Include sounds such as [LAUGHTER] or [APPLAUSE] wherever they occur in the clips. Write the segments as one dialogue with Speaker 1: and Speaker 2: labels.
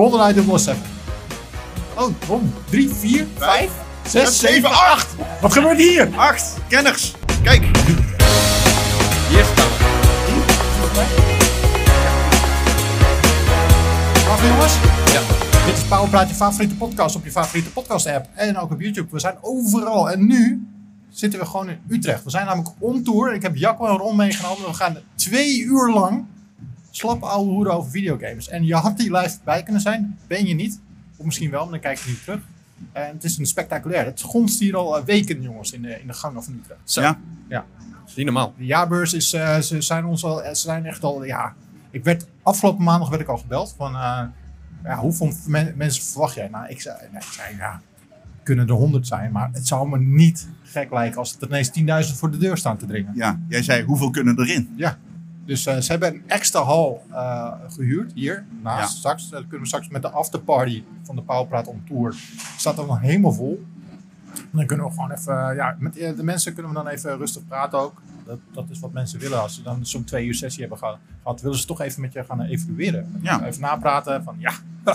Speaker 1: GoldenEye 007. Oh, Tom. 3, 4, 5, 6, 7, 8. Wat gebeurt hier?
Speaker 2: 8 kenners. Kijk. Hier staan
Speaker 1: Dag jongens.
Speaker 2: Ja.
Speaker 1: Dit is Powerpraat, je favoriete podcast op je favoriete podcast app. En ook op YouTube. We zijn overal. En nu zitten we gewoon in Utrecht. We zijn namelijk on tour. Ik heb Jacco en Ron meegenomen. We gaan twee uur lang slap ouwe hoeren over videogames. En je had die lijst bij kunnen zijn. Ben je niet. Of misschien wel, maar dan kijk je niet terug. En het is een spectaculair. Het gonst hier al eh, weken jongens in de, in de gangen van Utrecht.
Speaker 2: Zo.
Speaker 3: Ja.
Speaker 1: Ja.
Speaker 2: Is Niet normaal.
Speaker 1: De jaarbeurs is, eh, ze zijn ons al, ze zijn echt al, ja. Ik werd, afgelopen maandag werd ik al gebeld van, eh, ja, hoeveel men- mensen verwacht jij? Nou, ik zei, nee, ik zei, ja, kunnen er honderd zijn, maar het zou me niet gek lijken als er ineens 10.000 voor de deur staan te dringen.
Speaker 3: Ja, jij zei hoeveel kunnen erin?
Speaker 1: Ja. Dus eh, ze hebben een extra hal eh, gehuurd hier. Naast straks. Dat kunnen we straks met de afterparty van de Pauwpraat on Tour. Staat dan nog helemaal vol. En dan kunnen we gewoon even. eh, ja, met eh, de mensen kunnen we dan even rustig praten ook. Dat, dat is wat mensen willen. Als ze dan zo'n twee uur sessie hebben geha- gehad, willen ze toch even met je gaan eh, evalueren.
Speaker 3: Ja.
Speaker 1: Even napraten van ja, [LAUGHS]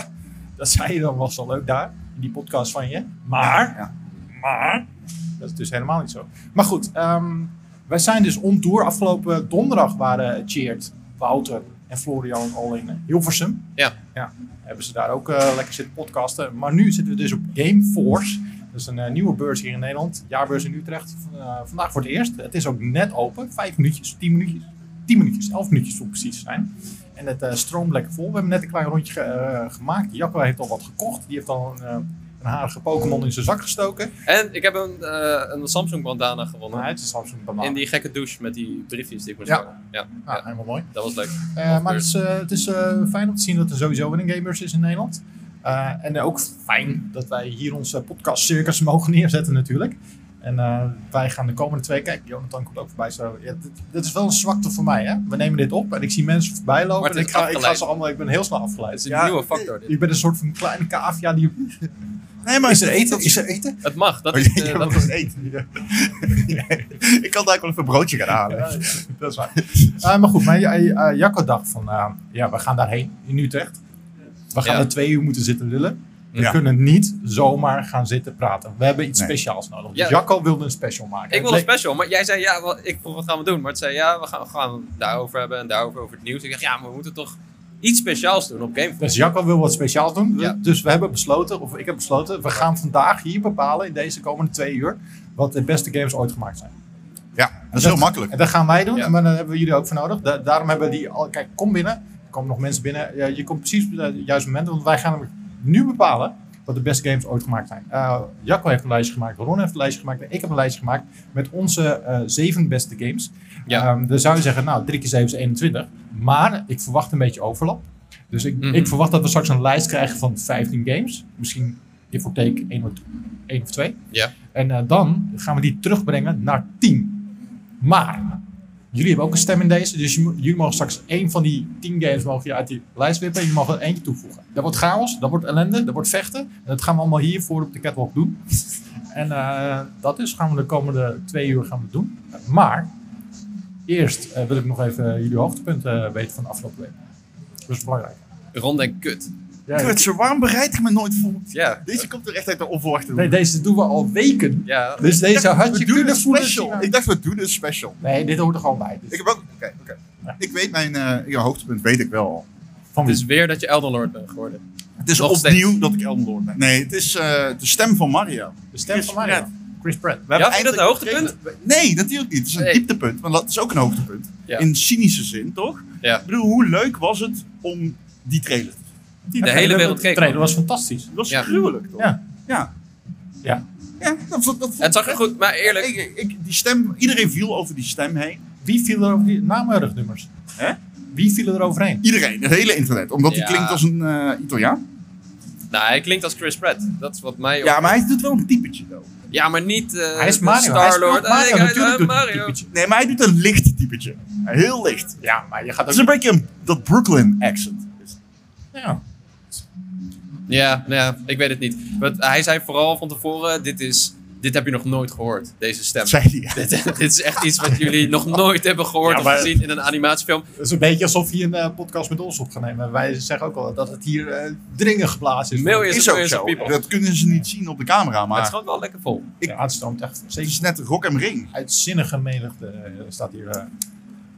Speaker 1: dat zei je dan was al leuk daar. In die podcast van je. Maar.
Speaker 3: Ja.
Speaker 1: Maar dat is dus helemaal niet zo. Maar goed, ehm, wij zijn dus on tour. Afgelopen donderdag waren Cheert, Wouter en Florian al in Hilversum.
Speaker 2: Ja.
Speaker 1: ja hebben ze daar ook eh, lekker zitten podcasten. Maar nu zitten we dus op Gameforce. Dat is een eh, nieuwe beurs hier in Nederland. Jaarbeurs in Utrecht. V- eh, vandaag voor het eerst. Het is ook net open. Vijf minuutjes, tien minuutjes. Tien minuutjes, elf minuutjes om precies te zijn. En het eh, stroomt lekker vol. We hebben net een klein rondje ge- eh, gemaakt. Jacco heeft al wat gekocht. Die heeft al een, eh, een harige Pokémon in zijn zak gestoken.
Speaker 2: En ik heb een, eh, een Samsung bandana gewonnen.
Speaker 1: Nee, het is Samsung banaan.
Speaker 2: In die gekke douche met die briefjes die ik moest
Speaker 1: Ja.
Speaker 2: hangen. Ja.
Speaker 1: Ah,
Speaker 2: ja,
Speaker 1: helemaal mooi.
Speaker 2: dat was leuk.
Speaker 1: Eh, maar het is, eh, het is eh, fijn om te zien dat er sowieso weer een gamers is in Nederland. Eh, en ook fijn dat wij hier onze podcast circus mogen neerzetten natuurlijk. En eh, wij gaan de komende twee... Kijk, Jonathan komt ook voorbij. Zo, ja, dit, dit is wel een zwakte voor mij, hè. We nemen dit op en ik zie mensen voorbij
Speaker 2: Maar
Speaker 1: lopen.
Speaker 2: het
Speaker 1: En ik,
Speaker 2: is
Speaker 1: ga, ik, ga
Speaker 2: afgeleid.
Speaker 1: ze allemaal, ik ben heel snel afgeleid.
Speaker 2: Het is een
Speaker 3: Ja.
Speaker 2: nieuwe factor dit.
Speaker 1: Ik ben een soort van kleine cavia die...
Speaker 3: Nee, maar
Speaker 1: Is er eten?
Speaker 3: dat-
Speaker 1: Is er eten?
Speaker 2: Het mag, dat
Speaker 3: Oh,
Speaker 2: is,
Speaker 3: ja,
Speaker 2: eh,
Speaker 3: dat
Speaker 2: dat is
Speaker 3: is eten. Ja. [LAUGHS] ik kan daar ook wel even een broodje gaan halen.
Speaker 1: Ja, dat is waar. Eh, maar goed, maar, eh, eh, Jacco dacht van, eh, ja, we gaan daarheen in Utrecht. We gaan
Speaker 2: Ja.
Speaker 1: er twee uur moeten zitten lullen. We
Speaker 3: Ja.
Speaker 1: kunnen niet zomaar gaan zitten praten. We hebben iets
Speaker 3: Nee.
Speaker 1: speciaals nodig. Dus
Speaker 2: Ja.
Speaker 1: Jacco wilde een special maken.
Speaker 2: Ik
Speaker 1: Het
Speaker 2: wil een
Speaker 1: leek-
Speaker 2: special, maar jij zei ja, wat, ik vroeg wat gaan we doen? Maar het zei ja, we gaan, we gaan het daarover hebben en daarover over het nieuws. Ik dacht ja, maar we moeten toch iets speciaals doen op Game
Speaker 1: dus Jacco wil wat speciaals doen. We-
Speaker 2: Ja.
Speaker 1: Dus we hebben besloten, of ik heb besloten, we gaan vandaag hier bepalen in deze komende twee uur wat de beste games ooit gemaakt zijn.
Speaker 3: Ja, dat is heel makkelijk.
Speaker 1: En dat gaan wij doen,
Speaker 2: Ja.
Speaker 1: maar daar hebben we jullie ook voor nodig. Da- daarom hebben we die al. Kijk, kom binnen. Er komen nog mensen binnen. Ja, je komt precies op het juiste moment, want wij gaan namelijk nu bepalen wat de beste games ooit gemaakt zijn. Eh, Jacco heeft een lijstje gemaakt, Ron heeft een lijstje gemaakt en ik heb een lijstje gemaakt met onze eh, zeven beste games.
Speaker 2: Ja.
Speaker 1: Ehm, dan zou je zeggen, nou, 3 keer 7 is 21. Maar ik verwacht een beetje overlap. Dus ik,
Speaker 2: Mhm.
Speaker 1: ik verwacht dat we straks een lijst krijgen van 15 games. Misschien give or take 1 of, 1 of 2.
Speaker 2: Ja.
Speaker 1: En eh, dan gaan we die terugbrengen naar 10. Maar jullie hebben ook een stem in deze. Dus je mo- jullie mogen straks één van die 10 games mogen je uit die lijst wippen. En je mag er eentje toevoegen. Dat wordt chaos, dat wordt ellende, dat wordt vechten. En dat gaan we allemaal hiervoor op de catwalk
Speaker 3: [LAUGHS]
Speaker 1: doen. En eh, dat is, gaan we de komende twee uur gaan we doen. Maar eerst eh, wil ik nog even jullie hoogtepunten eh, weten van de afgelopen week. Dat is belangrijk.
Speaker 2: Rond en kut.
Speaker 1: Ja,
Speaker 3: Kutser, waarom bereid ik me nooit voor?
Speaker 2: Ja.
Speaker 3: Deze komt er echt uit de onverwachte
Speaker 1: nee,
Speaker 3: hoek.
Speaker 1: deze doen we al weken.
Speaker 2: Ja,
Speaker 1: Dus deze had je
Speaker 3: we doen
Speaker 1: kunnen
Speaker 3: een
Speaker 1: voelen.
Speaker 3: special. Ik dacht, we doen een special.
Speaker 1: Nee, dit hoort er gewoon bij.
Speaker 3: Ik
Speaker 1: Dus
Speaker 3: heb ook... Oké, oké.
Speaker 1: Ja.
Speaker 3: Ik weet mijn eh, ja, hoogtepunt, weet ik wel al.
Speaker 1: van
Speaker 2: het
Speaker 1: wie?
Speaker 2: is weer dat je Elden Lord bent geworden.
Speaker 3: Het is
Speaker 2: Nog
Speaker 3: opnieuw dat ik Elden Lord ben. Nee, het is eh, de stem van Mario.
Speaker 1: de stem van
Speaker 3: Chris
Speaker 1: Mario.
Speaker 3: Pratt.
Speaker 1: Chris Pratt.
Speaker 3: We hebben
Speaker 2: Ja, vind je dat een
Speaker 3: eindelijk
Speaker 2: hoogtepunt?
Speaker 3: gekregen- Nee, natuurlijk niet. Het is een
Speaker 2: Nee.
Speaker 3: dieptepunt, maar dat is ook een hoogtepunt.
Speaker 2: Ja.
Speaker 3: In cynische zin, toch?
Speaker 2: Ja.
Speaker 3: Ik bedoel, hoe leuk was het om die trailer te zien?
Speaker 1: Die
Speaker 2: De
Speaker 1: trailer-
Speaker 2: hele wereld keek.
Speaker 1: trailer was fantastisch.
Speaker 3: Dat was
Speaker 2: Ja.
Speaker 3: gruwelijk, toch?
Speaker 1: Ja.
Speaker 3: Ja.
Speaker 1: Ja.
Speaker 3: Ja, dat, dat, dat-
Speaker 2: Het zag er goed, maar eerlijk,
Speaker 3: Ik, ik, die stem, iedereen viel over die stem heen.
Speaker 1: Wie viel er over die naamrugnummers?
Speaker 3: Hè?
Speaker 1: Wie viel er overheen?
Speaker 3: Iedereen, het hele internet. Omdat
Speaker 2: Ja.
Speaker 3: die klinkt als een eh, Italiaan.
Speaker 2: nou hij klinkt als Chris Pratt. Dat is wat mij...
Speaker 3: Ja, maar hij doet wel een typetje, though.
Speaker 2: Ja, maar niet eh,
Speaker 1: Hij is
Speaker 2: de
Speaker 1: Mario. Hij speelt
Speaker 2: Star-Lord.
Speaker 1: Mario.
Speaker 2: Ah, ik-
Speaker 1: Natuurlijk
Speaker 2: eh,
Speaker 1: doet hij een
Speaker 2: Mario.
Speaker 1: typetje.
Speaker 3: Nee, maar hij doet een licht typetje. Heel licht.
Speaker 1: Ja, maar je gaat
Speaker 3: Dat
Speaker 1: ook...
Speaker 3: is een beetje een, dat Brooklyn accent.
Speaker 1: Ja.
Speaker 2: Ja, nou ja, ik weet het niet. Want hij zei vooral van tevoren, dit is dit heb je nog nooit gehoord, deze stem.
Speaker 3: Dat zei hij.
Speaker 2: [LAUGHS]
Speaker 3: Ja.
Speaker 2: Dit, dit is echt iets wat jullie nog nooit hebben gehoord
Speaker 3: Ja,
Speaker 2: of
Speaker 3: maar-
Speaker 2: gezien in een animatiefilm.
Speaker 1: Het is een beetje alsof je een eh, podcast met ons op gaat nemen. Wij zeggen ook al dat het hier eh, dringend geplaatst is.
Speaker 2: Mail je-
Speaker 3: Is
Speaker 2: het
Speaker 3: ook
Speaker 2: is
Speaker 3: zo.
Speaker 2: people.
Speaker 3: Dat kunnen ze niet zien op de camera,
Speaker 2: Maar het
Speaker 3: maar
Speaker 2: is gewoon wel lekker vol.
Speaker 1: Ja, het stroomt echt
Speaker 3: het
Speaker 1: steeds
Speaker 3: is net rock en ring.
Speaker 1: uitzinnige menigte eh, staat hier eh, aan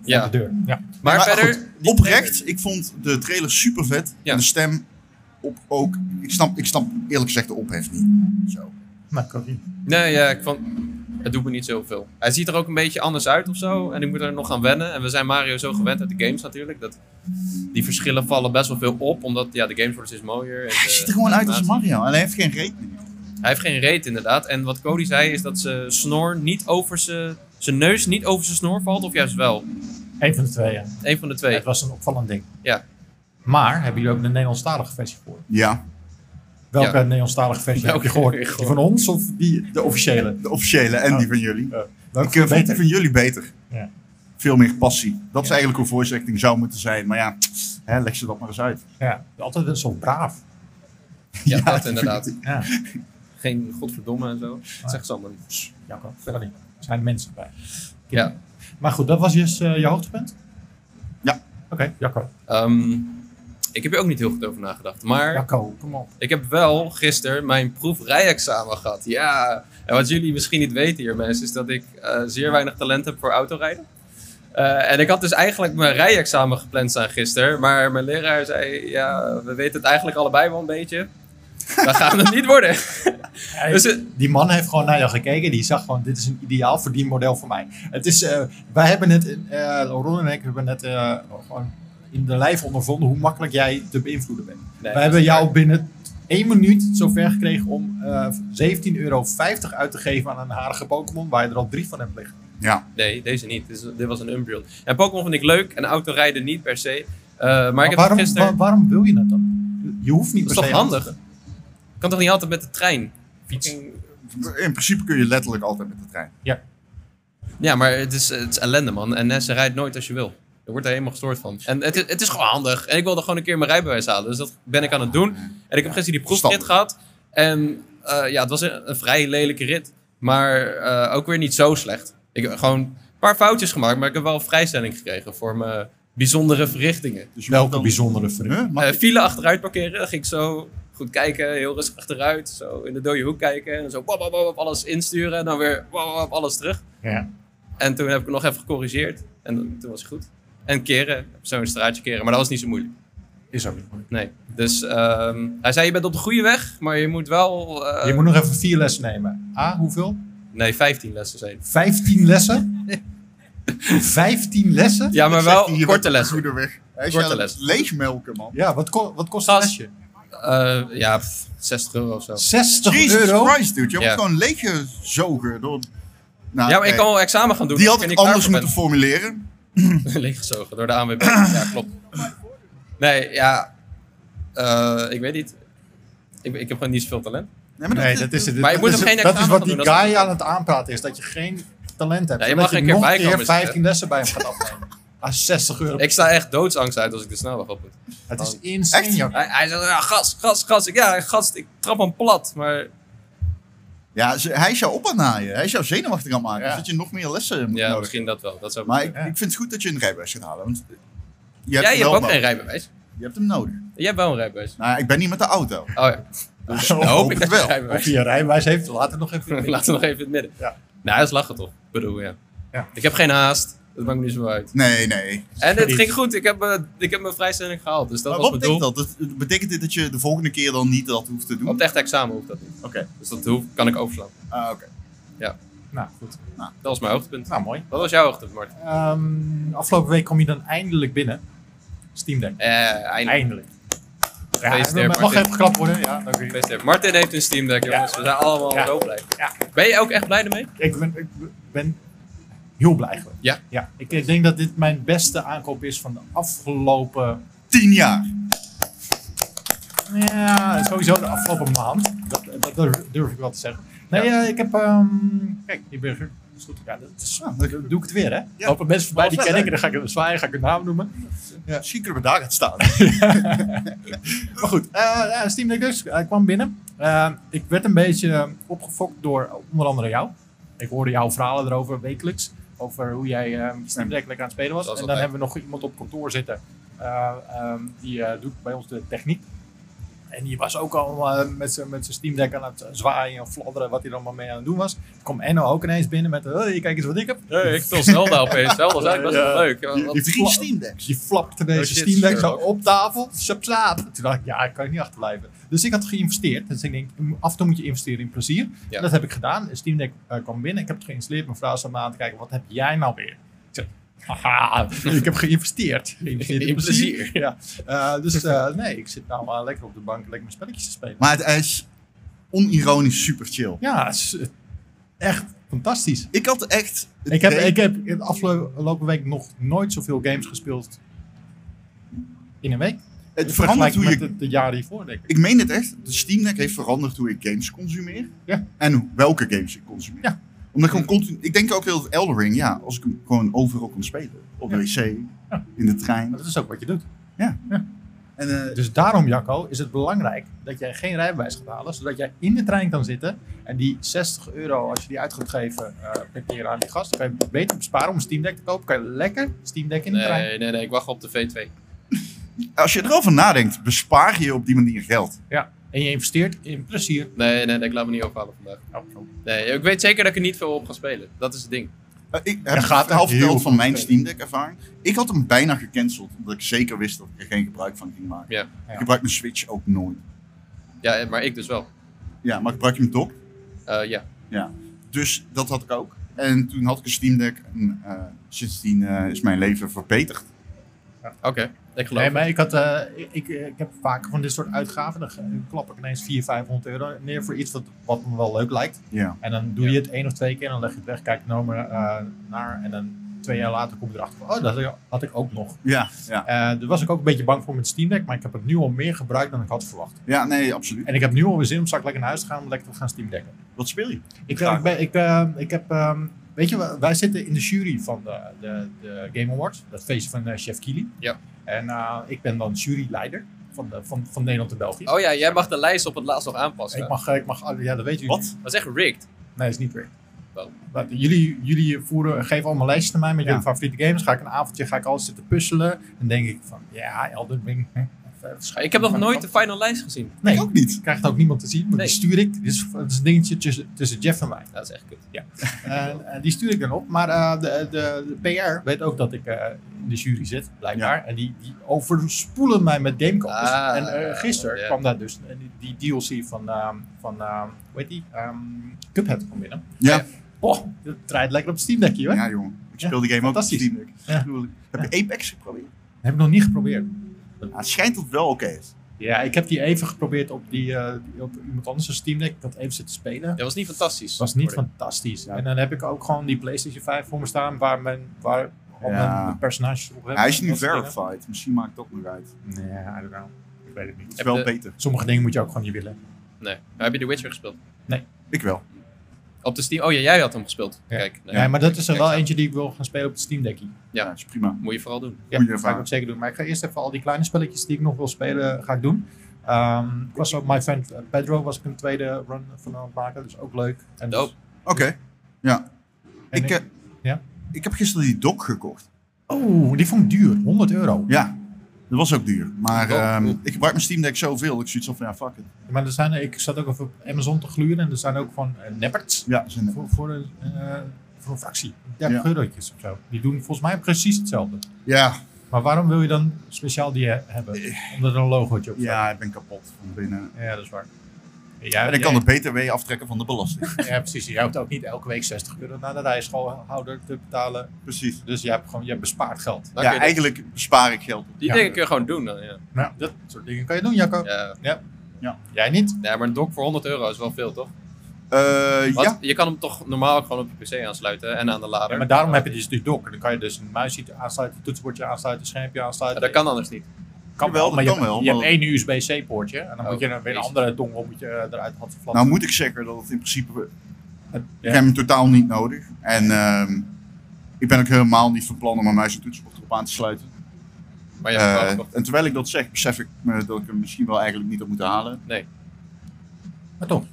Speaker 2: Ja.
Speaker 1: de deur. Ja.
Speaker 2: Maar,
Speaker 3: Maar
Speaker 2: verder...
Speaker 3: goed,
Speaker 2: die trailer-
Speaker 3: oprecht, ik vond de trailer super vet.
Speaker 2: Ja.
Speaker 3: En de stem op ook. Ik snap, ik snap eerlijk gezegd de ophef niet. Zo.
Speaker 1: Nou, Corrie.
Speaker 2: Nee, ja, ik vond... Het doet me niet zoveel. Hij ziet er ook een beetje anders uit of zo. En ik moet er nog aan wennen. En we zijn Mario zo gewend uit de games natuurlijk. Dat die verschillen vallen best wel veel op. Omdat ja, de games worden steeds mooier. en
Speaker 3: Hij
Speaker 2: de
Speaker 3: ziet er gewoon uit als
Speaker 2: animatie-
Speaker 3: Mario en hij heeft geen rekening.
Speaker 2: Hij heeft geen reet inderdaad. En wat Cody zei is dat zijn snor niet over zijn... Zijn neus niet over zijn snor valt. Of juist wel.
Speaker 1: Eén van de twee, ja.
Speaker 2: Eén van de twee.
Speaker 1: Het was een opvallend ding.
Speaker 2: Ja.
Speaker 1: Maar hebben jullie ook de Nederlandstalige versie gehoord?
Speaker 3: Ja,
Speaker 1: Welke
Speaker 2: Ja.
Speaker 1: Nederlandstalige versie heb
Speaker 2: Welke
Speaker 1: je gehoord?
Speaker 2: heb je
Speaker 1: Die
Speaker 2: gehoord?
Speaker 1: van ons of die, de officiële?
Speaker 3: de officiële en
Speaker 1: Oh.
Speaker 3: die van jullie.
Speaker 1: Welke
Speaker 3: Ik eh, vond die
Speaker 1: beter?
Speaker 3: van jullie beter.
Speaker 1: Ja.
Speaker 3: Veel meer passie. Dat is
Speaker 1: Ja.
Speaker 3: eigenlijk hoe voice acting zou moeten zijn. Maar ja, hè, leg ze dat maar eens uit.
Speaker 1: Ja, altijd zo braaf.
Speaker 3: [LAUGHS]
Speaker 2: Ja, dat inderdaad.
Speaker 1: Ja,
Speaker 2: Geen godverdomme en zo. Dat zegt ze allemaal niet.
Speaker 1: ja kan verder niet. Er zijn mensen bij.
Speaker 2: Ja.
Speaker 1: Maar goed, dat was dus eh, je hoogtepunt?
Speaker 3: Ja.
Speaker 1: Oké, Jacco.
Speaker 2: Ehm, ik heb hier ook niet heel goed over nagedacht. Maar
Speaker 1: Jacco, kom op.
Speaker 2: Ik heb wel gisteren mijn proefrijexamen gehad. Ja, en wat jullie misschien niet weten hier, mensen, is dat ik eh, zeer weinig talent heb voor autorijden. Eh, en ik had dus eigenlijk mijn rijexamen gepland staan gisteren. Maar mijn leraar zei: Ja, we weten het eigenlijk allebei wel een beetje. Dat gaat het niet worden.
Speaker 1: [LAUGHS] Hey,
Speaker 2: Dus het-
Speaker 1: die man heeft gewoon naar jou gekeken. Die zag gewoon, dit is een ideaal verdienmodel voor mij. Het is, eh, wij hebben het, eh Ron en ik hebben het eh, gewoon in de lijf ondervonden hoe makkelijk jij te beïnvloeden bent.
Speaker 2: Nee,
Speaker 1: We hebben jou binnen één minuut zover gekregen om eh 17,50 euro uit te geven aan een harige Pokémon waar je er al drie van hebt liggen.
Speaker 3: Ja,
Speaker 2: Nee, deze niet. Dit, is- dit was een Umbreon. En Pokémon vond ik leuk en autorijden niet per se. Eh, maar, ik heb
Speaker 1: waarom,
Speaker 2: gisteren.
Speaker 1: wa- waarom wil je dat dan? Je hoeft niet
Speaker 2: dat is
Speaker 1: per
Speaker 2: toch
Speaker 1: se
Speaker 2: handig?
Speaker 1: aan
Speaker 2: Ik kan toch niet altijd met de trein? Fiets.
Speaker 3: in principe kun je letterlijk altijd met de trein.
Speaker 2: Ja, maar het is, het is ellende, man. En eh, ze rijdt nooit als je wil. Je wordt er helemaal gestoord van. En het, is- het is gewoon handig. En ik wilde gewoon een keer mijn rijbewijs halen. Dus dat ben ik aan het doen. En ik heb gisteren die proefrit
Speaker 3: Verstandig.
Speaker 2: gehad. En eh, ja, het was een, een vrij lelijke rit. Maar eh, ook weer niet zo slecht. Ik heb gewoon een paar foutjes gemaakt. Maar ik heb wel vrijstelling gekregen voor mijn bijzondere verrichtingen.
Speaker 3: Dus je
Speaker 1: Welke
Speaker 3: moet dan-
Speaker 1: bijzondere vriend?
Speaker 3: Huh? Mag-
Speaker 2: Eh file achteruit parkeren. Dan ging ik zo goed kijken. Heel rustig achteruit. Zo in de dode hoek kijken. En dan zo wap, wap, wap, wap, alles insturen. En dan weer wap, wap, alles terug.
Speaker 1: Ja.
Speaker 2: En toen heb ik het nog even gecorrigeerd. En toen was het goed. En keren, zo'n straatje keren. Maar dat was niet zo moeilijk.
Speaker 1: Is ook niet moeilijk.
Speaker 2: Nee. Dus ehm, hij zei, je bent op de goede weg, maar je moet wel... eh,
Speaker 1: Je moet nog even vier lessen nemen. A, hoeveel?
Speaker 2: Nee, 15 lessen zijn.
Speaker 1: 15 lessen? 15 lessen?
Speaker 2: Ja, maar
Speaker 3: Ik zeg
Speaker 2: wel
Speaker 3: die, je bent
Speaker 2: korte
Speaker 3: op de
Speaker 2: lessen.
Speaker 3: goede weg. Hij
Speaker 2: Korte
Speaker 3: zei,
Speaker 2: lessen.
Speaker 3: Leegmelken, man.
Speaker 1: Ja, wat, ko- wat kost een
Speaker 2: Gast.
Speaker 1: lesje?
Speaker 2: Eh, ja, pff, 60 euro of zo.
Speaker 3: Ah,
Speaker 1: 60
Speaker 3: Jesus
Speaker 1: euro?
Speaker 3: Christ, dude. Je
Speaker 2: Ja.
Speaker 3: wordt gewoon leeggezogen door... Nou,
Speaker 2: Ja, maar ik
Speaker 3: oké.
Speaker 2: kan wel examen gaan doen.
Speaker 3: Die
Speaker 2: als
Speaker 3: had ik
Speaker 2: er niet
Speaker 3: anders
Speaker 2: klaar
Speaker 3: moeten
Speaker 2: voor
Speaker 3: formuleren.
Speaker 2: ben. [LAUGHS] Leeggezogen door de ANWB. Ja, klopt. Nee, ja... eh, ik weet niet. Ik, ik heb gewoon niet zoveel talent.
Speaker 3: Nee, maar dat-
Speaker 1: Nee, dat is het.
Speaker 2: Maar je
Speaker 1: dat
Speaker 2: moet
Speaker 1: is,
Speaker 2: hem geen
Speaker 1: dat is
Speaker 2: examen
Speaker 1: wat die
Speaker 2: doen, dat is-
Speaker 1: guy aan het aanpraten is. Dat je geen talent hebt.
Speaker 2: Ja, je
Speaker 1: En dat
Speaker 2: mag een keer
Speaker 1: nog
Speaker 2: bijkomen
Speaker 1: keer
Speaker 2: zitten.
Speaker 1: 15 lessen bij hem gaat
Speaker 2: [LAUGHS]
Speaker 1: afnemen. Ah, 60 euro.
Speaker 2: Ik sta echt doodsangst uit als ik de snelweg op moet.
Speaker 1: het is insane,
Speaker 3: Echt?
Speaker 1: joh.
Speaker 2: Hij, hij zei, ja, gas, gas, gas. Ik- Ja, gast, ik trap hem plat. Maar
Speaker 3: Ja, ze- hij is jou op aan het naaien. Hij is jou zenuwachtig aan het maken.
Speaker 1: Ja.
Speaker 3: Dus dat je nog meer lessen moet
Speaker 2: ja,
Speaker 3: nodig
Speaker 2: misschien dat wel. Dat zou
Speaker 3: Maar ik,
Speaker 2: moeten.
Speaker 1: Ja.
Speaker 3: ik vind het goed dat je een rijbewijs gaat halen. Want je
Speaker 2: Jij
Speaker 3: hem
Speaker 2: hebt
Speaker 3: wel
Speaker 2: ook geen
Speaker 3: nodig.
Speaker 2: rijbewijs.
Speaker 3: Je hebt hem nodig.
Speaker 2: Jij hebt wel een rijbewijs.
Speaker 3: Nou, ik ben niet met de auto.
Speaker 2: Oh ja,
Speaker 3: Dus
Speaker 1: Nou,
Speaker 3: ik
Speaker 2: hoop
Speaker 3: hoop
Speaker 2: ik
Speaker 3: het
Speaker 2: dat je
Speaker 3: wel.
Speaker 2: een rijbewijs
Speaker 1: Als je je rijbewijs heeft, laat het nog even.
Speaker 2: hebt. Laten we nog even in het midden.
Speaker 1: Ja.
Speaker 2: Nou, dat is lachen toch? Ik bedoel, ja.
Speaker 1: Ja.
Speaker 2: Ik heb geen haast. Dat maakt me niet zo uit.
Speaker 3: Nee, nee.
Speaker 2: En het
Speaker 1: niet.
Speaker 2: ging goed. Ik heb, eh, ik heb mijn vrijstelling gehaald. Dus dat
Speaker 3: Maar
Speaker 2: was
Speaker 3: wat
Speaker 2: mijn
Speaker 3: betekent
Speaker 2: doel.
Speaker 3: dat? Dat- dat Betekent dit dat je de volgende keer dan niet dat hoeft te doen?
Speaker 2: Op het echt examen hoeft dat niet.
Speaker 3: Oké.
Speaker 2: Dus dat hoef, kan ik overslaan.
Speaker 3: Ah, oké.
Speaker 1: Nou, goed.
Speaker 2: Dat was mijn hoogtepunt.
Speaker 1: Nou, mooi.
Speaker 2: Wat was jouw hoogtepunt, Martin?
Speaker 1: Ehm, afgelopen week kom je dan eindelijk binnen. Steam Deck.
Speaker 2: Eh, eindelijk.
Speaker 1: Eindelijk. Ja,
Speaker 2: Gefeliciteerd,
Speaker 1: het mag
Speaker 2: Martin.
Speaker 1: even geklapt worden. Ja, dank u.
Speaker 2: Gefeliciteerd. Martin heeft een Steam Deck, jongens. We zijn allemaal
Speaker 1: Ja.
Speaker 2: zo blij.
Speaker 1: Ja.
Speaker 2: Ben je ook echt blij ermee?
Speaker 1: Ik ben, ik ben heel blij geworden.
Speaker 2: Ja?
Speaker 1: ja. Ik, ik denk dat dit mijn beste aankoop is van de afgelopen...
Speaker 3: Tien jaar.
Speaker 1: Ja, sowieso de afgelopen maand. Dat, eh, dat durf- durf ik wel te zeggen. Nee, eh, ik heb... ehm, kijk, die burger. Dat is goed. Ja, dat is,
Speaker 3: Ah, dat-
Speaker 1: dan doe ik het weer, hè?
Speaker 3: Ja.
Speaker 1: Lopen mensen voorbij, die
Speaker 3: Wel
Speaker 1: ken
Speaker 3: vet,
Speaker 1: ik. En dan ga ik zwaaien, ga ik hun naam noemen.
Speaker 3: Ja. Misschien kunnen we daar gaan staan.
Speaker 1: [LAUGHS] Maar goed, eh, ja, Steam Deck dus. eh, Hij kwam binnen. Eh, ik werd een beetje eh, opgefokt door onder andere jou. Ik hoorde jouw verhalen erover wekelijks. Over hoe jij eh Steam Deck lekker aan het spelen was.
Speaker 2: Zoals
Speaker 1: en dan
Speaker 2: altijd.
Speaker 1: hebben we nog iemand op kantoor zitten. eh, ehm, die eh, doet bij ons de techniek. En die was ook al eh, met zijn met zijn Steam Deck aan het zwaaien en fladderen. Wat hij er allemaal mee aan het doen was. Kom Enno ook ineens binnen met... Hey, kijk eens wat ik heb.
Speaker 2: Hey, ik speel Zelda opeens. Zelda is eigenlijk best
Speaker 1: Ja.
Speaker 2: wel leuk.
Speaker 3: Die,
Speaker 2: Want-
Speaker 3: die drie
Speaker 1: pla-
Speaker 3: Steam Decks.
Speaker 1: Dus Die flapte deze
Speaker 2: Oh shit,
Speaker 1: Steam Deck zo
Speaker 2: sure.
Speaker 1: op tafel. Sap, sap. Toen dacht ik, ja, ik kan hier niet achterblijven. Dus ik had geïnvesteerd. Dus ik denk, af en toe moet je investeren in plezier.
Speaker 2: Ja.
Speaker 1: En dat heb ik gedaan. Steam Deck eh, kwam binnen. Ik heb het geïnstalleerd. Mijn vrouw zat me aan te kijken, wat heb jij nou weer? Ik zeg, haha, [LAUGHS] ik heb geïnvesteerd. Geïnvesteerd in,
Speaker 2: In
Speaker 1: plezier.
Speaker 2: plezier.
Speaker 1: Ja. Eh, dus eh, nee, ik zit nou maar lekker op de bank lekker mijn spelletjes te spelen.
Speaker 3: Maar het hij is onironisch super chill.
Speaker 1: Ja, het is eh, echt fantastisch.
Speaker 3: Ik had echt... het
Speaker 1: Ik heb,
Speaker 3: idee-
Speaker 1: ik heb in de afgelopen week nog nooit zoveel games gespeeld in een week.
Speaker 3: het
Speaker 1: In
Speaker 3: verandert hoe
Speaker 1: vergelijking
Speaker 3: je...
Speaker 1: met de, de jaren hiervoor, denk ik.
Speaker 3: Ik meen het echt. De Steam Deck heeft veranderd hoe ik games consumeer.
Speaker 1: Ja.
Speaker 3: En welke games ik consumeer.
Speaker 1: Ja.
Speaker 3: Omdat ik gewoon continu... Ik denk ook heel dat Elden Ring, ja, als ik hem gewoon overal kon spelen. Op de wc,
Speaker 1: Ja.
Speaker 3: in de trein.
Speaker 1: Maar dat is ook wat je doet.
Speaker 3: En eh,
Speaker 1: Dus daarom, Jacco, is het belangrijk dat jij geen rijbewijs gaat halen, zodat jij in de trein kan zitten en die 60 euro, als je die uit gaat geven, eh per keer aan die gast, dan kan je beter besparen om een Steam Deck te kopen. Kan je lekker Steam Deck in de trein.
Speaker 2: Nee, nee, nee. Ik wacht op de V2.
Speaker 3: als je erover nadenkt, bespaar je op die manier geld.
Speaker 1: Ja. En je investeert in plezier.
Speaker 2: Nee, nee, nee. Ik laat me niet ophalen vandaag. Nee, ik weet zeker dat ik er niet veel op ga spelen. Dat is het ding.
Speaker 3: Eh, ik heb
Speaker 1: Er gaat
Speaker 3: het verhaal
Speaker 1: heel
Speaker 3: verteld
Speaker 1: veel
Speaker 3: van mijn
Speaker 1: spelen.
Speaker 3: Steam Deck ervaring. Ik had hem bijna gecanceld, omdat ik zeker wist dat ik er geen gebruik van ging maken.
Speaker 2: Ja.
Speaker 1: Ja.
Speaker 3: Ik gebruik mijn Switch ook nooit.
Speaker 2: Ja, maar ik dus wel.
Speaker 3: Ja, maar gebruik je hem toch?
Speaker 2: Eh, ja.
Speaker 3: Ja. Dus dat had ik ook. En toen had ik een Steam Deck en eh, sindsdien eh, is mijn leven verbeterd.
Speaker 2: Oké. Ik geloof
Speaker 1: Nee,
Speaker 2: het.
Speaker 1: maar ik, had, eh, ik, ik heb vaker van dit soort uitgaven, dan ge- klap ik ineens 400, 500 euro neer voor iets wat, wat me wel leuk lijkt.
Speaker 3: Ja.
Speaker 1: En dan doe
Speaker 2: Ja.
Speaker 1: je het één of twee keer en dan leg je het weg, kijk er nou maar, eh, naar en dan twee jaar later kom je erachter van, oh, dat had ik ook nog.
Speaker 3: Ja, ja.
Speaker 1: Eh, daar was ik ook een beetje bang voor met Steam Deck, maar ik heb het nu al meer gebruikt dan ik had verwacht.
Speaker 3: ja nee, absoluut.
Speaker 1: En ik heb nu al weer zin om straks lekker naar huis te gaan om lekker te gaan Steam Decken.
Speaker 3: Wat speel je?
Speaker 1: Ik,
Speaker 3: Graag.
Speaker 1: ik, ben, ik, eh, ik heb, ehm, weet je, wij- wij zitten in de jury van de, de, de Game Awards, dat feestje van eh, Chef Kili.
Speaker 2: Ja.
Speaker 1: En eh, ik ben dan juryleider van, de, van, van Nederland en België.
Speaker 2: Oh ja, jij mag de lijst op het laatst nog aanpassen.
Speaker 1: Ik mag, eh, ik mag, alle- ja, dat weet jullie.
Speaker 3: Wat?
Speaker 2: Dat is echt rigged.
Speaker 1: Nee, is niet weer.
Speaker 2: Wel.
Speaker 1: Maar Jullie, jullie voeren, geven allemaal lijstjes naar mij met
Speaker 3: Ja.
Speaker 1: jullie favoriete games. Ga ik een avondje, ga ik alles zitten puzzelen. En denk ik van, ja, Elden Ring. Hm,
Speaker 2: Ik heb nog nooit de final lijst gezien.
Speaker 1: Nee,
Speaker 3: Ik ook niet.
Speaker 1: krijgt ook niemand te zien, maar
Speaker 2: Nee.
Speaker 1: die stuur ik. Dit is, dit is een dingetje tussen, tussen Jeff en mij.
Speaker 2: Dat is echt kut.
Speaker 1: Eh, eh, die stuur ik dan op. Maar eh, de, de, de PR weet ook dat ik eh, in de jury zit, blijkbaar. En die, die overspoelen mij met gamecodes.
Speaker 2: Ah,
Speaker 1: en eh, gisteren
Speaker 2: ja.
Speaker 1: kwam daar dus een- die DLC van, ehm, van ehm, hoe heet die? Ehm, Cuphead van binnen.
Speaker 3: Ja,
Speaker 1: Oh, dat draait lekker op Steam Deck hier, hè?
Speaker 3: ja jongen. Ik speel die game ook op
Speaker 1: fantastisch.
Speaker 3: Steam Deck.
Speaker 1: Ja.
Speaker 3: Gruwelijk. Heb je Apex geprobeerd?
Speaker 1: Dat heb ik nog niet geprobeerd.
Speaker 3: Ja, het schijnt dat het wel oké is.
Speaker 1: Ja, ik heb die even geprobeerd op, die, eh, die- op iemand anders' Steam Deck. Ik had even zitten spelen.
Speaker 2: Dat was niet fantastisch.
Speaker 1: Het was niet
Speaker 2: Worden.
Speaker 1: fantastisch.
Speaker 3: Ja.
Speaker 1: En dan heb ik ook gewoon die PlayStation 5 voor me staan waar mijn, waar al
Speaker 3: Ja.
Speaker 1: mijn personages op hebben.
Speaker 3: Hij is nu
Speaker 1: Dat soort dingen.
Speaker 3: verified. Misschien maakt dat nog uit.
Speaker 1: Nee, I don't know. Ik weet het
Speaker 3: Het
Speaker 1: niet.
Speaker 3: is wel
Speaker 2: de-
Speaker 3: beter.
Speaker 1: Sommige dingen moet je ook gewoon niet willen.
Speaker 2: Nee. Maar heb je The Witcher gespeeld?
Speaker 3: Ik wel.
Speaker 2: Op de Steam? Oh ja, jij had hem gespeeld.
Speaker 1: Ja.
Speaker 2: Kijk. nee.
Speaker 1: Nee, maar dat is er
Speaker 2: Kijk,
Speaker 1: wel
Speaker 2: zo.
Speaker 1: eentje die ik wil gaan spelen op het Steam Deckie.
Speaker 3: Ja, dat is prima.
Speaker 2: Moet je vooral doen.
Speaker 1: Ja,
Speaker 3: Goeie
Speaker 1: dat ga ik
Speaker 3: ervaring.
Speaker 1: ook zeker doen. Maar ik ga eerst even al die kleine spelletjes die ik nog wil spelen, eh, ga ik doen. Ehm, ik was ook My Friend Pedro was ik een tweede run van aan het maken, dus ook leuk. En dus-
Speaker 2: Dope.
Speaker 3: Oké. Ja.
Speaker 1: en
Speaker 3: Ik, eh,
Speaker 1: ja?
Speaker 3: ik heb gisteren die dock gekocht.
Speaker 1: oh, die vond ik duur, 100 euro.
Speaker 3: Ja. Dat was ook duur. Maar
Speaker 2: Dock,
Speaker 3: ehm,
Speaker 2: cool.
Speaker 3: ik gebruik mijn Steam Deck zoveel. Ik zoiets van, ja, fuck it.
Speaker 1: Maar er zijn, ik zat ook even op Amazon te gluren en er zijn ook van eh, nepperts
Speaker 3: Ja, zin in.
Speaker 1: voor, voor, een, eh, voor een fractie. 30
Speaker 3: Ja.
Speaker 1: eurotjes of zo. Die doen volgens mij precies hetzelfde.
Speaker 3: ja,
Speaker 1: Maar waarom wil je dan speciaal die he- hebben? Omdat er een logootje op staat.
Speaker 3: Ja, ik ben kapot van binnen.
Speaker 1: Ja. dat is waar. Ja,
Speaker 3: En ik kan de BTW aftrekken van de belasting.
Speaker 1: ja, precies. Jij hoeft ook niet elke week 60 euro naar de rijschoolhouder te betalen.
Speaker 3: [LAUGHS] Precies.
Speaker 1: Dus je hebt gewoon je bespaart geld.
Speaker 2: Dan kun
Speaker 3: ja,
Speaker 2: je-
Speaker 3: eigenlijk bespaar ik geld.
Speaker 2: Die
Speaker 1: Ja.
Speaker 2: dingen kun je gewoon doen dan, ja.
Speaker 1: Nou, dat soort dingen kan je doen, Jacco.
Speaker 2: Ja,
Speaker 1: Jij niet?
Speaker 2: Ja, maar een dock voor 100 euro is wel veel, toch?
Speaker 3: Eh,
Speaker 2: Want
Speaker 3: ja,
Speaker 2: je kan hem toch normaal ook gewoon op je pc aansluiten en aan de lader.
Speaker 1: Ja, maar daarom heb je dus die dock. Dan kan je dus een muisje aansluiten, een toetsenbordje aansluiten, een schermpje
Speaker 2: Ja,
Speaker 1: aansluiten.
Speaker 2: dat kan anders niet.
Speaker 1: Kan
Speaker 3: Jawel, dat
Speaker 1: maar je,
Speaker 3: kan
Speaker 1: hebt-
Speaker 3: wel,
Speaker 1: je
Speaker 3: maar-
Speaker 1: hebt één USB-C-poortje en dan
Speaker 2: Oh,
Speaker 1: moet je er weer een
Speaker 2: jezus.
Speaker 1: andere dongel moet je eh, eruit had flappen.
Speaker 3: nou moet ik zeggen dat het in principe...
Speaker 1: Ja.
Speaker 3: Ik heb hem totaal niet nodig. En ehm, ik ben ook helemaal niet van plan om mijn muis en toetsenbord erop aan te sluiten.
Speaker 2: Maar je hebt hem wel
Speaker 3: Eh,
Speaker 2: gekocht.
Speaker 3: en terwijl ik dat zeg, besef ik me dat ik hem misschien wel eigenlijk niet had moeten halen.
Speaker 2: Nee.
Speaker 1: Maar toch,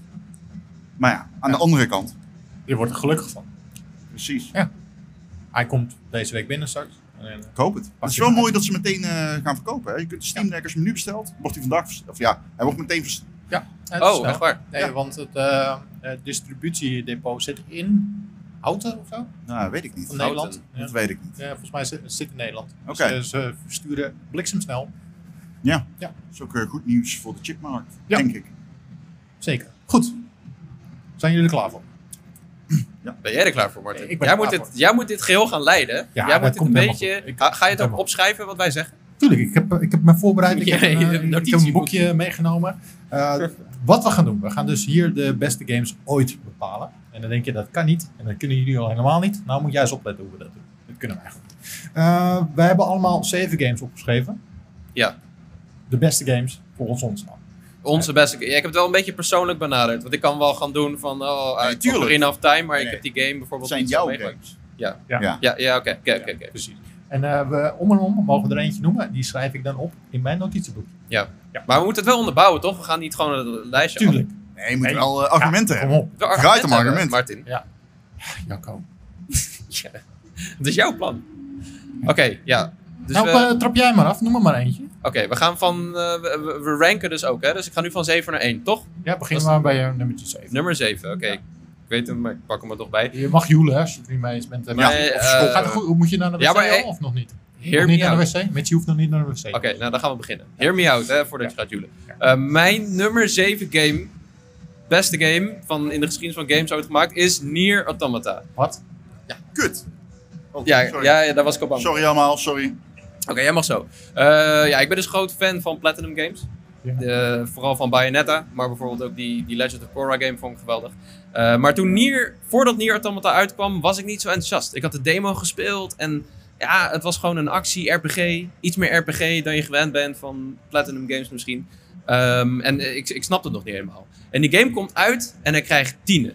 Speaker 3: Maar ja, aan de andere kant.
Speaker 1: je wordt er gelukkig van.
Speaker 3: Precies.
Speaker 1: Hij komt deze week binnen straks. En, eh,
Speaker 3: Ik hoop het. Het is wel mooi dat ze meteen eh, gaan verkopen. Hè? Je kunt de Steam Deck, als je hem nu bestelt, wordt hij vandaag... vers- Of ja, hij wordt meteen... vers-
Speaker 1: het is
Speaker 2: Oh,
Speaker 1: snel.
Speaker 2: echt waar?
Speaker 1: Nee,
Speaker 3: Ja.
Speaker 1: want het eh, eh, distributiedepot zit in Houten of zo?
Speaker 3: Nou, weet ik niet.
Speaker 1: Van Nederland. Ja.
Speaker 3: Dat weet ik niet.
Speaker 1: Ja, volgens mij zit het zit in Nederland. Dus,
Speaker 3: Oké.
Speaker 1: eh, ze versturen bliksemsnel.
Speaker 3: Dat is ook eh, goed nieuws voor de chipmarkt,
Speaker 1: Ja.
Speaker 3: denk ik.
Speaker 1: Zeker. Goed. Zijn jullie er klaar voor?
Speaker 2: Ben jij er klaar voor, Martin?
Speaker 1: Ik ben
Speaker 2: jij,
Speaker 1: er
Speaker 2: moet
Speaker 1: klaar
Speaker 2: dit,
Speaker 1: voor.
Speaker 2: jij moet dit geheel gaan leiden. hè?
Speaker 1: dat
Speaker 2: jij moet dit
Speaker 1: komt
Speaker 2: een
Speaker 1: helemaal
Speaker 2: beetje.
Speaker 1: goed. Ik-
Speaker 2: ga, ga je het ook
Speaker 1: helemaal.
Speaker 2: opschrijven wat wij zeggen?
Speaker 1: Tuurlijk, ik heb, ik heb me voorbereid. Ik
Speaker 2: [LAUGHS] Ja,
Speaker 1: heb, eh,
Speaker 2: je hebt
Speaker 1: ik heb een
Speaker 2: notitieboekje.
Speaker 1: boekje meegenomen. Eh, wat we gaan doen, we gaan dus hier de beste games ooit bepalen. En dan denk je, dat kan niet. En dat kunnen jullie al helemaal niet. Nou moet jij eens opletten hoe we dat doen. Dat kunnen wij goed. Eh, wij hebben allemaal zeven games opgeschreven.
Speaker 2: Ja.
Speaker 1: De beste games volgens ons dan.
Speaker 2: Onze beste. Ja, ik heb het wel een beetje persoonlijk benaderd. Want ik kan wel gaan doen van. Oh,
Speaker 3: Nee,
Speaker 2: eh, ik
Speaker 3: tuurlijk.
Speaker 2: in half time, maar
Speaker 3: Nee.
Speaker 2: ik heb die game
Speaker 3: Dat
Speaker 2: bijvoorbeeld.
Speaker 3: zijn
Speaker 2: niet zo
Speaker 3: jouw
Speaker 2: meegemaakt.
Speaker 3: games.
Speaker 2: Ja, ja, oké. oké, oké, oké.
Speaker 1: Precies. En eh, we, om en om mogen we er eentje noemen. Die schrijf ik dan op in mijn notitieboek.
Speaker 2: Maar we moeten het wel onderbouwen, toch? We gaan niet gewoon een lijstje af.
Speaker 1: Tuurlijk.
Speaker 3: Nee, je moet
Speaker 1: Nee.
Speaker 3: wel eh, argumenten
Speaker 1: Kom
Speaker 3: hebben.
Speaker 1: op,
Speaker 2: Wel
Speaker 3: Vooruit
Speaker 2: argumenten
Speaker 3: hem,
Speaker 2: hebben,
Speaker 3: argument.
Speaker 2: Martin.
Speaker 1: Jacco.
Speaker 2: Ja. Dat is jouw plan. Oké, ja. Dus
Speaker 1: nou,
Speaker 2: we,
Speaker 1: eh, trap jij maar af. Noem er maar eentje.
Speaker 2: oké, we gaan van. eh, we, we- we ranken dus ook, hè? Dus ik ga nu van 7 naar 1, toch?
Speaker 1: Ja, begin
Speaker 2: Dat is-
Speaker 1: maar bij eh, nummertje 7.
Speaker 2: Nummer 7, oké.
Speaker 1: Ja.
Speaker 2: Ik weet hem, maar ik pak hem er toch bij.
Speaker 1: Je mag joelen hè, als je het niet mee eens bent.
Speaker 2: Maar,
Speaker 1: Maar,
Speaker 2: eh,
Speaker 1: gaat het goed? Hoe Moet je naar de wc
Speaker 2: ja, maar,
Speaker 1: al,
Speaker 2: eh,
Speaker 1: of nog niet?
Speaker 2: Hear
Speaker 1: nog niet
Speaker 2: me
Speaker 1: naar
Speaker 2: out.
Speaker 1: de wc? Met je hoeft nog niet naar de wc.
Speaker 2: Oké, nou dan gaan we beginnen. Hear me out, hè, voordat je gaat joelen.
Speaker 1: Ja.
Speaker 2: Eh, mijn nummer 7 game, beste game van in de geschiedenis van games ooit gemaakt, is Nier Automata.
Speaker 1: Wat?
Speaker 3: Kut. Oh,
Speaker 2: Ja,
Speaker 3: sorry.
Speaker 2: ja, ja, daar was ik op aan.
Speaker 3: sorry allemaal, sorry.
Speaker 2: Oké, jij mag zo. Eh, ja, ik ben dus groot fan van Platinum Games.
Speaker 1: Ja.
Speaker 2: Eh, vooral van Bayonetta, maar bijvoorbeeld ook die, die Legend of Korra game vond ik geweldig. Eh, maar toen Nier, voordat Nier Automata uitkwam, was ik niet zo enthousiast. Ik had de demo gespeeld en ja, het was gewoon een actie-RPG. Iets meer RPG dan je gewend bent van Platinum Games misschien. Ehm, en ik, ik snapte het nog niet helemaal. En die game komt uit en hij krijgt tienen.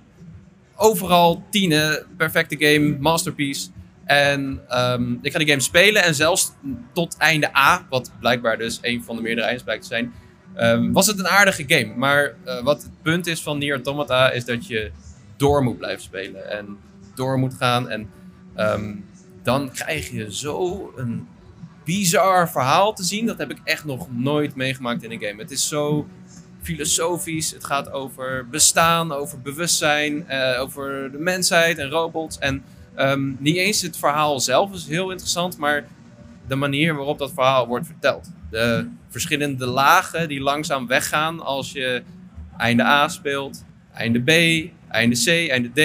Speaker 2: Overal tienen, perfecte game, masterpiece. En ehm, ik ga die game spelen en zelfs tot einde A, wat blijkbaar dus een van de meerdere einds blijkt te zijn, ehm, was het een aardige game. Maar eh, wat het punt is van Nier Automata is dat je door moet blijven spelen en door moet gaan. En ehm, dan krijg je zo een bizar verhaal te zien. Dat heb ik echt nog nooit meegemaakt in een game. Het is zo filosofisch. Het gaat over bestaan, over bewustzijn, eh, over de mensheid en robots. En Ehm, niet eens het verhaal zelf is heel interessant, maar de manier waarop dat verhaal wordt verteld. De verschillende lagen die langzaam weggaan als je einde A speelt, einde B, einde C, einde D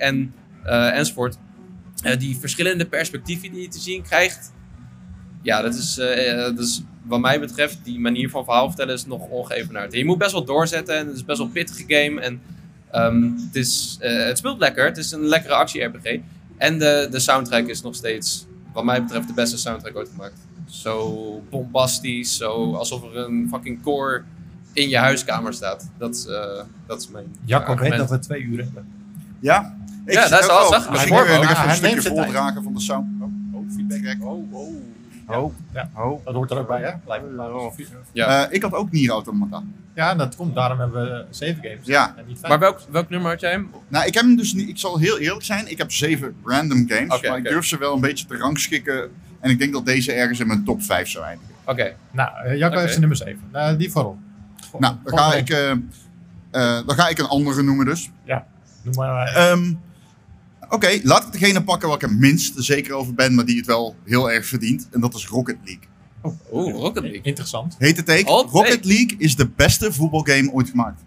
Speaker 2: en, eh, enzovoort. Eh, die verschillende perspectieven die je te zien krijgt, ja, dat is, eh, eh, dat is wat mij betreft, die manier van verhaal vertellen is nog ongeëvenaard. Je moet best wel doorzetten en het is best wel een pittige game en ehm, het, is, eh, het speelt lekker. Het is een lekkere actie-RPG. En de, de soundtrack is nog steeds, wat mij betreft, de beste soundtrack ooit gemaakt. Zo bombastisch, zo alsof er een fucking koor in je huiskamer staat. Dat, is, eh, dat is mijn.
Speaker 1: Jacco
Speaker 2: argument.
Speaker 1: weet dat we twee uur hebben.
Speaker 3: Ja? Ik
Speaker 2: Ja,
Speaker 3: zit
Speaker 2: dat is
Speaker 3: ook
Speaker 2: al-
Speaker 3: al.
Speaker 2: zag-
Speaker 3: Misschien
Speaker 1: hij
Speaker 3: kunnen we
Speaker 1: hoort wel.
Speaker 3: nog even
Speaker 1: Ja,
Speaker 3: een
Speaker 1: hij
Speaker 3: stukje
Speaker 1: neemt het
Speaker 3: voordragen van de sound. Oh, oh feedback. Oh, oh. Oh,
Speaker 1: Ja.
Speaker 3: oh.
Speaker 1: Dat hoort er ook bij, hè? Blijven plaatsen.
Speaker 2: Ja.
Speaker 3: Eh, ik had ook Nier Automata.
Speaker 1: Ja, dat komt. Daarom hebben we zeven games.
Speaker 3: Ja.
Speaker 1: En niet vijf.
Speaker 2: Maar welk, welk nummer had jij hem?
Speaker 3: Nou, ik heb hem dus niet. Ik zal heel eerlijk zijn. Ik heb zeven random games.
Speaker 2: Oké,
Speaker 3: maar ik
Speaker 2: oké.
Speaker 3: durf ze wel een beetje te rangschikken. En ik denk dat deze ergens in mijn top 5 zou eindigen.
Speaker 2: Oké,
Speaker 1: Nou, eh, Jacco
Speaker 2: Oké.
Speaker 1: heeft zijn nummer zeven. Nou, die voorop.
Speaker 3: Nou, dan ga, ik, eh, eh, dan ga ik een andere noemen dus.
Speaker 1: Noem maar... eh,
Speaker 3: Ehm, Oké, laat ik degene pakken waar ik het minst zeker over ben, maar die het wel heel erg verdient. En dat is Rocket League.
Speaker 2: oeh, Rocket League.
Speaker 1: oh, Interessant.
Speaker 3: Heet het take?
Speaker 2: Hot
Speaker 3: Rocket
Speaker 2: take.
Speaker 3: League is de beste voetbalgame ooit gemaakt.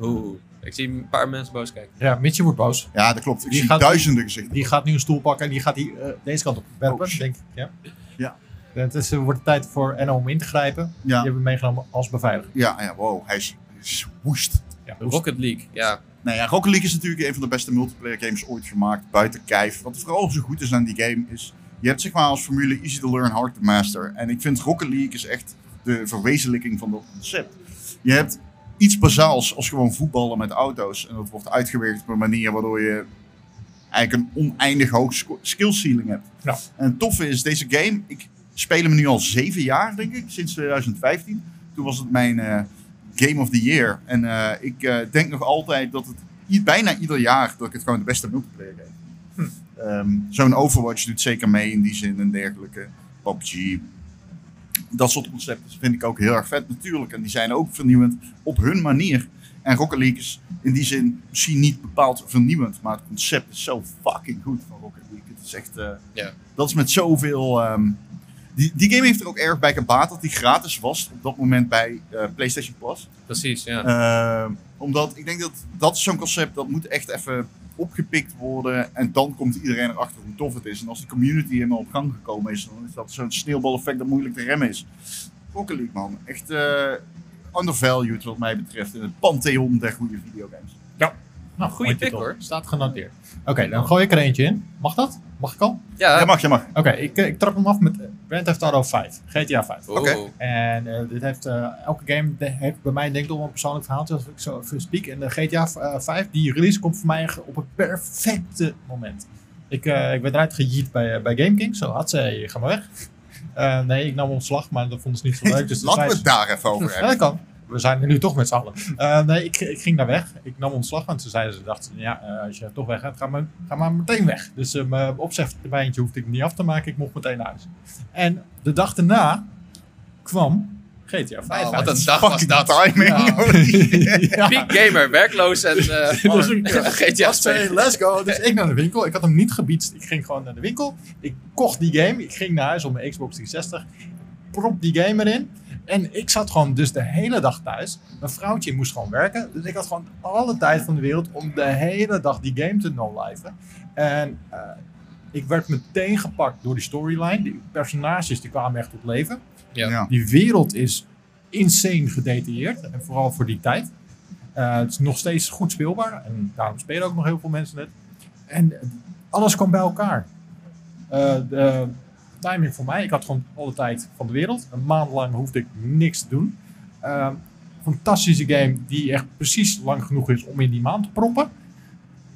Speaker 2: Oeh, ik zie een paar mensen boos kijken.
Speaker 1: Ja, Mitje wordt boos.
Speaker 3: Ja, dat klopt. Ik
Speaker 1: Die
Speaker 3: zie
Speaker 1: gaat-
Speaker 3: duizenden gezichten.
Speaker 1: Die gaat nu een stoel pakken en die gaat die, eh, deze kant op werpen,
Speaker 3: Oh, shit.
Speaker 1: denk ik. Ja.
Speaker 3: Ja.
Speaker 1: Het is, eh, wordt tijd voor NO om in te grijpen. Die
Speaker 3: Ja, ja,
Speaker 1: hebben we meegenomen als beveiliger.
Speaker 3: ja wow, hij is, hij is woest.
Speaker 1: Ja,
Speaker 2: Rocket League, ja.
Speaker 3: Nou ja, Rocket League is natuurlijk een van de beste multiplayer games ooit gemaakt, buiten kijf. Wat vooral zo goed is aan die game is, je hebt zeg maar als formule easy to learn, hard to master. En ik vind Rocket League is echt de verwezenlijking van dat concept. Je hebt iets bazaals als gewoon voetballen met auto's. En dat wordt uitgewerkt op een manier waardoor je eigenlijk een oneindig hoog sco- skill ceiling hebt.
Speaker 1: Ja.
Speaker 3: En het toffe is, deze game, ik speel hem nu al zeven jaar denk ik, sinds 2015. Toen was het mijn eh, Game of the Year. En eh, ik eh, denk nog altijd dat het i- bijna ieder jaar dat ik het gewoon de beste multiplayer game. Ehm, Zo'n Overwatch doet zeker mee in die zin en dergelijke. PUBG. Dat soort concepten vind ik ook heel erg vet natuurlijk. En die zijn ook vernieuwend op hun manier. En Rocket League is in die zin misschien niet bepaald vernieuwend. Maar het concept is zo fucking goed van Rocket League. Het is echt... eh,
Speaker 2: Ja.
Speaker 3: Dat is met zoveel... ehm, die, die game heeft er ook erg bij gebaat dat die gratis was op dat moment bij eh, PlayStation Plus.
Speaker 2: Precies, ja.
Speaker 3: Ehm, omdat ik denk dat dat is zo'n concept dat moet echt even opgepikt worden. En dan komt iedereen erachter hoe tof het is. En als die community helemaal op gang gekomen is, dan is dat zo'n sneeuwbaleffect dat moeilijk te remmen is. Rocket League, man. Echt eh, undervalued wat mij betreft in het pantheon der goede videogames.
Speaker 1: Nou,
Speaker 2: Goeie
Speaker 1: mooi
Speaker 2: pick,
Speaker 1: titel.
Speaker 2: hoor.
Speaker 1: Staat genoteerd. Oké, dan gooi ik er eentje in. Mag dat? Mag ik al?
Speaker 2: ja,
Speaker 3: Ja, mag, ja, mag.
Speaker 1: Oké, ik, eh, ik trap hem af met eh, Grand Theft Auto 5. GTA 5.
Speaker 2: Oeh.
Speaker 3: Oké.
Speaker 1: En eh, dit heeft, eh, elke game de- heeft bij mij denk ik toch wel een persoonlijk verhaaltje als ik zo even speak. En de GTA v- eh, 5, die release komt voor mij op het perfecte moment. Ik, eh, ik werd eruit gejiet bij, eh, bij GameKing. Zo had ze, ga maar weg. [LAUGHS] Eh, nee, ik nam ontslag, maar dat vonden ze niet zo leuk.
Speaker 3: [LAUGHS]
Speaker 1: Dus toen
Speaker 3: Laten
Speaker 1: zei
Speaker 3: we
Speaker 1: ze-
Speaker 3: het daar even over
Speaker 1: ja,
Speaker 3: hebben.
Speaker 1: dat kan. We zijn er nu toch met z'n allen. Eh, nee, ik, ik ging daar weg. Ik nam ontslag, want ze zeiden ze dachten, ja, eh, als je toch weg gaat, ga maar, ga maar meteen weg. Dus eh, mijn opzegtermijntje hoefde ik niet af te maken. Ik mocht meteen naar huis. En de dag daarna kwam GTA 5
Speaker 2: Oh,
Speaker 1: uit.
Speaker 2: wat een dag was
Speaker 3: Fucking
Speaker 2: dat. [LAUGHS]
Speaker 3: timing.
Speaker 1: Ja. [LAUGHS] Ja.
Speaker 2: Peak gamer, werkloos en [LAUGHS] eh
Speaker 1: Dus ik, eh,
Speaker 2: GTA
Speaker 1: was twee,
Speaker 2: 2.
Speaker 1: let's go. Dus ik naar de winkel. Ik had hem niet gebiedst. Ik ging gewoon naar de winkel. Ik kocht die game. Ik ging naar huis op mijn Xbox 360. Prop die game erin. En ik zat gewoon dus de hele dag thuis. Mijn vrouwtje moest gewoon werken. Dus ik had gewoon alle tijd van de wereld om de hele dag die game te no-liven. En eh, ik werd meteen gepakt door die storyline. Die personages die kwamen echt tot leven.
Speaker 2: Ja.
Speaker 3: Ja.
Speaker 1: Die wereld is insane gedetailleerd. En vooral voor die tijd. Eh, het is nog steeds goed speelbaar. En daarom spelen ook nog heel veel mensen het. En eh, alles kwam bij elkaar. Eh, de timing voor mij. Ik had gewoon alle tijd van de wereld. Een maand lang hoefde ik niks te doen. Eh, fantastische game die echt precies lang genoeg is om in die maand te proppen.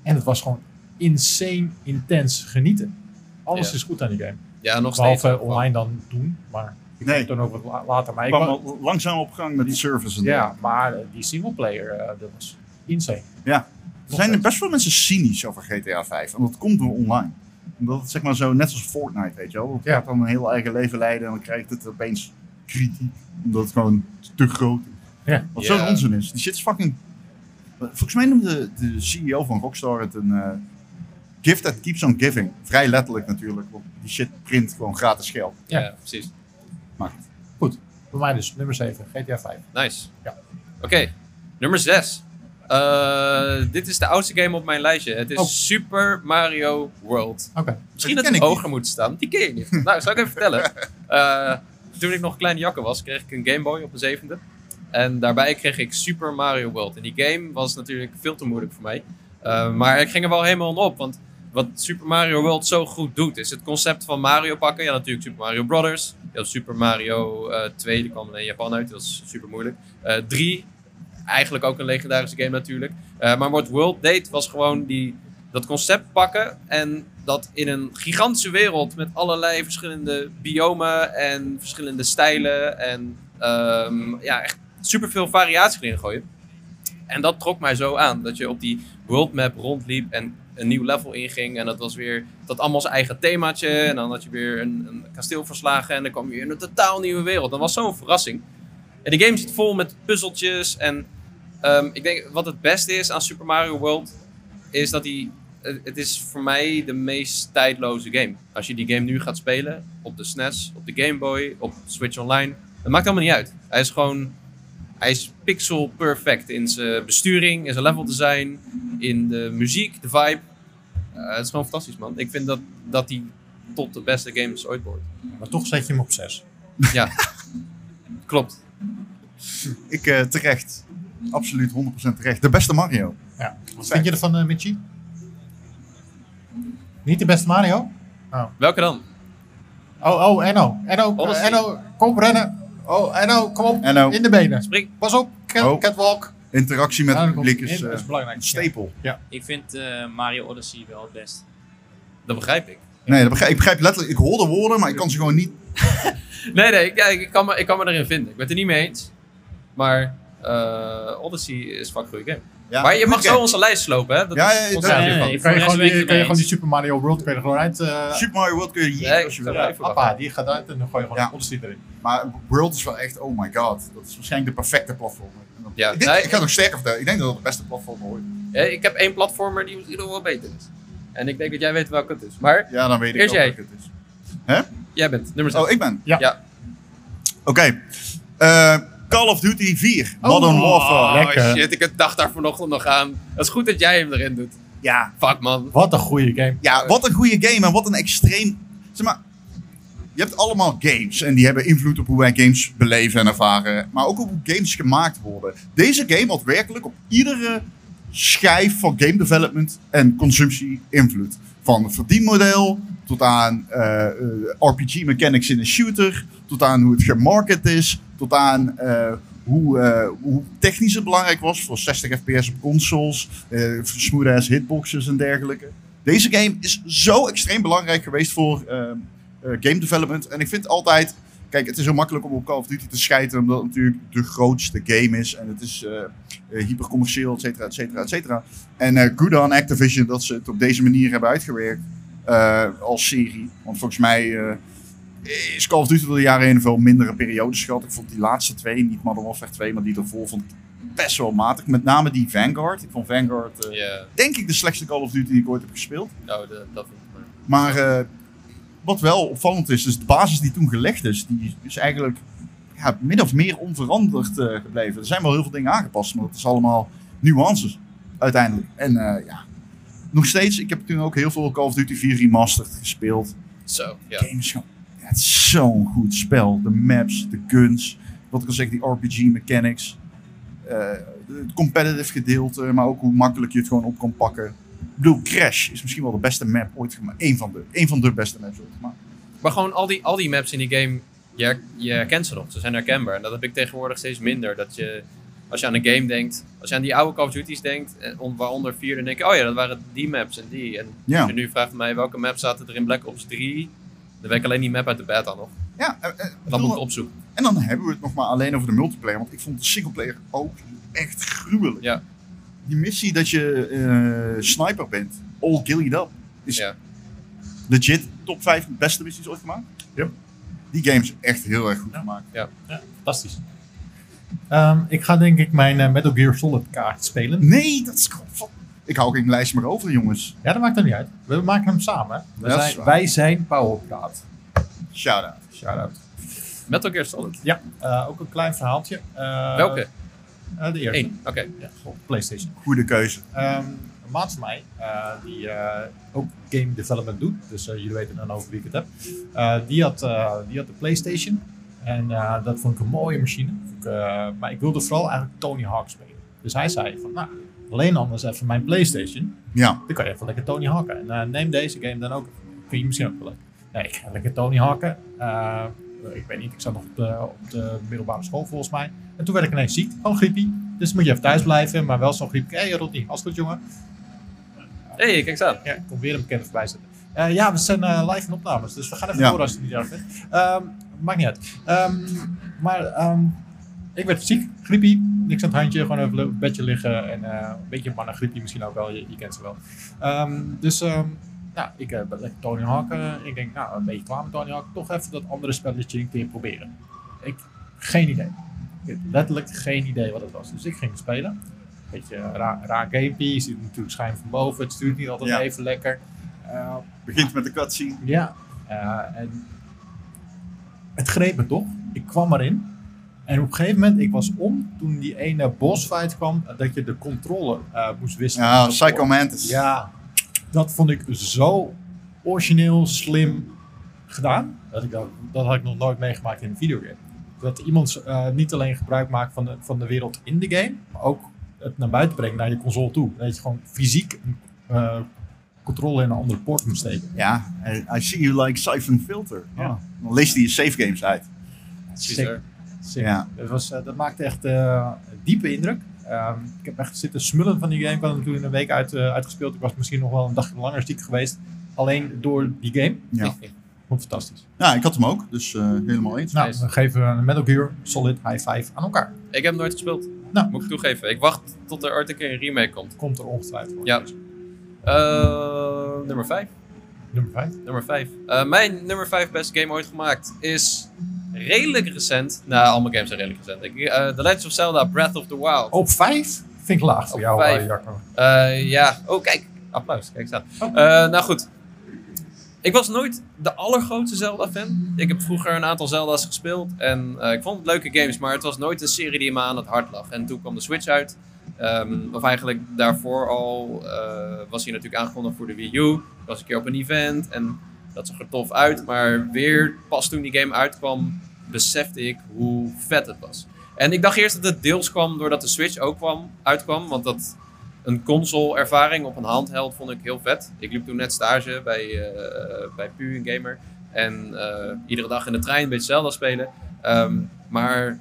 Speaker 1: En het was gewoon insane intens genieten. Alles
Speaker 2: Ja.
Speaker 1: is goed aan die game.
Speaker 2: Ja, nog steeds.
Speaker 1: Behalve online dan doen, maar ik
Speaker 3: Nee.
Speaker 1: nee. dan ook wat la- later. Maar
Speaker 3: Ik
Speaker 1: ik
Speaker 3: kwam
Speaker 1: wa-
Speaker 3: al langzaam op gang met die service. en
Speaker 1: ja, maar eh, die singleplayer, eh dat was insane.
Speaker 3: Er zijn er best veel mensen cynisch over GTA 5. En dat komt door online. Omdat het zeg maar zo, net als Fortnite, weet je wel. Dat
Speaker 1: Ja.
Speaker 3: gaat dan een heel eigen leven leiden en dan krijgt het opeens kritiek. Omdat het gewoon te groot is.
Speaker 1: Ja.
Speaker 3: Wat
Speaker 2: Ja.
Speaker 3: zo'n onzin is. Die shit is fucking... Volgens mij noemde de CEO van Rockstar het een... eh, gift that keeps on giving. Vrij letterlijk natuurlijk. Want die shit print gewoon gratis geld.
Speaker 2: Ja.
Speaker 1: Ja.
Speaker 2: precies.
Speaker 1: Voor mij dus nummer 7, GTA 5.
Speaker 2: Nice.
Speaker 1: Ja.
Speaker 2: Oké, nummer 6. dit is de oudste game op mijn lijstje. Het is
Speaker 1: Oh.
Speaker 2: Super Mario World.
Speaker 1: Oké.
Speaker 2: Misschien
Speaker 3: Die
Speaker 2: dat
Speaker 3: ken
Speaker 2: het
Speaker 3: ik
Speaker 2: hoger moet staan. Die ken je niet. nou, zal ik even
Speaker 3: [LAUGHS]
Speaker 2: vertellen. Eh, toen ik nog een kleine jakker was, kreeg ik een Game Boy op de zevende. En daarbij kreeg ik Super Mario World. En die game was natuurlijk veel te moeilijk voor mij. Eh, maar ik ging er wel helemaal in op. Want wat Super Mario World zo goed doet, is het concept van Mario pakken. Ja, natuurlijk Super Mario Brothers. Je had Super Mario eh 2, die kwam alleen in Japan uit. Dat was super moeilijk. Eh 3, eigenlijk ook een legendarische game natuurlijk. Eh, maar wat World deed, was gewoon die dat concept pakken en dat in een gigantische wereld met allerlei verschillende biomen en verschillende stijlen en ehm, ja, echt superveel variatie erin gooien. En dat trok mij zo aan, dat je op die worldmap rondliep en een nieuw level inging en dat was weer dat allemaal zijn eigen themaatje en dan had je weer een, een kasteel verslagen en dan kwam je weer in een totaal nieuwe wereld. Dat was zo'n verrassing. En de game zit vol met puzzeltjes en ehm, ik denk wat het beste is aan Super Mario World is dat hij. het- Het is voor mij de meest tijdloze game. Als je die game nu gaat spelen, op de SNES, op de Game Boy, op Switch Online, het maakt allemaal niet uit. Hij is gewoon. Hij is pixel perfect in zijn besturing, in zijn level design, in de muziek, de vibe. Eh, het is gewoon fantastisch, man. Ik vind dat, dat hij tot de beste games ooit behoort.
Speaker 1: Maar toch zet je hem op 6.
Speaker 2: Klopt.
Speaker 3: Ik eh, terecht. Absoluut 100% terecht. De beste Mario.
Speaker 1: Ja. Wat vind je ervan, eh, Mitchie? Niet de beste Mario?
Speaker 2: Welke dan?
Speaker 1: Oh, oh, Enno. Enno,
Speaker 2: Odyssey.
Speaker 1: eh, Enno, kom rennen. Oh, Enno, kom op.
Speaker 3: Enno.
Speaker 1: In de benen.
Speaker 2: Spring.
Speaker 1: Pas op, cat-
Speaker 3: Oh.
Speaker 1: catwalk.
Speaker 3: Interactie met
Speaker 1: Ja,
Speaker 3: het
Speaker 1: dat
Speaker 3: publiek
Speaker 1: komt-
Speaker 3: is
Speaker 1: in-
Speaker 3: eh,
Speaker 1: is
Speaker 3: een
Speaker 1: belangrijk.
Speaker 3: stapel.
Speaker 4: Ik vind eh, Mario Odyssey wel het best.
Speaker 2: Dat begrijp ik.
Speaker 3: Nee, dat begrijp, ik begrijp letterlijk. Ik hoor de woorden, maar ik kan ze gewoon niet
Speaker 2: Nee, nee, ik, ja, ik, kan me, ik kan me erin vinden. Ik ben het er niet mee eens. Maar eh, Odyssey is van een goede game.
Speaker 3: Ja,
Speaker 2: maar je mag
Speaker 3: oké.
Speaker 2: zo onze lijst slopen, hè? Dat
Speaker 3: Ja,
Speaker 2: is
Speaker 3: ja,
Speaker 2: ons
Speaker 3: dat-
Speaker 2: nadeel van.
Speaker 4: nee,
Speaker 1: Kan je,
Speaker 4: Voor de rest
Speaker 1: gewoon
Speaker 4: ben ik
Speaker 1: die,
Speaker 4: het
Speaker 1: kan je
Speaker 4: mee
Speaker 1: gewoon die
Speaker 4: eens.
Speaker 1: Super Mario World kan je er gewoon uit. eh,
Speaker 3: Super Mario World kun je hier
Speaker 2: Nee,
Speaker 3: als je
Speaker 2: dat
Speaker 3: wil.
Speaker 2: blijft. even
Speaker 1: appa, die gaat uit en dan gooi je gewoon
Speaker 3: Ja.
Speaker 1: een Odyssey erin.
Speaker 3: Maar World is wel echt, oh my god. Dat is waarschijnlijk de perfecte platformer. En dan-
Speaker 2: Ja,
Speaker 3: ik, denk,
Speaker 2: nee.
Speaker 3: ik ga nog sterker vertellen. Ik denk dat dat de beste platformer ooit is.
Speaker 2: Ja, ik heb één platformer die misschien nog wel beter is. En ik denk dat jij weet welke het is. Maar
Speaker 3: Ja, dan weet ik
Speaker 2: Eerst
Speaker 3: ook
Speaker 2: jij.
Speaker 3: welke het is. Hè?
Speaker 2: jij bent nummer 6.
Speaker 3: Oh, ik ben.
Speaker 1: Ja.
Speaker 2: Ja.
Speaker 3: Oké. Eh, Call of Duty 4. Modern Warfare.
Speaker 2: Oh,
Speaker 1: Lekker.
Speaker 2: shit, ik dacht daar vanochtend nog aan. Dat is goed dat jij hem erin doet.
Speaker 3: Ja.
Speaker 2: Fuck man.
Speaker 1: Wat een goede game.
Speaker 3: ja, wat een goede game en wat een extreem... Zeg maar, je hebt allemaal games en die hebben invloed op hoe wij games beleven en ervaren. Maar ook op hoe games gemaakt worden. Deze game had werkelijk op iedere schijf van game development en consumptie invloed. Van het verdienmodel tot aan eh, eh, RPG mechanics in een shooter, tot aan hoe het gemarket is, tot aan eh, hoe, eh, hoe technisch het belangrijk was voor 60 fps op consoles, eh smooth-ass hitboxes en dergelijke. Deze game is zo extreem belangrijk geweest voor ehm, eh, game development. En ik vind altijd. Kijk, het is heel makkelijk om op Call of Duty te schijten, omdat het natuurlijk de grootste game is. En het is eh, eh, hypercommercieel, et cetera, et cetera, et cetera. En eh good on Activision dat ze het op deze manier hebben uitgewerkt eh, als serie. Want volgens mij eh, is Call of Duty door de jaren heen veel mindere periodes gehad. Ik vond die laatste twee, niet Modern Warfare 2, maar die ervoor, vond ik best wel matig. Met name die Vanguard. Ik vond Vanguard, eh,
Speaker 2: Ja,
Speaker 3: denk ik, de slechtste Call of Duty die ik ooit heb gespeeld.
Speaker 2: nou, de- dat vind ik maar.
Speaker 3: Maar eh, wat wel opvallend is, is de basis die toen gelegd is, die is eigenlijk ja, min of meer onveranderd eh, gebleven. Er zijn wel heel veel dingen aangepast, maar dat is allemaal nuances uiteindelijk. En eh, ja, nog steeds, ik heb toen ook heel veel Call of Duty 4 Remastered gespeeld.
Speaker 2: Zo, ja.
Speaker 3: Game is gewoon- ja, het is zo'n goed spel. De maps, de guns, wat ik al zeg, die RPG mechanics. eh, het competitive gedeelte, maar ook hoe makkelijk je het gewoon op kan pakken. Ik bedoel, Crash is misschien wel de beste map ooit gemaakt. Eén van de, één van de beste maps ooit gemaakt.
Speaker 2: Maar gewoon al die, al die maps in die game, je, her- je herkent ze nog. Ze zijn herkenbaar. En dat heb ik tegenwoordig steeds minder. Dat je, als je aan een game denkt, als je aan die oude Call of Duty's denkt, en on- waaronder vier, dan denk je, oh ja, dat waren die maps en die. En
Speaker 3: Ja.
Speaker 2: als je nu vraagt mij, welke maps zaten er in Black Ops 3? Dan weet ik alleen die map uit de beta nog.
Speaker 3: Ja, eh, eh, ik
Speaker 2: Dat
Speaker 3: bedoel,
Speaker 2: moet ik opzoeken.
Speaker 3: en dan hebben we het nog maar alleen over de multiplayer. Want ik vond de singleplayer ook echt gruwelijk.
Speaker 2: Ja.
Speaker 3: Die missie dat je eh, sniper bent, all gillied up, is
Speaker 2: Ja.
Speaker 3: legit top 5 beste missies ooit gemaakt.
Speaker 1: Ja.
Speaker 3: Die game is echt heel erg goed gemaakt.
Speaker 1: Fantastisch. Ehm, ik ga denk ik mijn eh, Metal Gear Solid kaart spelen.
Speaker 3: Nee, dat is gewoon van- Ik hou geen lijst meer over, jongens.
Speaker 1: Ja, dat maakt hem niet uit. We maken hem samen. We
Speaker 3: Dat is
Speaker 1: zijn,
Speaker 3: waar.
Speaker 1: wij zijn Powerpraat.
Speaker 3: Shout-out.
Speaker 1: Shout-out.
Speaker 2: Metal Gear Solid.
Speaker 1: Ja, eh, ook een klein verhaaltje. Eh,
Speaker 2: Welke?
Speaker 1: eh, de eerste.
Speaker 2: Eén. Oké.
Speaker 1: Ja, op PlayStation.
Speaker 3: Goede keuze.
Speaker 1: Ehm, een maat van mij, eh, die eh, ook game development doet, dus eh, jullie weten dan over wie ik het heb, Eh, die, had, eh, die had de PlayStation. En eh, dat vond ik een mooie machine. Vond ik, eh, maar ik wilde vooral eigenlijk Tony Hawk spelen. Dus hij zei van, nou, alleen anders even mijn PlayStation.
Speaker 3: Ja.
Speaker 1: Dan kan je even lekker Tony Hawken. En eh, neem deze game dan ook. Vind je misschien ook wel leuk. Nee, ik ga lekker Tony Hawken. Eh, ik weet niet, ik zat nog op de, op de middelbare school volgens mij. En toen werd ik ineens ziek, gewoon griepie. Dus moet je even thuis blijven, maar wel zo'n griepje. Hé hey, Rodney, als het goed jongen.
Speaker 2: hey, kijk eens aan.
Speaker 1: Ja, ik kom weer een bekende voorbij zetten. Eh, ja, we zijn eh, live in opnames, dus we gaan even
Speaker 3: Ja.
Speaker 1: door als het niet erg is. Ehm, maakt niet uit. Ehm, maar ehm, ik werd ziek, griepie, niks aan het handje, gewoon even op het bedje liggen. En eh, een beetje mannengriepie misschien ook wel, je, je kent ze wel. Ehm, dus ehm, nou, ik eh, ben lekker Tony Hawk. eh, ik denk, nou, een beetje klaar met Tony Hawk. Toch even dat andere spelletje een keer proberen. Ik, geen idee. Ik heb letterlijk geen idee wat het was. Dus ik ging spelen. Beetje eh, raar, raar gamepie. Je ziet natuurlijk schijn van boven. Het stuurt niet altijd
Speaker 3: Ja.
Speaker 1: even lekker. Eh,
Speaker 3: Begint met de cutscene.
Speaker 1: ja. eh, en het greep me toch. Ik kwam erin. En op een gegeven moment, ik was om toen die ene boss fight kwam, eh, dat je de controle eh, moest wisselen.
Speaker 3: Ja,
Speaker 1: Dat
Speaker 3: Psycho Mantis.
Speaker 1: ja, dat vond ik zo origineel, slim gedaan. Dat, ik dat, dat had ik nog nooit meegemaakt in een videogame. Dat iemand eh, niet alleen gebruik maakt van de, van de wereld in de game, maar ook het naar buiten brengt naar je console toe. Dat je gewoon fysiek een eh, controle in een andere port moet steken.
Speaker 3: Ja, I- I see you like Siphon Filter.
Speaker 1: Ja.
Speaker 3: Oh, Dan leest hij je save games uit.
Speaker 1: Sick. Sick.
Speaker 3: Ja.
Speaker 1: Dat, was, eh, dat maakte echt eh, diepe indruk. Ehm, ik heb echt zitten smullen van die game. Ik had hem toen in een week uit, eh, uitgespeeld. Ik was misschien nog wel een dag langer ziek geweest. Alleen door die game.
Speaker 3: Ja.
Speaker 1: Vond ik fantastisch.
Speaker 3: ja, ik had hem ook, dus eh, helemaal eens.
Speaker 1: Nou,
Speaker 2: Nice.
Speaker 1: dan geven we een Metal Gear Solid High Five aan elkaar.
Speaker 2: Ik heb hem nooit gespeeld.
Speaker 1: Nou.
Speaker 2: Moet ik toegeven. Ik wacht tot er ooit een keer een remake komt.
Speaker 1: Komt er ongetwijfeld. voor.
Speaker 2: Ja. Eh, nummer 5.
Speaker 1: Nummer 5.
Speaker 2: Nummer 5. mijn nummer 5 best game ooit gemaakt is redelijk recent. Nou, allemaal games zijn redelijk recent. Ik, eh, The Legend of Zelda Breath of the Wild.
Speaker 1: Op 5 vind ik laag voor
Speaker 2: Op
Speaker 1: jou,
Speaker 2: vijf.
Speaker 1: eh, Jacco.
Speaker 2: Eh, ja, oh kijk, applaus, kijk staan.
Speaker 1: Oh.
Speaker 2: nou goed, ik was nooit de allergrootste Zelda-fan. Ik heb vroeger een aantal Zelda's gespeeld en eh, ik vond het leuke games, maar het was nooit een serie die me aan het hart lag. En toen kwam de Switch uit, Ehm, of eigenlijk daarvoor al eh, was hij natuurlijk aangekondigd voor de Wii U. Ik was een keer op een event en dat zag er tof uit, maar weer pas toen die game uitkwam besefte ik hoe vet het was. En ik dacht eerst dat het deels kwam doordat de Switch ook kwam, uitkwam, want dat een console-ervaring op een handheld vond ik heel vet. Ik liep toen net stage bij, eh, bij Pu, een gamer. En eh, iedere dag in de trein een beetje Zelda spelen. Ehm, maar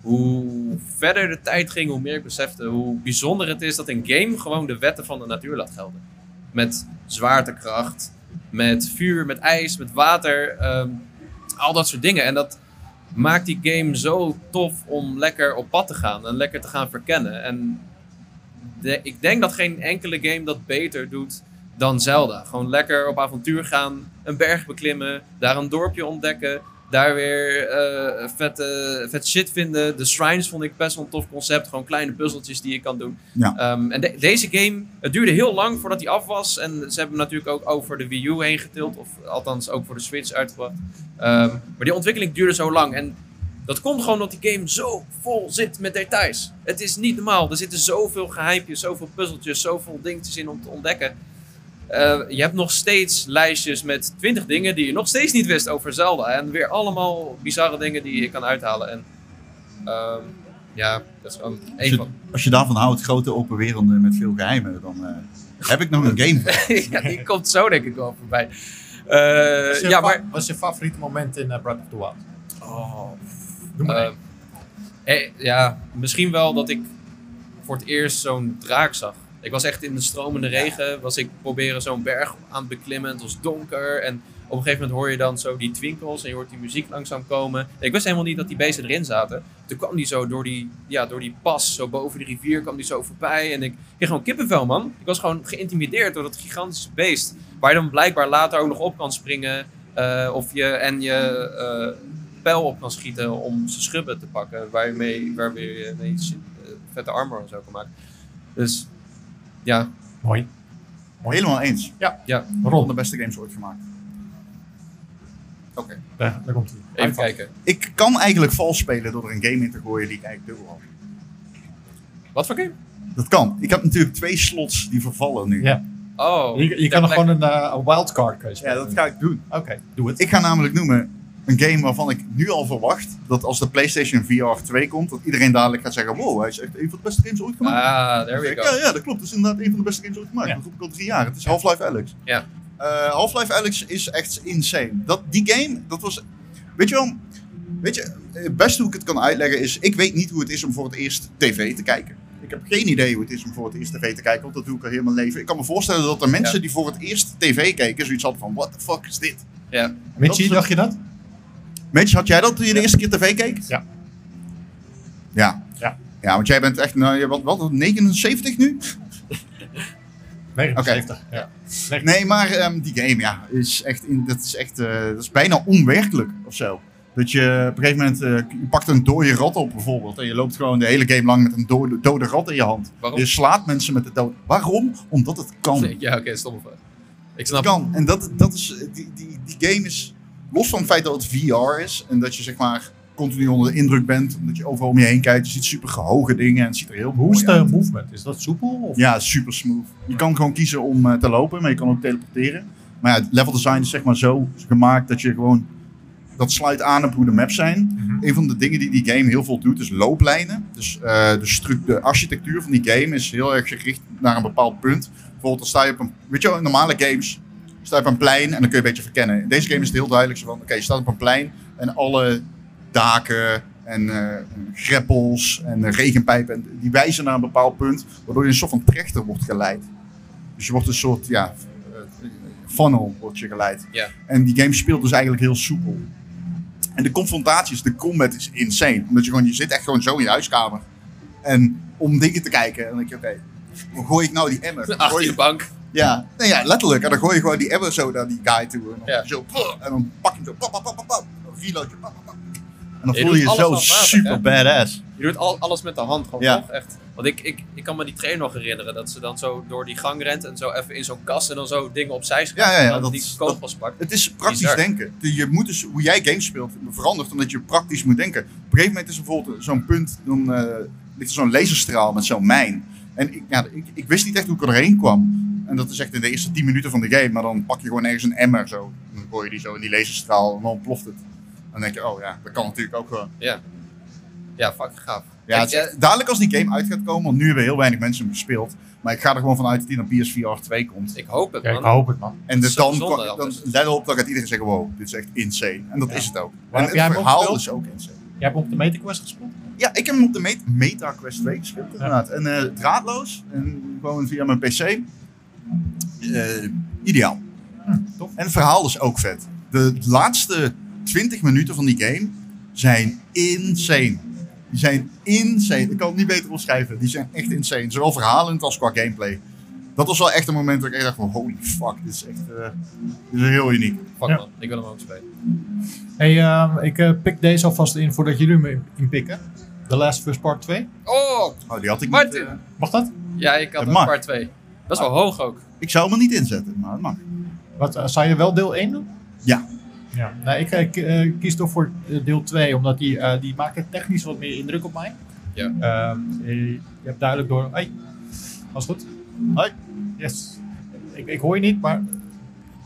Speaker 2: hoe verder de tijd ging, hoe meer ik besefte hoe bijzonder het is dat een game gewoon de wetten van de natuur laat gelden. Met zwaartekracht, met vuur, met ijs, met water, ehm, al dat soort dingen. En dat maakt die game zo tof om lekker op pad te gaan en lekker te gaan verkennen. En de- ik denk dat geen enkele game dat beter doet dan Zelda. Gewoon lekker op avontuur gaan, een berg beklimmen, daar een dorpje ontdekken, daar weer eh, vet, eh, vet shit vinden. De shrines vond ik best wel een tof concept. Gewoon kleine puzzeltjes die je kan doen.
Speaker 3: Ja.
Speaker 2: Ehm, en de- deze game, het duurde heel lang voordat hij af was. En ze hebben hem natuurlijk ook over de Wii U heen getild. Of althans ook voor de Switch uitgebracht. Ehm, maar die ontwikkeling duurde zo lang. En dat komt gewoon omdat die game zo vol zit met details. Het is niet normaal. Er zitten zoveel geheimpjes, zoveel puzzeltjes, zoveel dingetjes in om te ontdekken. Eh, je hebt nog steeds lijstjes met 20 dingen die je nog steeds niet wist over Zelda. En weer allemaal bizarre dingen die je kan uithalen. En ehm, ja, dat is gewoon
Speaker 3: Als
Speaker 2: één
Speaker 3: je,
Speaker 2: van.
Speaker 3: als je daarvan houdt, grote open werelden met veel geheimen, dan eh, heb ik nog een game.
Speaker 2: [LAUGHS] ja, die komt zo denk ik wel voorbij. Eh,
Speaker 1: Wat is je
Speaker 2: ja,
Speaker 1: fa-
Speaker 2: maar...
Speaker 1: Wat is je favoriete moment in eh, Breath of the Wild?
Speaker 2: Oh,
Speaker 1: Doe maar
Speaker 2: Eh,
Speaker 1: één.
Speaker 2: eh, ja, misschien wel dat ik voor het eerst zo'n draak zag. Ik was echt in de stromende regen, was ik proberen zo'n berg aan het beklimmen. Het was donker en op een gegeven moment hoor je dan zo die twinkels en je hoort die muziek langzaam komen. Ik wist helemaal niet dat die beesten erin zaten. Toen kwam die zo door die, ja, door die pas, zo boven de rivier kwam die zo voorbij. En ik kreeg gewoon kippenvel, man. Ik was gewoon geïntimideerd door dat gigantische beest. Waar je dan blijkbaar later ook nog op kan springen. eh, of je, en je, eh, pijl op kan schieten om zijn schubben te pakken. Waarmee, waarmee je mee shit, eh, vette armor en zo kan maken. Dus ja,
Speaker 1: Mooi.
Speaker 3: [LAUGHS] Helemaal eens.
Speaker 2: ja
Speaker 3: Van de
Speaker 1: Ron,
Speaker 3: beste games ooit gemaakt. Oké.
Speaker 1: daar, daar komt hij.
Speaker 2: even kijken.
Speaker 3: Ik kan eigenlijk vals spelen door er een game in te gooien die ik eigenlijk dubbel had.
Speaker 2: Wat voor game?
Speaker 3: Dat kan. Ik heb natuurlijk twee slots die vervallen nu.
Speaker 1: Ja.
Speaker 2: Oh,
Speaker 1: Je, je
Speaker 2: ter
Speaker 1: kan er
Speaker 2: plekke.
Speaker 1: gewoon een eh, een wildcard keuze
Speaker 3: Ja, dat ga ik doen.
Speaker 1: Oké, doe het.
Speaker 3: Ik ga namelijk noemen een game waarvan ik nu al verwacht dat als de PlayStation VR 2 komt, dat iedereen dadelijk gaat zeggen: Wow, hij is echt een van de beste games ooit gemaakt.
Speaker 2: Ah, there
Speaker 3: Dan zeg
Speaker 2: we
Speaker 3: ik,
Speaker 2: go.
Speaker 3: Ja, ja, dat klopt. Het is inderdaad een van de beste games ooit gemaakt.
Speaker 1: Ja.
Speaker 3: Dat roep ik al drie jaar. Het is Half-Life Alex.
Speaker 2: Ja.
Speaker 3: Eh, Half-Life Alex is echt insane. Dat, die game, dat was... Weet je wel... Weet je, het beste hoe ik het kan uitleggen is... Ik weet niet hoe het is om voor het eerst tv te kijken. Ik heb geen idee hoe het is om voor het eerst tv te kijken. Want dat doe ik al heel mijn leven. Ik kan me voorstellen dat er mensen
Speaker 2: Ja.
Speaker 3: die voor het eerst tv keken... zoiets hadden van, what the fuck is dit?
Speaker 2: Ja.
Speaker 3: dat is
Speaker 1: Mitchie,
Speaker 3: een-
Speaker 1: dacht je dat?
Speaker 3: Mensch, had jij dat toen je de
Speaker 1: Ja.
Speaker 3: eerste keer tv keek?
Speaker 1: Ja.
Speaker 3: Ja.
Speaker 1: Ja.
Speaker 3: Ja, want jij bent echt... Nou, je- wat, wat, 79 nu?
Speaker 1: 79. Ja.
Speaker 3: Nee, maar ehm, die game, ja, is echt, in, dat, is echt eh, dat is bijna onwerkelijk of zo. Dat je op een gegeven moment, eh, je pakt een dode rat op bijvoorbeeld. En je loopt gewoon de hele game lang met een dode, dode rat in je hand.
Speaker 2: Waarom?
Speaker 3: Je slaat mensen met de dood. Waarom? Omdat het kan.
Speaker 2: Nee, [LAUGHS] Ja, oké, stomme vraag. Ik snap
Speaker 3: kan. En dat, dat is, eh, die, die, die game is, los van het feit dat het VR is. En dat je zeg maar continu onder de indruk bent. Omdat je overal om je heen kijkt. Je ziet super gehoge dingen en het ziet er heel
Speaker 1: Hoe is
Speaker 3: mooi uit.
Speaker 1: de movement? Is dat soepel? Of?
Speaker 3: Ja, super smooth. Je kan gewoon kiezen om eh, te lopen, maar je kan ook teleporteren. Maar ja, het level design is zeg maar zo gemaakt dat je gewoon... Dat sluit aan op hoe de maps zijn. Een van de dingen die die game heel veel doet is looplijnen. Dus eh, de, stru- de architectuur van die game is heel erg gericht naar een bepaald punt. Bijvoorbeeld dan sta je op een... Weet je wel, in normale games sta je op een plein en dan kun je een beetje verkennen. In deze game is het heel duidelijk zo van... Oké, je staat op een plein en alle daken en eh greppels en eh, regenpijpen... en die wijzen naar een bepaald punt waardoor je een soort van trechter wordt geleid. Dus je wordt een soort ja, eh, funnel wordt je geleid.
Speaker 2: Ja. [LAUGHS]
Speaker 3: En die game speelt dus eigenlijk heel soepel. En de confrontaties, de combat is insane. Omdat je gewoon, je zit echt gewoon zo in je huiskamer. En om dingen te kijken. En dan denk je, oké, hoe gooi ik nou die emmer?
Speaker 2: Achter
Speaker 3: Gooi
Speaker 2: je
Speaker 3: je-
Speaker 2: bank.
Speaker 3: ja, nee, ja, letterlijk. En dan gooi je gewoon die emmer zo naar die guy toe. En dan,
Speaker 2: Ja.
Speaker 3: zo, pff, en dan pak je hem zo. Pap, pap, pap, pap, pap. Dan reload je. Pap, pap, pap.
Speaker 5: En dan
Speaker 2: Je
Speaker 5: voel
Speaker 2: doet
Speaker 5: je je
Speaker 2: alles
Speaker 5: zo
Speaker 2: handmatig,
Speaker 5: super
Speaker 2: hè?
Speaker 5: badass.
Speaker 2: Je doet al, alles met de hand gewoon,
Speaker 5: Ja.
Speaker 2: toch? Echt. Want ik, ik, ik kan me die trainer nog herinneren. Dat ze dan zo door die gang rent en zo even in zo'n kast en dan zo dingen opzij schuift.
Speaker 3: Ja, ja, ja,
Speaker 2: en dan
Speaker 3: dat-
Speaker 2: die kogels pakt.
Speaker 3: Het is praktisch
Speaker 2: Bizar.
Speaker 3: denken. De- Je moet dus, hoe jij games speelt verandert omdat je praktisch moet denken. Op een gegeven moment is er bijvoorbeeld zo'n punt, dan eh, ligt er zo'n laserstraal met zo'n mijn. En ik, ja, ik, ik wist niet echt hoe ik erheen kwam. En dat is echt in de eerste 10 minuten van de game. Maar dan pak je gewoon ergens een emmer zo. Dan gooi je die zo in die laserstraal en dan ploft het. Dan denk je, oh ja, dat kan natuurlijk ook gewoon.
Speaker 2: Ja, fucking gaaf.
Speaker 3: Ja,
Speaker 2: ik,
Speaker 3: het is echt- dadelijk als die game uit gaat komen, want nu hebben heel weinig mensen hem gespeeld. Maar ik ga er gewoon vanuit dat die naar PSVR 2 komt.
Speaker 2: eh, ik hoop het,
Speaker 1: Ja, ik
Speaker 2: man.
Speaker 1: hoop het, man.
Speaker 3: En dus
Speaker 2: Zo-
Speaker 3: dan,
Speaker 2: zonde
Speaker 3: dan, dan
Speaker 2: anders.
Speaker 3: let op, dan gaat iedereen zeggen, wow, dit is echt insane. En dat
Speaker 1: Ja.
Speaker 3: is het ook.
Speaker 1: heb
Speaker 3: En
Speaker 1: jij hem
Speaker 3: het verhaal
Speaker 1: opgespeeld?
Speaker 3: is ook insane.
Speaker 1: Jij hebt op de MetaQuest gespeeld?
Speaker 3: Ja, ik heb hem op de Met- Meta Quest 2 gespeeld inderdaad. En eh, draadloos, en gewoon via mijn pc. Eh, ideaal.
Speaker 1: tof.
Speaker 3: En het verhaal is ook vet. De laatste 20 minuten van die game zijn insane. Die zijn insane. Ik kan het niet beter omschrijven. Die zijn echt insane. Zowel verhalend als qua gameplay. Dat was wel echt een moment dat ik echt dacht van holy fuck, dit is echt eh, dit is heel uniek.
Speaker 2: Fuck,
Speaker 1: Ja.
Speaker 2: man. Ik wil hem ook spelen.
Speaker 1: Hey, ehm, ik eh, pik deze alvast in voordat jullie me inpikken. The Last of Us Part 2.
Speaker 2: Oh!
Speaker 3: Oh, die had ik niet.
Speaker 2: Martin!
Speaker 3: eh,
Speaker 1: Mag dat?
Speaker 2: Ja, ik had
Speaker 3: Het
Speaker 2: ook
Speaker 3: mag.
Speaker 2: paar twee. Dat is wel hoog ook.
Speaker 3: ik zou hem er niet inzetten, maar het mag.
Speaker 1: Wat, eh, zou je wel deel 1 doen?
Speaker 3: Ja.
Speaker 1: Ja, nou, ik eh, k- eh, kies toch voor eh, deel 2, omdat die, eh, die maakt het technisch wat meer indruk op mij.
Speaker 2: Ja.
Speaker 1: Ehm, eh, je hebt duidelijk door... Hoi, was goed?
Speaker 3: Hoi.
Speaker 1: Yes. Ik, ik hoor je niet, maar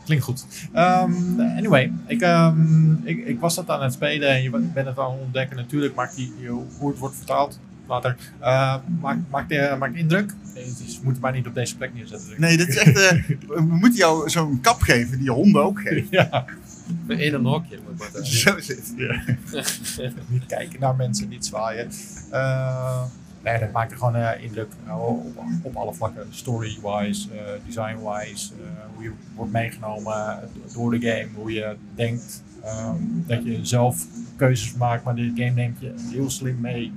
Speaker 1: klinkt goed. Ehm, anyway, ik, ehm, ik, ik was dat aan het spelen en je bent het aan het ontdekken natuurlijk, maakt die, je- hoe het wordt vertaald later, eh, maakt, maakt, eh, maakt indruk. Nee, dus je moet het maar niet op deze plek neerzetten. dus zeg. [LAUGHS]
Speaker 3: Nee, dit is echt. eh, we moeten jou zo'n kap geven die je honden ook geeft.
Speaker 1: Ja,
Speaker 2: In een hokje. moet dat zijn.
Speaker 3: Zo zit het.
Speaker 1: niet kijken naar mensen, niet zwaaien. Eh, nee, dat maakt er gewoon eh, indruk eh, op, op alle vlakken. Story-wise, eh, design-wise, eh, hoe je wordt meegenomen eh, door de game, hoe je denkt. ehm, dat je zelf keuzes maakt, maar de game neemt je heel slim mee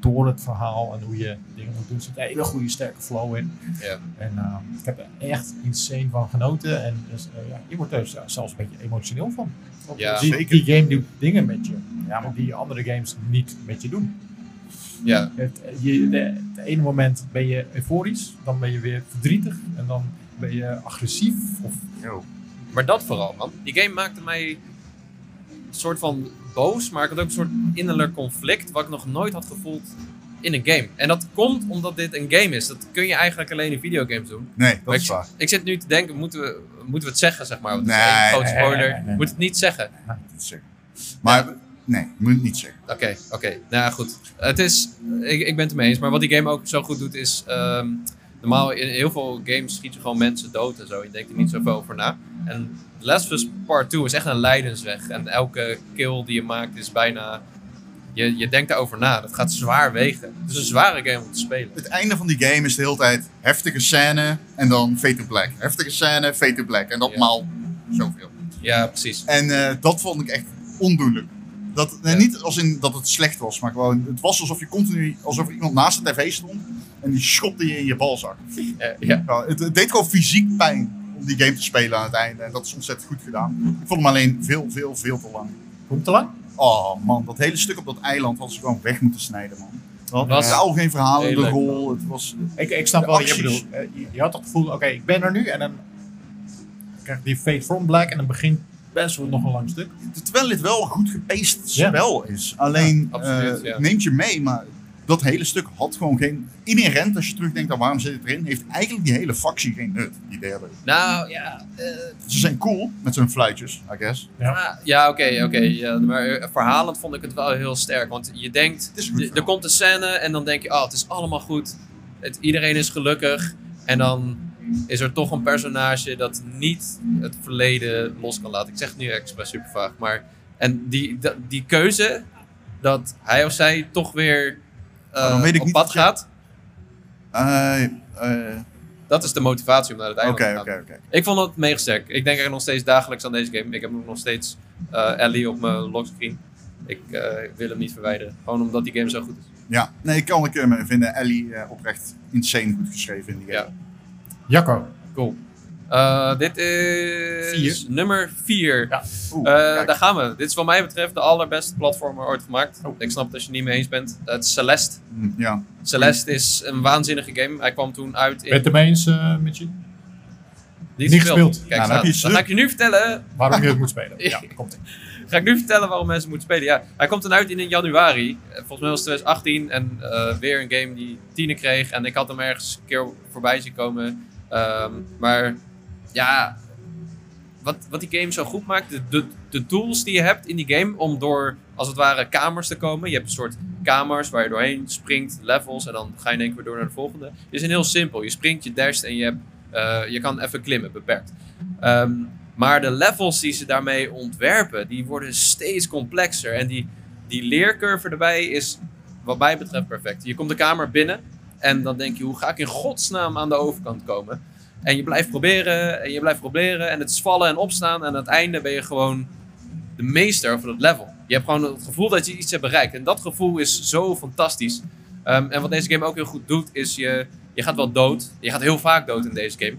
Speaker 1: door het verhaal en hoe je dingen moet doen. Er zit een hele goede sterke flow in.
Speaker 2: Ja.
Speaker 1: En eh, ik heb er echt insane van genoten. En dus, eh, ja, je wordt er zelfs een beetje emotioneel van. Want
Speaker 2: Ja.
Speaker 1: die,
Speaker 3: Zeker.
Speaker 1: die game doet dingen met je. Ja, maar die andere games niet met je doen.
Speaker 2: Ja.
Speaker 1: Het, eh, je, de, het ene moment ben je euforisch, dan ben je weer verdrietig en dan ben je agressief. Of,
Speaker 2: Maar dat vooral, man. Die game maakte mij een soort van boos, maar ik had ook een soort innerlijk conflict wat ik nog nooit had gevoeld in een game. En dat komt omdat dit een game is. Dat kun je eigenlijk alleen in videogames doen.
Speaker 3: Nee, dat
Speaker 2: Maar
Speaker 3: is waar.
Speaker 2: Ik zit nu te denken, moeten we, moeten we het zeggen, zeg maar? Want het is
Speaker 3: Nee,
Speaker 2: één grote
Speaker 1: nee, nee,
Speaker 2: spoiler.
Speaker 1: nee, nee.
Speaker 2: Moet het niet zeggen.
Speaker 3: Dat is zeker. Maar nee, je moet het niet zeggen.
Speaker 2: Oké, oké. Nou ja, goed. Het is, ik, ik ben het ermee eens. Maar wat die game ook zo goed doet is... ehm, normaal in heel veel games schiet je gewoon mensen dood en zo. Je denkt er niet zoveel over na. En The Last of Us Part 2 is echt een lijdensweg. En elke kill die je maakt is bijna... Je, je denkt daarover na. Dat gaat zwaar wegen. Het is een zware game om te spelen.
Speaker 3: Het einde van die game is de hele tijd heftige scène en dan fade to black. Heftige scène, fade to black. En dat
Speaker 2: Ja.
Speaker 3: maal zoveel.
Speaker 2: Ja, precies.
Speaker 3: En eh, dat vond ik echt ondoenlijk. Dat, nee,
Speaker 2: Ja.
Speaker 3: Niet als in dat het slecht was, maar gewoon, het was alsof je continu, alsof er iemand naast de tv stond en die schopte je in je balzak.
Speaker 2: Eh, ja.
Speaker 3: Ja, het, het deed gewoon fysiek pijn om die game te spelen aan het einde. En dat is ontzettend goed gedaan. Ik vond hem alleen veel, veel, veel te lang.
Speaker 1: komt te lang?
Speaker 3: Oh man, dat hele stuk op dat eiland hadden ze gewoon weg moeten snijden, man.
Speaker 1: Wat?
Speaker 3: Er was al geen verhaal in de
Speaker 2: Lelijk,
Speaker 3: rol. Het was,
Speaker 1: Ik, ik snap
Speaker 3: De
Speaker 1: wel wat je bedoelt.
Speaker 3: acties.
Speaker 1: Eh, Je, je had toch het gevoel, oké, ik ben er nu en dan krijg ik die Fate From Black en dan begint best wel nog een lang stuk.
Speaker 3: terwijl dit wel een goed gepaced
Speaker 1: Ja.
Speaker 3: spel is. Alleen,
Speaker 2: Ja, absoluut,
Speaker 3: eh,
Speaker 2: ja.
Speaker 3: het neemt je mee, maar dat hele stuk had gewoon geen... Inherent, als je terugdenkt aan waarom zit het erin, heeft eigenlijk die hele factie geen nut, die derde.
Speaker 2: Nou, ja. eh,
Speaker 3: Ze zijn cool met hun fluitjes, I guess.
Speaker 2: ah, ja, oké, oké. ja, maar eh, verhalend vond ik het wel heel sterk. Want je denkt...
Speaker 3: Het is een goed
Speaker 2: De- er
Speaker 3: verhaal.
Speaker 2: komt een scène en dan denk je, ah, het is allemaal goed. Het, iedereen is gelukkig. En dan is er toch een personage dat niet het verleden los kan laten. Ik zeg het nu expres super vaag, maar... En die, dat- die keuze dat hij of zij toch weer eh,
Speaker 3: Nou, dan weet ik
Speaker 2: op
Speaker 3: niet
Speaker 2: pad
Speaker 3: wat je-
Speaker 2: gaat...
Speaker 3: Eh, eh,
Speaker 2: Dat is de motivatie om naar het einde te
Speaker 3: Oké,
Speaker 2: gaan.
Speaker 3: oké, oké.
Speaker 2: Ik vond het mega sterk. Ik denk er nog steeds dagelijks aan deze game. Ik heb nog steeds eh Ellie op mijn lockscreen. Ik eh, wil hem niet verwijderen. Gewoon omdat die game zo goed is.
Speaker 3: Ja, nee, ik kan ik hem vinden. Ellie eh, oprecht insane goed geschreven in die game.
Speaker 2: Ja.
Speaker 1: Jacco.
Speaker 2: Cool. Eh, dit is nummer 4.
Speaker 1: Ja.
Speaker 3: Oeh,
Speaker 2: Eh,
Speaker 3: kijk.
Speaker 2: daar gaan we. Dit is wat mij betreft de allerbeste platformer ooit gemaakt.
Speaker 1: Oh.
Speaker 2: Ik snap dat je het niet mee eens bent. Het is Celeste.
Speaker 3: Hm, ja.
Speaker 2: Celeste is een waanzinnige game. Hij kwam toen uit in...
Speaker 1: Ben je het ermee eens eh, met je?
Speaker 2: Niet
Speaker 1: niet
Speaker 2: gespeeld.
Speaker 1: gespeeld.
Speaker 2: Kijk,
Speaker 3: Nou, dan
Speaker 2: nou,
Speaker 3: heb je
Speaker 2: dan ga ik je nu vertellen
Speaker 1: Waarom je het moet spelen? Ja, komt ie.
Speaker 2: ga ik nu vertellen waarom mensen moeten spelen. Ja, hij komt dan uit in januari. Eh, Volgens mij was het 2018. En eh, weer een game die tienen kreeg. En ik had hem ergens een keer voorbij zien komen. Ehm, maar ja, wat, wat die game zo goed maakt. De, de, de tools die je hebt in die game om door, als het ware, kamers te komen. Je hebt een soort kamers waar je doorheen springt, levels. En dan ga je in één keer weer door naar de volgende. Is een heel simpel. Je springt, je dasht en je, hebt, eh, je kan even klimmen, beperkt. Ehm, maar de levels die ze daarmee ontwerpen, die worden steeds complexer. En die, die leercurve erbij is, wat mij betreft, perfect. Je komt de kamer binnen en dan denk je, hoe ga ik in godsnaam aan de overkant komen? En je blijft proberen en je blijft proberen en het is vallen en opstaan. En aan het einde ben je gewoon de meester over dat level. Je hebt gewoon het gevoel dat je iets hebt bereikt. En dat gevoel is zo fantastisch. Ehm, en wat deze game ook heel goed doet, is je, je gaat wel dood. Je gaat heel vaak dood in deze game.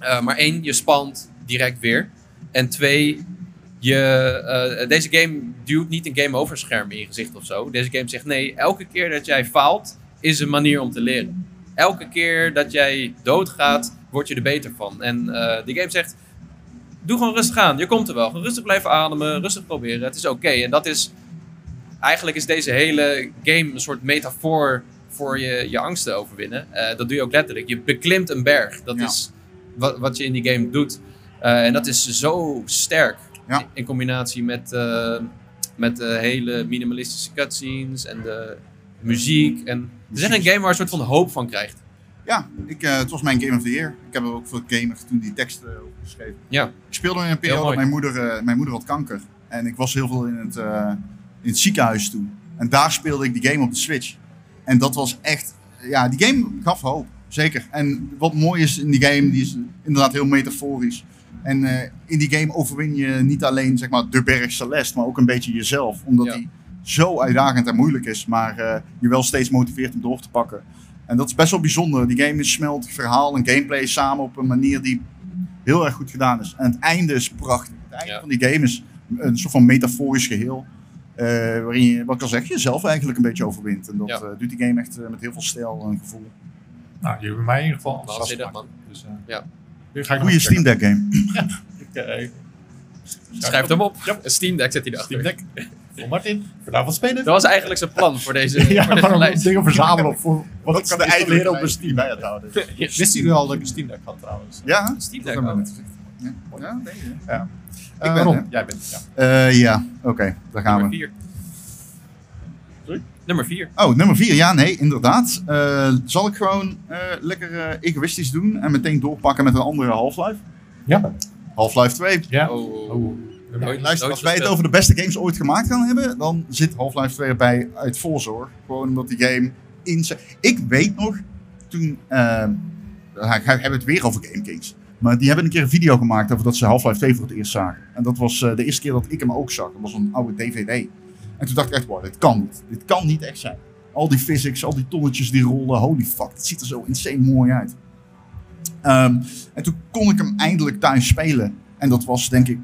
Speaker 2: Eh, maar één, je spant direct weer. En twee, je, eh, deze game duwt niet een game over scherm in je gezicht of zo. Deze game zegt nee, elke keer dat jij faalt, is een manier om te leren. Elke keer dat jij doodgaat, word je er beter van. En eh, die game zegt, doe gewoon rustig aan. Je komt er wel. Gewoon rustig blijven ademen, rustig proberen. Het is oké. En dat is, eigenlijk is deze hele game een soort metafoor voor je, je angsten overwinnen. Eh, dat doe je ook letterlijk. Je beklimt een berg. Dat
Speaker 3: Ja.
Speaker 2: is wat, wat je in die game doet. Eh, en dat is zo sterk.
Speaker 3: Ja.
Speaker 2: In, in combinatie met, eh, met de hele minimalistische cutscenes en de muziek. En, het is echt een game waar je een soort van hoop van krijgt.
Speaker 3: Ja, ik, eh, het was mijn Game of the Year. Ik heb er ook voor gamer toen die tekst eh, over geschreven.
Speaker 2: Ja.
Speaker 3: Ik speelde in een
Speaker 2: Heel
Speaker 3: periode
Speaker 2: mooi.
Speaker 3: dat mijn moeder, eh, mijn moeder had kanker. En ik was heel veel in het, eh, in het ziekenhuis toen. En daar speelde ik die game op de Switch. En dat was echt... Ja, die game gaf hoop. Zeker. En wat mooi is in die game, die is inderdaad heel metaforisch. En eh, in die game overwin je niet alleen zeg maar, de berg Celeste, maar ook een beetje jezelf. Omdat
Speaker 2: Ja.
Speaker 3: die zo uitdagend en moeilijk is, maar eh, je wel steeds motiveert om door te pakken. En dat is best wel bijzonder. Die game is smelt verhaal en gameplay samen op een manier die heel erg goed gedaan is. En het einde is prachtig. Het einde
Speaker 2: Ja.
Speaker 3: van die game is een soort van metaforisch geheel. eh, waarin je, wat ik al zeg, jezelf eigenlijk een beetje overwint. En dat
Speaker 2: Ja.
Speaker 3: eh, doet die game echt eh, met heel veel stijl en gevoel.
Speaker 1: Nou, jullie hebben mij in ieder geval enthousiast
Speaker 2: Waanzinnig,
Speaker 1: gemaakt. Dus, eh,
Speaker 2: Ja.
Speaker 1: nu ga ik
Speaker 3: Goeie Steam Deck game.
Speaker 1: Deck.
Speaker 2: Schrijf hem op.
Speaker 1: Ja.
Speaker 2: Een Steam Deck zet hij
Speaker 1: Steam
Speaker 2: erachter.
Speaker 1: Deck. Voor Martin. Vanavond spelen.
Speaker 2: Dat was eigenlijk zijn plan voor
Speaker 3: [LAUGHS]
Speaker 2: deze,
Speaker 1: [LAUGHS] ja,
Speaker 2: voor deze
Speaker 1: waarom
Speaker 2: lijst.
Speaker 1: dingen verzamelen op voor wat
Speaker 3: Dat
Speaker 1: ik
Speaker 3: is de
Speaker 1: kan installeren
Speaker 3: eindelijke
Speaker 1: op mijn
Speaker 3: prijs die
Speaker 1: Steam.
Speaker 3: bij het houden.
Speaker 1: Wisten jullie al dat ik een Steam Deck had trouwens?
Speaker 3: Ja, hè?
Speaker 2: Steam Deck.
Speaker 3: dat hebben we
Speaker 2: ook.
Speaker 3: net gezegd. Ja, ja, nee, hè?
Speaker 1: Eh,
Speaker 3: Ik ben,
Speaker 1: Ron,
Speaker 3: hè?
Speaker 1: jij bent. Ja.
Speaker 3: Eh, ja. oké, daar gaan we.
Speaker 2: Nummer 4.
Speaker 1: Sorry?
Speaker 2: Nummer 4.
Speaker 3: Oh, nummer 4. Ja, nee, inderdaad. Eh, zal ik gewoon eh, lekker eh, egoïstisch doen en meteen doorpakken met een andere Half-Life?
Speaker 1: Ja.
Speaker 3: Half-Life 2.
Speaker 1: ja.
Speaker 2: Oh.
Speaker 1: Oh.
Speaker 2: Nooit-
Speaker 3: Luister,
Speaker 2: nooit
Speaker 3: als wij het
Speaker 2: gespeeld.
Speaker 3: over de beste games ooit gemaakt gaan hebben, dan zit Half-Life 2 erbij uit voorzorg. Gewoon omdat die game in zijn- Ik weet nog, toen... eh dan ga ik- hebben we het weer over Game Kings. Maar die hebben een keer een video gemaakt over dat ze Half-Life 2 voor het eerst zagen. En dat was eh, de eerste keer dat ik hem ook zag. Dat was een oude DVD. En toen dacht ik echt, wow, dit kan niet. Dit kan niet echt zijn. Al die physics, al die tonnetjes die rollen. Holy fuck, het ziet er zo insane mooi uit. Ehm, en toen kon ik hem eindelijk thuis spelen. En dat was denk ik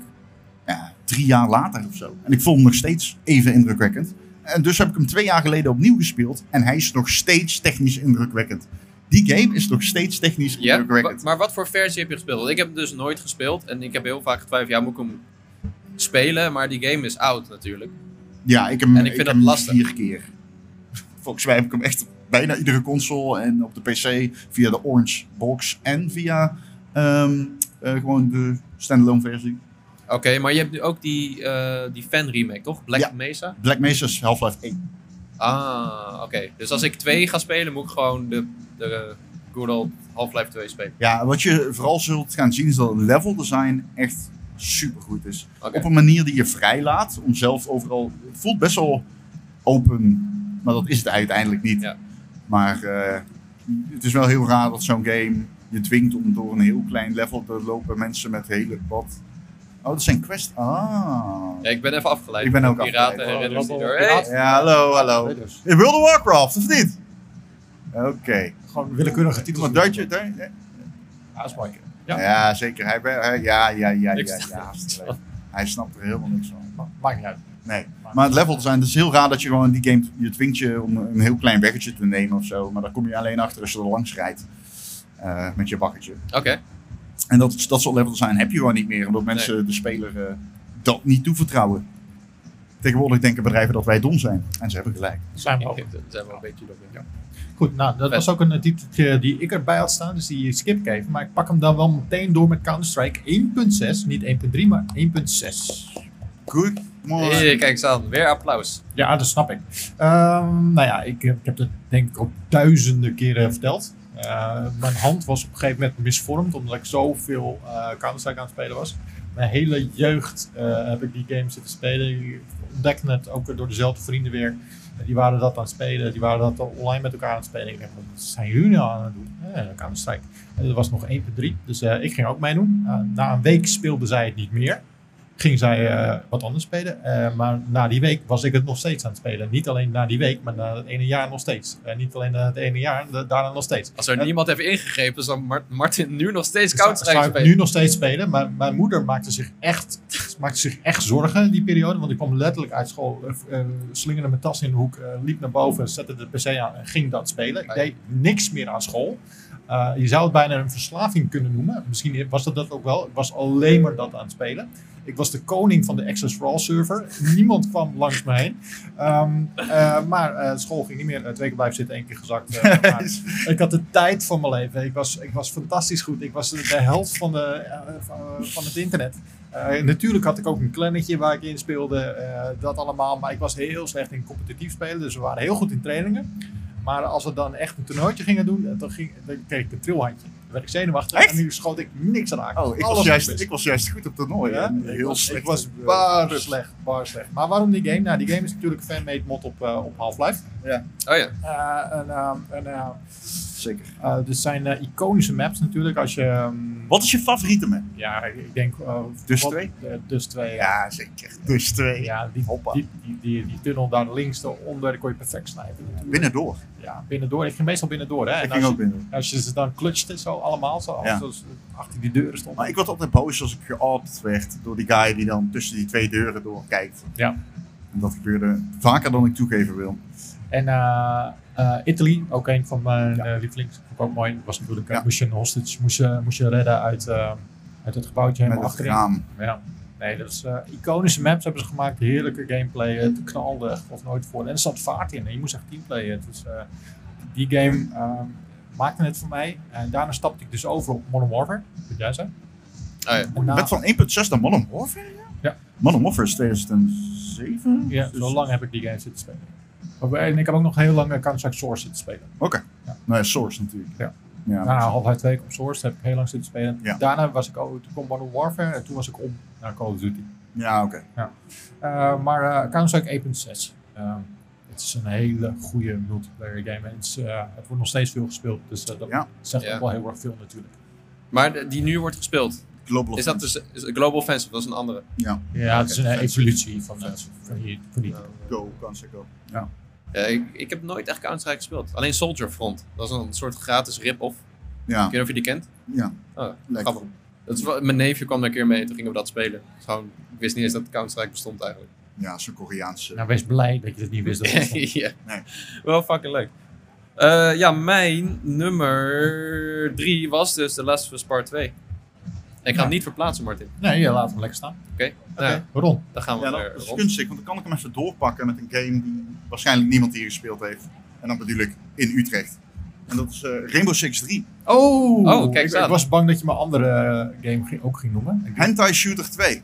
Speaker 3: ja, drie jaar later of zo. En ik vond hem nog steeds even indrukwekkend. En dus heb ik hem twee jaar geleden opnieuw gespeeld. En hij is nog steeds technisch indrukwekkend. Die game is nog steeds technisch
Speaker 2: Ja?
Speaker 3: indrukwekkend.
Speaker 2: Wa- Maar wat voor versie heb je gespeeld? Want ik heb hem dus nooit gespeeld. En ik heb heel vaak getwijfeld, ja, moet ik hem spelen? Maar die game is oud natuurlijk.
Speaker 3: Ja, ik heb hem,
Speaker 2: En ik vind
Speaker 3: heb
Speaker 2: dat
Speaker 3: hem
Speaker 2: lastig.
Speaker 3: vier keer. Volgens mij heb ik hem echt op bijna iedere console en op de PC via de Orange Box en via ehm, eh, gewoon de standalone versie.
Speaker 2: Oké, maar je hebt nu ook die, eh, die fan remake, toch? Black
Speaker 3: Ja.
Speaker 2: Mesa?
Speaker 3: Black Mesa's Half-Life 1.
Speaker 2: Ah, oké. Dus als ik 2 ga spelen, moet ik gewoon de, de good old Half-Life 2 spelen.
Speaker 3: Ja, wat je vooral zult gaan zien is dat het level design echt supergoed is.
Speaker 2: Oké.
Speaker 3: Op een manier die je vrijlaat om zelf overal. Het voelt best wel open, maar dat is het uiteindelijk niet.
Speaker 2: Ja.
Speaker 3: Maar eh, het is wel heel raar dat zo'n game je dwingt om door een heel klein level te lopen. Mensen met hele wat Oh, dat zijn quest. Ah.
Speaker 2: Ja, ik ben even afgeleid.
Speaker 3: Ik ben ook
Speaker 2: Piraten
Speaker 3: afgeleid.
Speaker 2: en ridders die
Speaker 1: Oh,
Speaker 2: door.
Speaker 1: lopen
Speaker 2: Hey,
Speaker 1: piraten.
Speaker 3: Ja, hallo, hallo.
Speaker 1: Weet dus.
Speaker 3: In World of Warcraft, of niet? Oké.
Speaker 1: Gewoon willekeurige titels.
Speaker 3: Maar Duitje, daar-
Speaker 1: Ja, dat is mooi.
Speaker 3: ja.
Speaker 1: Ja.
Speaker 3: zeker. Hij, ben- hij- ja, ja, ja,
Speaker 2: Ik
Speaker 3: ja,
Speaker 2: snap
Speaker 3: ja. hartstikke leuk. Hij snapt er helemaal niks van.
Speaker 1: Ma- Maakt niet uit.
Speaker 3: Nee, maar het level design, het is heel raar dat je gewoon in die game, je dwingt je om een heel klein weggetje te nemen of zo. Maar daar kom je alleen achter als je er langs rijdt eh, met je bakketje.
Speaker 2: Oké,
Speaker 3: En dat, dat soort level design heb je gewoon niet meer, omdat mensen de speler eh, dat niet toevertrouwen. Tegenwoordig denken bedrijven dat wij dom zijn. En ze hebben gelijk.
Speaker 1: Zijn we ook.
Speaker 2: Ik- dan zijn we een beetje door. Ja.
Speaker 1: Goed, nou, dat
Speaker 2: Vet.
Speaker 1: was ook een eh, titeltje die ik erbij had staan, dus die skip ik even. Maar ik pak hem dan wel meteen door met Counter-Strike 1.6. Niet 1.3, maar 1.6.
Speaker 3: Good morning.
Speaker 2: Hey, kijk eens aan, weer applaus.
Speaker 1: Ja, dat snap ik. Ehm, nou ja, ik, heb- ik heb het denk ik ook duizenden keren verteld. Eh, mijn hand was op een gegeven moment misvormd, omdat ik zoveel eh Counter-Strike aan het spelen was. Mijn hele jeugd eh, heb ik die game zitten spelen. Ik ontdekte het ook door dezelfde vrienden weer. Die waren dat aan het spelen, die waren dat online met elkaar aan het spelen. Ik dacht, wat zijn jullie nou aan het doen? Eh, Counter-Strike. En er was nog 1.3, dus eh, ik ging ook meedoen. Eh, na een week speelde zij het niet meer ging zij eh, wat anders spelen. Eh, maar na die week was ik het nog steeds aan het spelen. Niet alleen na die week, maar na het ene jaar nog steeds. En niet alleen na het ene jaar, da- daarna nog steeds.
Speaker 2: Als er
Speaker 1: Ja.
Speaker 2: niemand heeft ingegrepen, zal Mar- Martin nu nog steeds
Speaker 1: Dus zou-
Speaker 2: koud
Speaker 1: zou
Speaker 2: zijn.
Speaker 1: ik nu nog steeds spelen. Maar mijn moeder maakte zich echt, maakte zich echt zorgen in die periode. Want ik kwam letterlijk uit school, eh, eh, slingerde mijn tas in de hoek, eh, liep naar boven, zette de PC aan en ging dat spelen. Ik
Speaker 2: Ja.
Speaker 1: deed niks meer aan school. Eh, je zou het bijna een verslaving kunnen noemen. Misschien was dat dat ook wel. Ik was alleen maar dat aan het spelen. Ik was de koning van de Access for All server. Niemand kwam langs me heen. Ehm, eh, maar eh, school ging niet meer. Eh, twee keer blijven zitten, één keer gezakt.
Speaker 3: [LAUGHS]
Speaker 1: eh, maar ik had de tijd van mijn leven. Ik was, ik was fantastisch goed. Ik was de de helft van, de, eh, van, van het internet. Eh, natuurlijk had ik ook een klannetje waar ik in speelde. eh, dat allemaal. Maar ik was heel slecht in competitief spelen. Dus we waren heel goed in trainingen. Maar als we dan echt een toernooitje gingen doen, eh, dan, ging, dan kreeg ik een trilhandje. Dan werd ik zenuwachtig.
Speaker 3: Echt?
Speaker 1: En nu schoot ik niks aan
Speaker 3: Oh, ik was, juist, ik was juist goed op toernooi.
Speaker 1: Ja?
Speaker 3: en
Speaker 1: ik
Speaker 3: Heel
Speaker 1: was,
Speaker 3: slecht.
Speaker 1: ik was
Speaker 3: op, eh,
Speaker 1: bar
Speaker 3: pubs.
Speaker 1: slecht, bar slecht. Maar waarom die game? Nou, die game is natuurlijk een fanmade mod op, eh, op Half-Life.
Speaker 2: Oh ja,
Speaker 1: Eh, en, ehm, en, ehm,
Speaker 3: Zeker.
Speaker 1: eh, dit zijn eh, iconische maps natuurlijk. Als je, ehm,
Speaker 3: Wat is je favoriete man?
Speaker 1: Ja, ik denk... eh,
Speaker 3: Dus
Speaker 1: wat-
Speaker 3: twee?
Speaker 1: eh, dus twee, ja.
Speaker 3: Ja, zeker. Dus twee.
Speaker 1: Ja, die,
Speaker 3: Hoppa.
Speaker 1: die, die, die, die tunnel daar links daaronder, daar kon je perfect snijden. natuurlijk.
Speaker 3: Binnendoor.
Speaker 1: Ja, binnendoor. Ik ging meestal binnendoor. Hè? En
Speaker 3: Ik
Speaker 1: als,
Speaker 3: ging
Speaker 1: je,
Speaker 3: ook binnen.
Speaker 1: als je ze dan clutchte, zo allemaal, zo,
Speaker 3: Ja. Oh,
Speaker 1: zoals achter die deuren stond.
Speaker 3: Maar ik word altijd boos als ik gealpt werd door die guy die dan tussen die twee deuren door kijkt.
Speaker 1: Ja.
Speaker 3: En dat gebeurde vaker dan ik toegeven wil.
Speaker 1: En eh eh, Italy, ook een van mijn
Speaker 3: Ja.
Speaker 1: eh, lievelings. Vond ik ook mooi. Dat was natuurlijk, eh,
Speaker 3: Ja.
Speaker 1: moest je een hostage moest je, moest je redden uit, eh, uit het gebouwtje helemaal
Speaker 3: Met het
Speaker 1: achterin.
Speaker 3: raam.
Speaker 1: Ja. Nee, dat is eh, iconische maps hebben ze gemaakt. Heerlijke gameplay. Het knalde echt als nooit voor. En er zat vaart in. En je moest echt teamplayen. Dus eh, die game ehm, maakte het voor mij. En daarna stapte ik dus over op Modern Warfare. Wat jij zei.
Speaker 2: ja.
Speaker 1: En
Speaker 3: Je
Speaker 1: na-
Speaker 3: bent Ah, van 1.6 naar Modern Warfare?
Speaker 1: Ja.
Speaker 3: Modern Warfare is 2007?
Speaker 1: ja,
Speaker 3: Dus-
Speaker 1: zo lang heb ik die game zitten spelen. Maar- En ik heb ook nog heel lang eh, Counter-Strike Source zitten spelen.
Speaker 3: Nee, Source natuurlijk.
Speaker 1: Ja.
Speaker 3: ja.
Speaker 1: Daarna half twee Nou, op Source. Daar heb ik heel lang zitten spelen.
Speaker 3: Ja.
Speaker 1: Daarna was ik, oh, toen kwam Modern Warfare. En toen was ik om naar Call of Duty.
Speaker 3: Ja, oké.
Speaker 1: Eh, maar eh, Counter-Strike 1.6. Ehm, het is een hele goede multiplayer game. En het, is, eh, het wordt nog steeds veel gespeeld. Dus eh, dat
Speaker 3: Ja.
Speaker 1: zegt
Speaker 2: Ja.
Speaker 1: ook wel heel erg veel natuurlijk.
Speaker 2: maar de- die nu wordt gespeeld.
Speaker 3: Global
Speaker 2: Is dat
Speaker 3: Offensive.
Speaker 2: dus is Global Offensive? Dat is een andere.
Speaker 1: Ja, het is een evolutie van, eh, van, die, van die.
Speaker 3: Go, kansen go.
Speaker 2: Ja, ik, ik heb nooit echt Counter-Strike gespeeld. Alleen Soldier Front. Dat is een soort gratis rip-off.
Speaker 3: Ja,
Speaker 2: Ik weet niet of je die kent.
Speaker 3: ja.
Speaker 2: Oh,
Speaker 3: Lekker.
Speaker 2: grappig. Dat is wel- mijn neefje kwam daar een keer mee, toen gingen we dat spelen. Dus gewoon, ik wist niet eens dat Counter-Strike bestond eigenlijk.
Speaker 3: Ja, zo'n Koreaanse.
Speaker 1: Nou, wees blij dat je dat niet wist. Dat het
Speaker 2: [LAUGHS]
Speaker 1: bestond.
Speaker 2: ja.
Speaker 3: Nee.
Speaker 2: Wel fucking leuk. Eh, ja, mijn nummer drie was dus The Last of Us Part 2. Ik ga hem niet verplaatsen, Martin.
Speaker 1: nee, ja, laat hem lekker staan.
Speaker 2: Oké, nou,
Speaker 1: Ron.
Speaker 2: dan gaan we
Speaker 3: Ja,
Speaker 2: weer
Speaker 3: dat is
Speaker 2: rond.
Speaker 3: kunstig, want dan kan ik hem even doorpakken met een game die waarschijnlijk niemand hier gespeeld heeft. En dan bedoel ik in Utrecht. En dat is eh, Rainbow Six 3.
Speaker 1: Oh,
Speaker 2: Oh, kijk eens
Speaker 1: ik, ik
Speaker 2: aan.
Speaker 1: was bang dat je mijn andere eh, game ging- ook ging noemen. Ik-
Speaker 3: Hentai Shooter 2.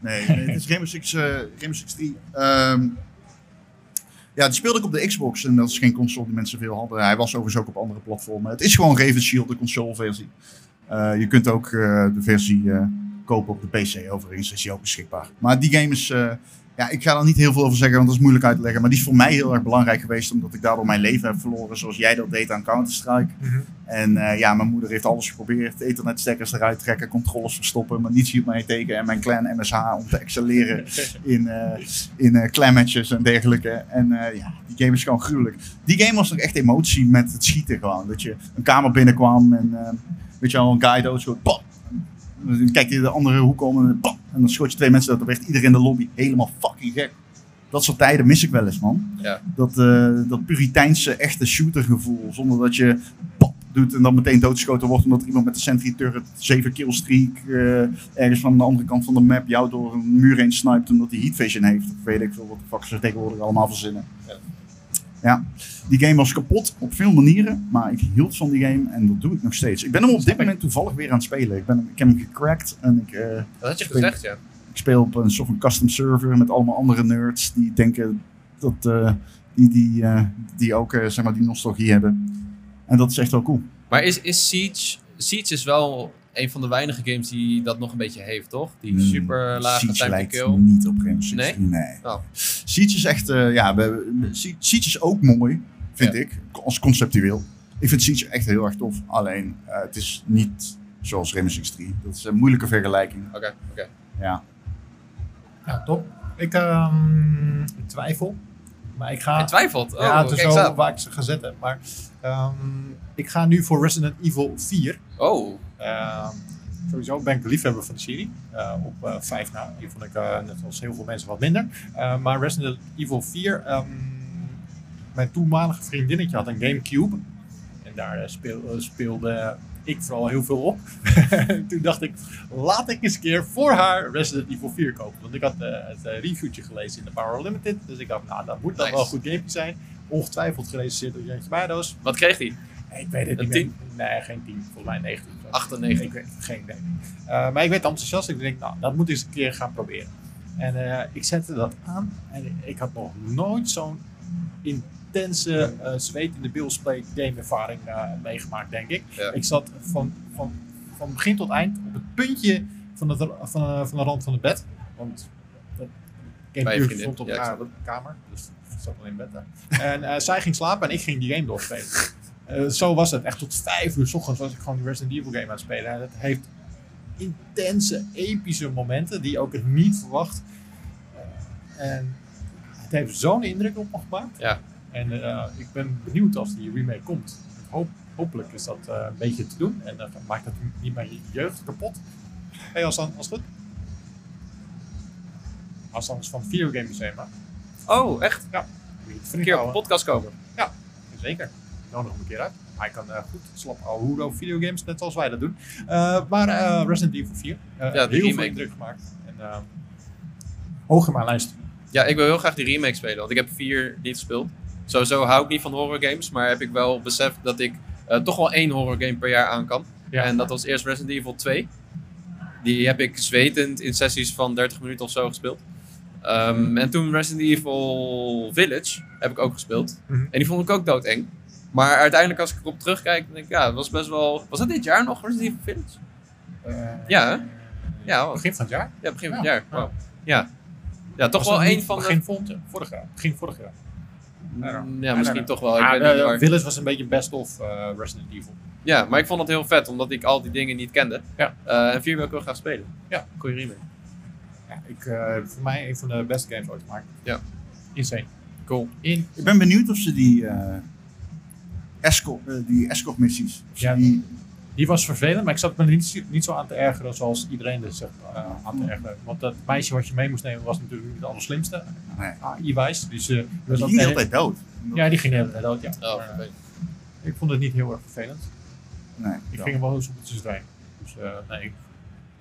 Speaker 3: Nee, nee, het is Rainbow Six, eh, Rainbow Six 3. Ehm, ja, die speelde ik op de Xbox. En dat is geen console die mensen veel hadden. Hij was overigens ook op andere platformen. Het is gewoon Raven Shield, de consoleversie. Eh, je kunt ook eh, de versie eh, kopen op de PC overigens. Is die ook beschikbaar. Maar die game is... eh, Ja, ik ga daar niet heel veel over zeggen, want dat is moeilijk uit te leggen. Maar die is voor mij heel erg belangrijk geweest, omdat ik daardoor mijn leven heb verloren. Zoals jij dat deed aan Counter-Strike.
Speaker 1: Mhm.
Speaker 3: En eh, ja, mijn moeder heeft alles geprobeerd. Ethernet-stekkers eruit trekken, controllers verstoppen. Maar niets hield mij tegen. En mijn clan MSH om te excelleren in, eh in eh, clanmatches en dergelijke. En eh, ja, die game is gewoon gruwelijk. Die game was nog echt emotie met het schieten gewoon. Dat je een kamer binnenkwam en eh, weet je wel, een guy dood, zo bam. En Dan kijk je de andere hoek om en dan bam. En dan schoot je twee mensen dood. Dan werd iedereen in de lobby helemaal fucking gek. Dat soort tijden mis ik wel eens, man
Speaker 2: Ja.
Speaker 3: dat, eh, dat puriteinse echte shootergevoel. Zonder dat je pop doet en dan meteen doodgeschoten wordt omdat er iemand met de sentry turret 7 killstreak eh ergens van de andere kant van de map jou door een muur heen snipt omdat hij heat vision heeft. Of weet ik veel wat de fuck ze tegenwoordig allemaal verzinnen.
Speaker 2: Ja.
Speaker 3: Ja, die game was kapot op veel manieren, maar ik hield van die game en dat doe ik nog steeds. Ik ben hem op dit moment toevallig weer aan het spelen. Ik, ben hem, ik heb hem gecrackt en ik, eh,
Speaker 2: Dat had je gezegd, ja.
Speaker 3: ik speel op een soort van custom server met allemaal andere nerds die denken dat eh, die, die, eh, die ook eh, zeg maar die nostalgie hebben. En dat is echt wel cool.
Speaker 2: Maar is, is Siege... Siege is wel een van de weinige games die dat nog een beetje heeft, toch? Die super lage
Speaker 3: Hmm,
Speaker 2: time
Speaker 3: Siege
Speaker 2: to
Speaker 3: lijkt
Speaker 2: kill.
Speaker 3: niet op Rainbow Six.
Speaker 2: Nee?
Speaker 3: Nee.
Speaker 2: Oh.
Speaker 3: Siege is echt, eh, ja, we, we- Sie- Siege is ook mooi, vind
Speaker 2: Ja.
Speaker 3: ik, als conceptueel. Ik vind Siege echt heel erg tof. Alleen, eh, het is niet zoals Rainbow Six 3. Dat is een moeilijke vergelijking.
Speaker 2: Oké, oké.
Speaker 3: Ja.
Speaker 1: Ja, top. Ik ehm, ik twijfel. Maar ik ga...
Speaker 2: Hij twijfelt. Oh,
Speaker 1: ja, het is
Speaker 2: kijk eens
Speaker 1: wel
Speaker 2: aan.
Speaker 1: waar ik ze ga zetten. Maar ehm, ik ga nu voor Resident Evil 4.
Speaker 2: Oh,
Speaker 1: Ehm, sowieso ben ik liefhebber van de serie. Eh, op eh 5 na. Die vond ik, eh, net als heel veel mensen, wat minder. Eh, maar Resident Evil 4. ehm, mijn toenmalige vriendinnetje had een Gamecube. En daar eh, speel- eh, speelde ik vooral heel veel op. [LAUGHS] Toen dacht ik, laat ik eens een keer voor haar Resident Evil 4 kopen. Want ik had eh, het eh, reviewtje gelezen in de Power Limited. Dus ik dacht, nou, dat moet dan
Speaker 2: Nice.
Speaker 1: wel een goed gamepje zijn. Ongetwijfeld gerecenseerd door Jantje Baardoos.
Speaker 2: wat kreeg hij?
Speaker 1: Ik weet het
Speaker 2: Een
Speaker 1: niet.
Speaker 2: tien?
Speaker 1: meer. Nee, geen 10. Volgens mij 19. of zo.
Speaker 2: 98.
Speaker 1: Ik weet het, geen idee. Eh, maar ik werd enthousiast. Ik denk, nou, dat moet ik eens een keer gaan proberen. En eh, ik zette dat aan. En ik had nog nooit zo'n intense eh zweet in de bilsplay game ervaring eh, meegemaakt, denk ik.
Speaker 2: Ja.
Speaker 1: Ik zat van, van, van begin tot eind op het puntje van, het, ra- van, eh, van de rand van het bed. Want dat
Speaker 2: Bij je
Speaker 1: game
Speaker 2: vriendin.
Speaker 1: stond op
Speaker 2: Ja, ik
Speaker 1: haar
Speaker 2: snap
Speaker 1: kamer. Dus ik zat al in bed daar. En eh, zij ging slapen en ik ging die game doorspelen. Eh, zo was het. Echt tot vijf uur s ochtends was ik gewoon die Resident Evil game aan het spelen. En dat heeft intense, epische momenten die je ook niet verwacht. Eh, en het heeft zo'n indruk op me gemaakt.
Speaker 2: Ja.
Speaker 1: En eh, ik ben benieuwd als die remake komt. Ik hoop, hopelijk is dat eh, een beetje te doen. En dan maakt dat niet mijn jeugd kapot. Hey, als dan, als het goed. Als dan is van Videogame Museum. hè?
Speaker 2: Oh, echt?
Speaker 1: Moet je het
Speaker 2: Een
Speaker 1: flink
Speaker 2: keer op de
Speaker 1: houden.
Speaker 2: podcast komen.
Speaker 1: eh, Zeker. Nou nog een keer uit. Hij kan eh, goed slap ouwe hoeren over videogames, net als wij dat doen. Eh, maar eh, Resident Evil 4. eh,
Speaker 2: Ja, de
Speaker 1: heel veel
Speaker 2: remake.
Speaker 1: indruk gemaakt. En, eh, hoog in mijn lijst.
Speaker 2: Ja, ik wil heel graag die remake spelen, want ik heb vier niet gespeeld. Sowieso hou ik niet van horror games, maar heb ik wel beseft dat ik eh, toch wel één horror game per jaar aan kan.
Speaker 1: Ja.
Speaker 2: En dat was eerst Resident Evil 2. Die heb ik zwetend in sessies van 30 minuten of zo gespeeld. Ehm, en toen Resident Evil Village heb ik ook gespeeld.
Speaker 1: Mhm.
Speaker 2: En die vond ik ook doodeng. Maar uiteindelijk als ik erop terugkijk, dan denk ik, ja, het was best wel... Was dat dit jaar nog, Resident Evil Village?
Speaker 1: Eh,
Speaker 2: Ja, hè? Ja, hoor.
Speaker 1: begin van het jaar.
Speaker 2: Ja, begin van het
Speaker 1: Ja,
Speaker 2: jaar.
Speaker 1: ja.
Speaker 2: Wauw. Ja. ja, toch
Speaker 1: Was
Speaker 2: wel
Speaker 1: dat niet
Speaker 2: een van de...
Speaker 1: begin Begin vorig jaar. Begin vorig jaar.
Speaker 2: Mm, Ja,
Speaker 1: Ja,
Speaker 2: misschien
Speaker 1: ja.
Speaker 2: toch wel. Ik
Speaker 1: Ah,
Speaker 2: weet niet
Speaker 1: eh,
Speaker 2: waar.
Speaker 1: Willis was een beetje best of eh, Resident Evil.
Speaker 2: Ja, maar ik vond het heel vet, omdat ik al die dingen niet kende.
Speaker 1: Ja.
Speaker 2: Eh, en vier wil ik wel graag spelen.
Speaker 1: Ja.
Speaker 2: Goeie remake.
Speaker 1: Ja, ik, eh, voor mij een van de beste games ooit gemaakt.
Speaker 2: Ja.
Speaker 1: Insane.
Speaker 2: Cool.
Speaker 1: In,
Speaker 3: Ik ben benieuwd of ze die, eh escort, eh, die escort missies, of ze
Speaker 1: Ja.
Speaker 3: die
Speaker 1: Die was vervelend, maar ik zat me niet, niet zo aan te ergeren zoals iedereen er zich eh, aan
Speaker 2: Mm.
Speaker 1: te ergeren. Want dat meisje wat je mee moest nemen was natuurlijk niet het allerslimste,
Speaker 3: Nee.
Speaker 1: AI-wijs. Dus, eh, die was
Speaker 3: Die
Speaker 1: ook
Speaker 3: ging de
Speaker 1: de
Speaker 3: hele tijd dood.
Speaker 1: hele- Ja, die ging de hele tijd dood, ja.
Speaker 2: Oh,
Speaker 1: Maar, eh,
Speaker 2: vervelend.
Speaker 1: ik vond het niet heel erg vervelend.
Speaker 3: Nee,
Speaker 1: Ik
Speaker 3: ja.
Speaker 1: ging er wel eens op het zijn. Dus eh, nee, ik-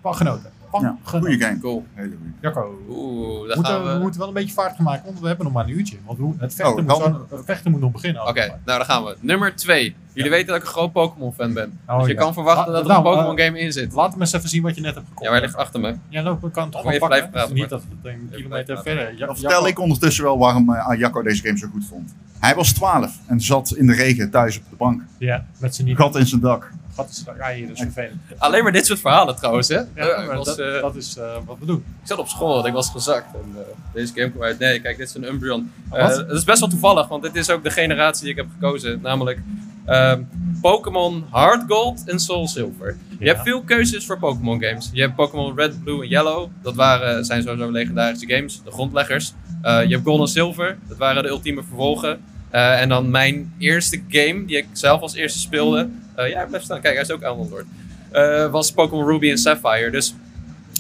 Speaker 1: van genoten. Van
Speaker 3: Ja,
Speaker 1: genoten.
Speaker 3: Goeie game.
Speaker 2: Cool.
Speaker 3: Hele goeie.
Speaker 1: Jacco,
Speaker 2: Oeh, daar
Speaker 1: moeten,
Speaker 2: gaan
Speaker 1: we...
Speaker 2: we.
Speaker 1: moeten wel een beetje vaart gaan maken, want we hebben nog maar een uurtje. Want hoe- het vechten,
Speaker 3: Oh,
Speaker 1: moet,
Speaker 3: dan-
Speaker 1: zo- het vechten moet nog beginnen.
Speaker 2: Oké, nou daar gaan we. Nummer 2. Jullie weten dat ik een groot Pokémon-fan ben.
Speaker 1: Oh,
Speaker 2: dus je
Speaker 1: ja.
Speaker 2: kan verwachten
Speaker 1: Ah,
Speaker 2: dat er
Speaker 1: nou,
Speaker 2: een Pokémon-game in zit.
Speaker 1: Laat hem eens even zien wat je net hebt gekocht.
Speaker 2: Ja, hij ligt achter me.
Speaker 1: Ja, nou, we kan het
Speaker 2: Oh,
Speaker 1: gewoon pakken.
Speaker 2: even blijven praten,
Speaker 1: Het is niet dat we het een kilometer
Speaker 2: blijven
Speaker 1: verder... Ja,
Speaker 3: Dan vertel ik ondertussen wel waarom eh, ah, Jacco deze game zo goed vond. Hij was 12 en zat in de regen thuis op de bank.
Speaker 1: Ja, met z'n niet.
Speaker 3: Gat in zijn dak.
Speaker 1: Gat is, ja, hier, dat is vervelend.
Speaker 2: Alleen maar dit soort verhalen trouwens, hè?
Speaker 1: Ja,
Speaker 2: ik,
Speaker 1: maar
Speaker 2: was,
Speaker 1: dat,
Speaker 2: eh,
Speaker 1: dat is eh, wat we doen.
Speaker 2: ik zat op school en ik was gezakt. En, eh, deze game kwam uit. Nee, kijk, dit is een Umbreon. Eh,
Speaker 1: Ah, Wat?
Speaker 2: dat is best wel toevallig, want dit is ook de generatie die ik heb gekozen. Namelijk ehm, Pokémon Hard Gold en Soul Silver. Je
Speaker 1: Ja.
Speaker 2: hebt veel keuzes voor Pokémon games. Je hebt Pokémon Red, Blue en Yellow. Dat waren, zijn sowieso legendarische games, de grondleggers. Eh, je hebt Gold en Silver. Dat waren de ultieme vervolgen. Eh, en dan mijn eerste game, die ik zelf als eerste speelde. eh, ja, blijf staan. Kijk, hij is ook aan antwoord. Eh, was Pokémon Ruby en Sapphire. Dus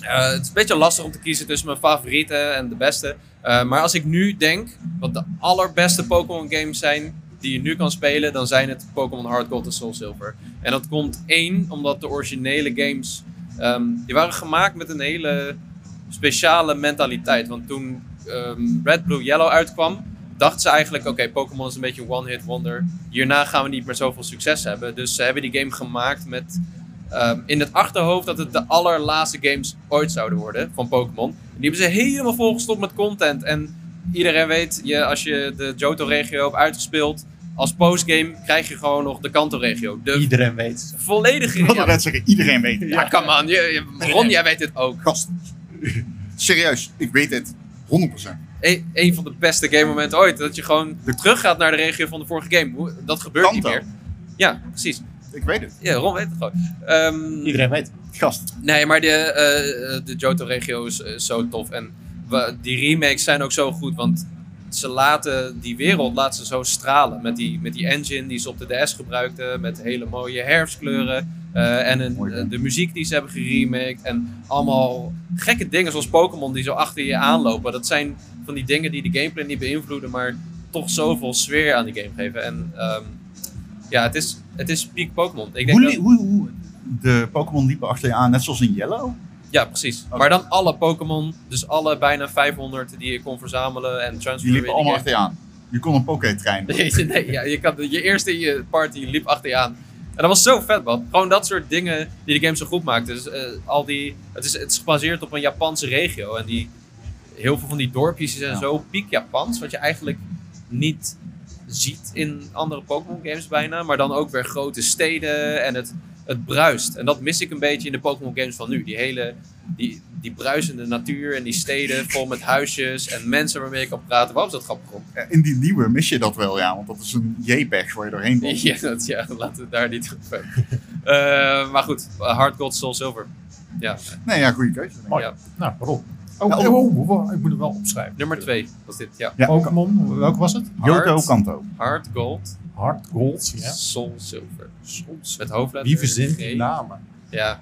Speaker 2: eh, het is een beetje lastig om te kiezen tussen mijn favorieten en de beste. Eh, maar als ik nu denk wat de allerbeste Pokémon games zijn die je nu kan spelen, dan zijn het Pokémon Hard Gold en Soul Silver. En dat komt één, omdat de originele games, ehm, die waren gemaakt met een hele speciale mentaliteit. Want toen ehm, Red, Blue, Yellow uitkwam, dachten ze eigenlijk, oké, Pokémon is een beetje een one-hit wonder. Hierna gaan we niet meer zoveel succes hebben. Dus ze hebben die game gemaakt met ehm, in het achterhoofd dat het de allerlaatste games ooit zouden worden van Pokémon. En Die hebben ze helemaal volgestopt met content. En iedereen weet, je, als je de Johto-regio hebt uitgespeeld, als postgame krijg je gewoon nog de Kanto-regio. De
Speaker 1: Iedereen weet.
Speaker 2: volledige...
Speaker 3: Ik wilde
Speaker 2: Ja,
Speaker 3: net zeggen, iedereen weet het.
Speaker 2: ja, come on. Je, je- Ron, jij weet dit ook.
Speaker 3: Gast. Serieus, ik weet het. 100%.
Speaker 2: E- een van de beste game momenten ooit. Dat je gewoon terug gaat naar de regio van de vorige game. Hoe- Dat gebeurt
Speaker 3: Kanto.
Speaker 2: niet meer. Ja, precies.
Speaker 3: Ik weet het.
Speaker 2: Ja, Ron weet het gewoon. Ehm,
Speaker 1: Iedereen weet.
Speaker 3: Gast.
Speaker 2: Nee, maar de, eh, eh, de Johto-regio is eh, zo tof. En wa- die remakes zijn ook zo goed, want ze laten die wereld laten ze zo stralen. Met die, met die engine die ze op de DS gebruikten, met hele mooie herfstkleuren. eh, en een-
Speaker 3: Mooi, hè?
Speaker 2: eh, de muziek die ze hebben geremaked. En allemaal gekke dingen zoals Pokémon die zo achter je aanlopen. Dat zijn van die dingen die de gameplay niet beïnvloeden, maar toch zoveel sfeer aan die game geven. En ehm, ja, het is, het is peak Pokémon. Ik denk
Speaker 3: Hoe,
Speaker 2: dat-
Speaker 3: li- hoe, hoe- de Pokémon liepen achter je aan, net zoals in Yellow?
Speaker 2: Ja, precies.
Speaker 3: Oké.
Speaker 2: Maar dan alle Pokémon, dus alle bijna 500 die je kon verzamelen en
Speaker 3: Die
Speaker 2: transferen.
Speaker 3: liepen allemaal achter je aan. Je kon een Poké-trein.
Speaker 2: [LAUGHS] Nee, nee ja, je, kan, je eerste in je party liep achter je aan. En dat was zo vet, man. Gewoon dat soort dingen die de game zo goed maakte. Dus, eh, al die, het, is, het is gebaseerd op een Japanse regio. En die, heel veel van die dorpjes die zijn
Speaker 3: Ja.
Speaker 2: zo piek Japans. Wat je eigenlijk niet ziet in andere Pokémon games bijna. Maar dan ook weer grote steden en het, het bruist. En dat mis ik een beetje in de Pokémon games van nu. Die hele die, die bruisende natuur en die steden vol met huisjes en mensen waarmee ik kan praten. Waarom is dat grappig? Rob?
Speaker 3: Eh, In die nieuwe mis je dat wel, ja. Want dat is een JPEG waar je doorheen
Speaker 2: [LAUGHS]
Speaker 3: komt.
Speaker 2: Ja, dat, ja, laten we daar niet op Eh Maar goed, eh, Hard Gold, Soul Silver. Ja,
Speaker 3: Nee, ja, goede keuze.
Speaker 1: Mooi.
Speaker 2: Ja.
Speaker 1: Nou, waarom? Oh,
Speaker 3: Ja,
Speaker 1: oh,
Speaker 3: oh.
Speaker 1: oh, oh, ik moet het wel opschrijven.
Speaker 2: nummer 2 was dit. Ja,
Speaker 3: Ja,
Speaker 1: Pokémon, welke was het?
Speaker 3: Johto
Speaker 2: Hard.
Speaker 3: Kanto.
Speaker 2: Hard Gold,
Speaker 1: Hard Gold. Ja.
Speaker 2: Soul Silver. Met hoofdletter.
Speaker 1: Wie verzint
Speaker 2: G.
Speaker 1: die namen?
Speaker 2: Ja,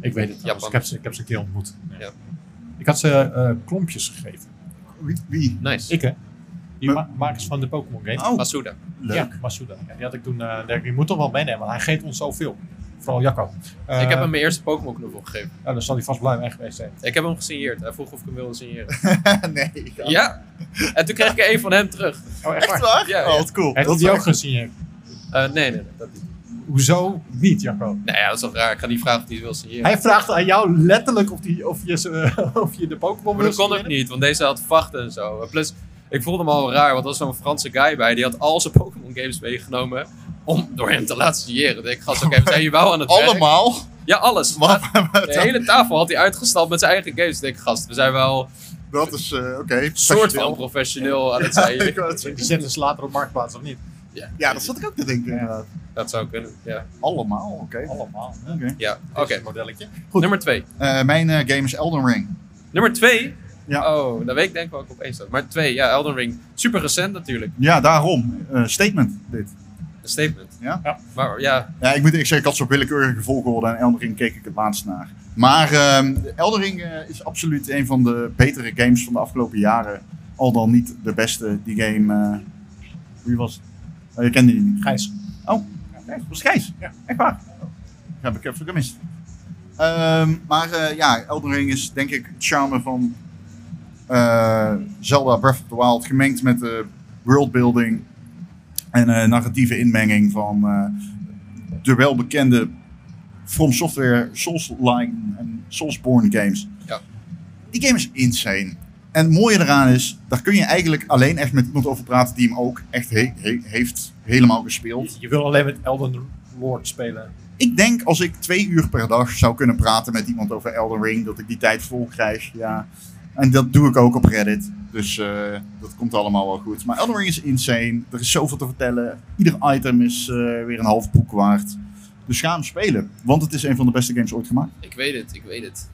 Speaker 1: Ik weet het trouwens.
Speaker 2: Japan.
Speaker 1: Ik heb, ze, ik heb ze een keer ontmoet.
Speaker 2: Ja.
Speaker 1: Ik had ze eh, klompjes gegeven.
Speaker 3: Wie? wie?
Speaker 2: nice.
Speaker 1: Ik hè? Die
Speaker 3: Maar-
Speaker 1: ma- makers van de Pokémon game.
Speaker 3: Oh,
Speaker 2: Masuda.
Speaker 3: leuk. [LAUGHS]
Speaker 1: Ja, Masuda. Ja, die had ik toen. eh denk, je moet hem wel meenemen, want hij geeft ons zoveel. Vooral Jacco. Eh,
Speaker 2: ik heb hem mijn eerste Pokémon knuffel gegeven.
Speaker 1: Nou, dan zal hij vast blij mee geweest zijn.
Speaker 2: Ik heb hem gesigneerd. Hij vroeg of ik hem wilde signeren.
Speaker 3: nee, ja.
Speaker 2: ja. En toen kreeg ik er één van hem terug.
Speaker 1: Oh, echt waar?
Speaker 3: Echt waar?
Speaker 2: Ja,
Speaker 3: Oh,
Speaker 2: ja.
Speaker 3: wat cool.
Speaker 1: Heeft hij
Speaker 3: Dat
Speaker 1: die
Speaker 3: is
Speaker 1: ook
Speaker 3: echt-
Speaker 1: gezien?
Speaker 2: Eh, nee, nee, nee. Dat niet.
Speaker 1: Hoezo niet, Jacco?
Speaker 2: Nou ja, dat is wel raar. Ik ga niet vragen of hij het wil signeren.
Speaker 1: Hij vraagt aan jou letterlijk of, die, of, je, ze- [LAUGHS] of je de Pokémon
Speaker 2: Maar
Speaker 1: wil
Speaker 2: dat kon ook
Speaker 1: spelen.
Speaker 2: niet, want deze had vachten en zo. En Plus, ik voelde me al raar, want er was zo'n Franse guy bij. Die had al zijn Pokémon games meegenomen om door hem te laten signeren. Ik gast, oké, we zijn hier wel aan het werk. [LAUGHS]
Speaker 3: Allemaal?
Speaker 2: Ja, alles.
Speaker 3: Wat?
Speaker 2: De hele tafel had hij uitgestapt met zijn eigen games. Ik denk, gast, we zijn wel
Speaker 3: Dat is, eh, oké.
Speaker 2: soort van
Speaker 3: professioneel.
Speaker 2: professioneel aan het zijn.
Speaker 3: [LAUGHS] Ik wou het zeggen.
Speaker 1: Die zetten ze later op marktplaats, of niet?
Speaker 3: Ja, dat zat ik ook te denken. inderdaad.
Speaker 2: Dat zou kunnen, ja.
Speaker 3: Allemaal, oké.
Speaker 1: Allemaal. hè?
Speaker 3: Oké.
Speaker 2: ja. Oké,
Speaker 1: Dit is een modelletje.
Speaker 2: nummer twee.
Speaker 3: Eh, mijn eh, game is Elden Ring. Eh,
Speaker 2: Nummer twee?
Speaker 3: Ja.
Speaker 2: Oh, dan weet ik denk ik wel ik op één staat. Maar twee, ja, Elden Ring. Super recent natuurlijk.
Speaker 3: Ja, daarom. Eh, statement, dit.
Speaker 2: Een statement.
Speaker 3: Ja.
Speaker 1: Ja.
Speaker 2: Maar ja,
Speaker 3: Ja, ik moet eerlijk zeggen, ik had zo'n willekeurige volgorde en Elden Ring keek ik het laatst naar. Maar ehm Elden Ring eh, is absoluut een van de betere games van de afgelopen jaren. Al dan niet de beste. Die game... eh, wie was het? Oh, je kende die niet.
Speaker 1: Gijs.
Speaker 3: Oh, dat was Gijs.
Speaker 1: Ja.
Speaker 3: Echt waar. Ja, ik heb het gemist. Ehm, maar eh, ja, Elden Ring is denk ik het charme van eh, Zelda Breath of the Wild gemengd met de worldbuilding en eh, narratieve inmenging van eh, de welbekende From Software Souls-like en Soulsborne games.
Speaker 2: Ja.
Speaker 3: Die game is insane. En het mooie eraan is, daar kun je eigenlijk alleen echt met iemand over praten die hem ook echt he- he- heeft helemaal gespeeld.
Speaker 1: Je, je wil alleen met Elden Lord spelen.
Speaker 3: Ik denk als ik twee uur per dag zou kunnen praten met iemand over Elden Ring, dat ik die tijd vol krijg. Ja. En dat doe ik ook op Reddit. Dus eh, dat komt allemaal wel goed. Maar Elden Ring is insane. Er is zoveel te vertellen. Ieder item is eh, weer een half boek waard. Dus ga hem spelen. Want het is een van de beste games ooit gemaakt.
Speaker 2: Ik weet het, ik weet het.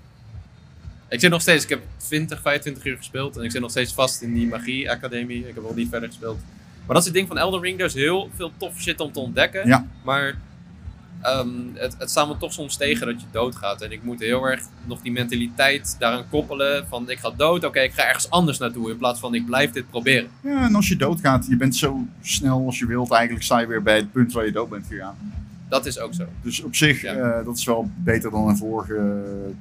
Speaker 2: Ik zit nog steeds, ik heb 20, 25 uur gespeeld en ik zit nog steeds vast in die magie academie. Ik heb nog niet verder gespeeld. Maar dat is het ding van Elden Ring, er is heel veel tof shit om te ontdekken.
Speaker 3: Ja.
Speaker 2: Maar ehm, het, het staat me toch soms tegen dat je doodgaat. En ik moet heel erg nog die mentaliteit daaraan koppelen van ik ga dood, oké ik ga ergens anders naartoe. In plaats van ik blijf dit proberen.
Speaker 3: Ja, en als je doodgaat, je bent zo snel als je wilt. Eigenlijk sta je weer bij het punt waar je dood bent gegaan.
Speaker 2: Dat is ook zo.
Speaker 3: Dus op zich,
Speaker 2: Ja.
Speaker 3: eh, dat is wel beter dan in vorige eh,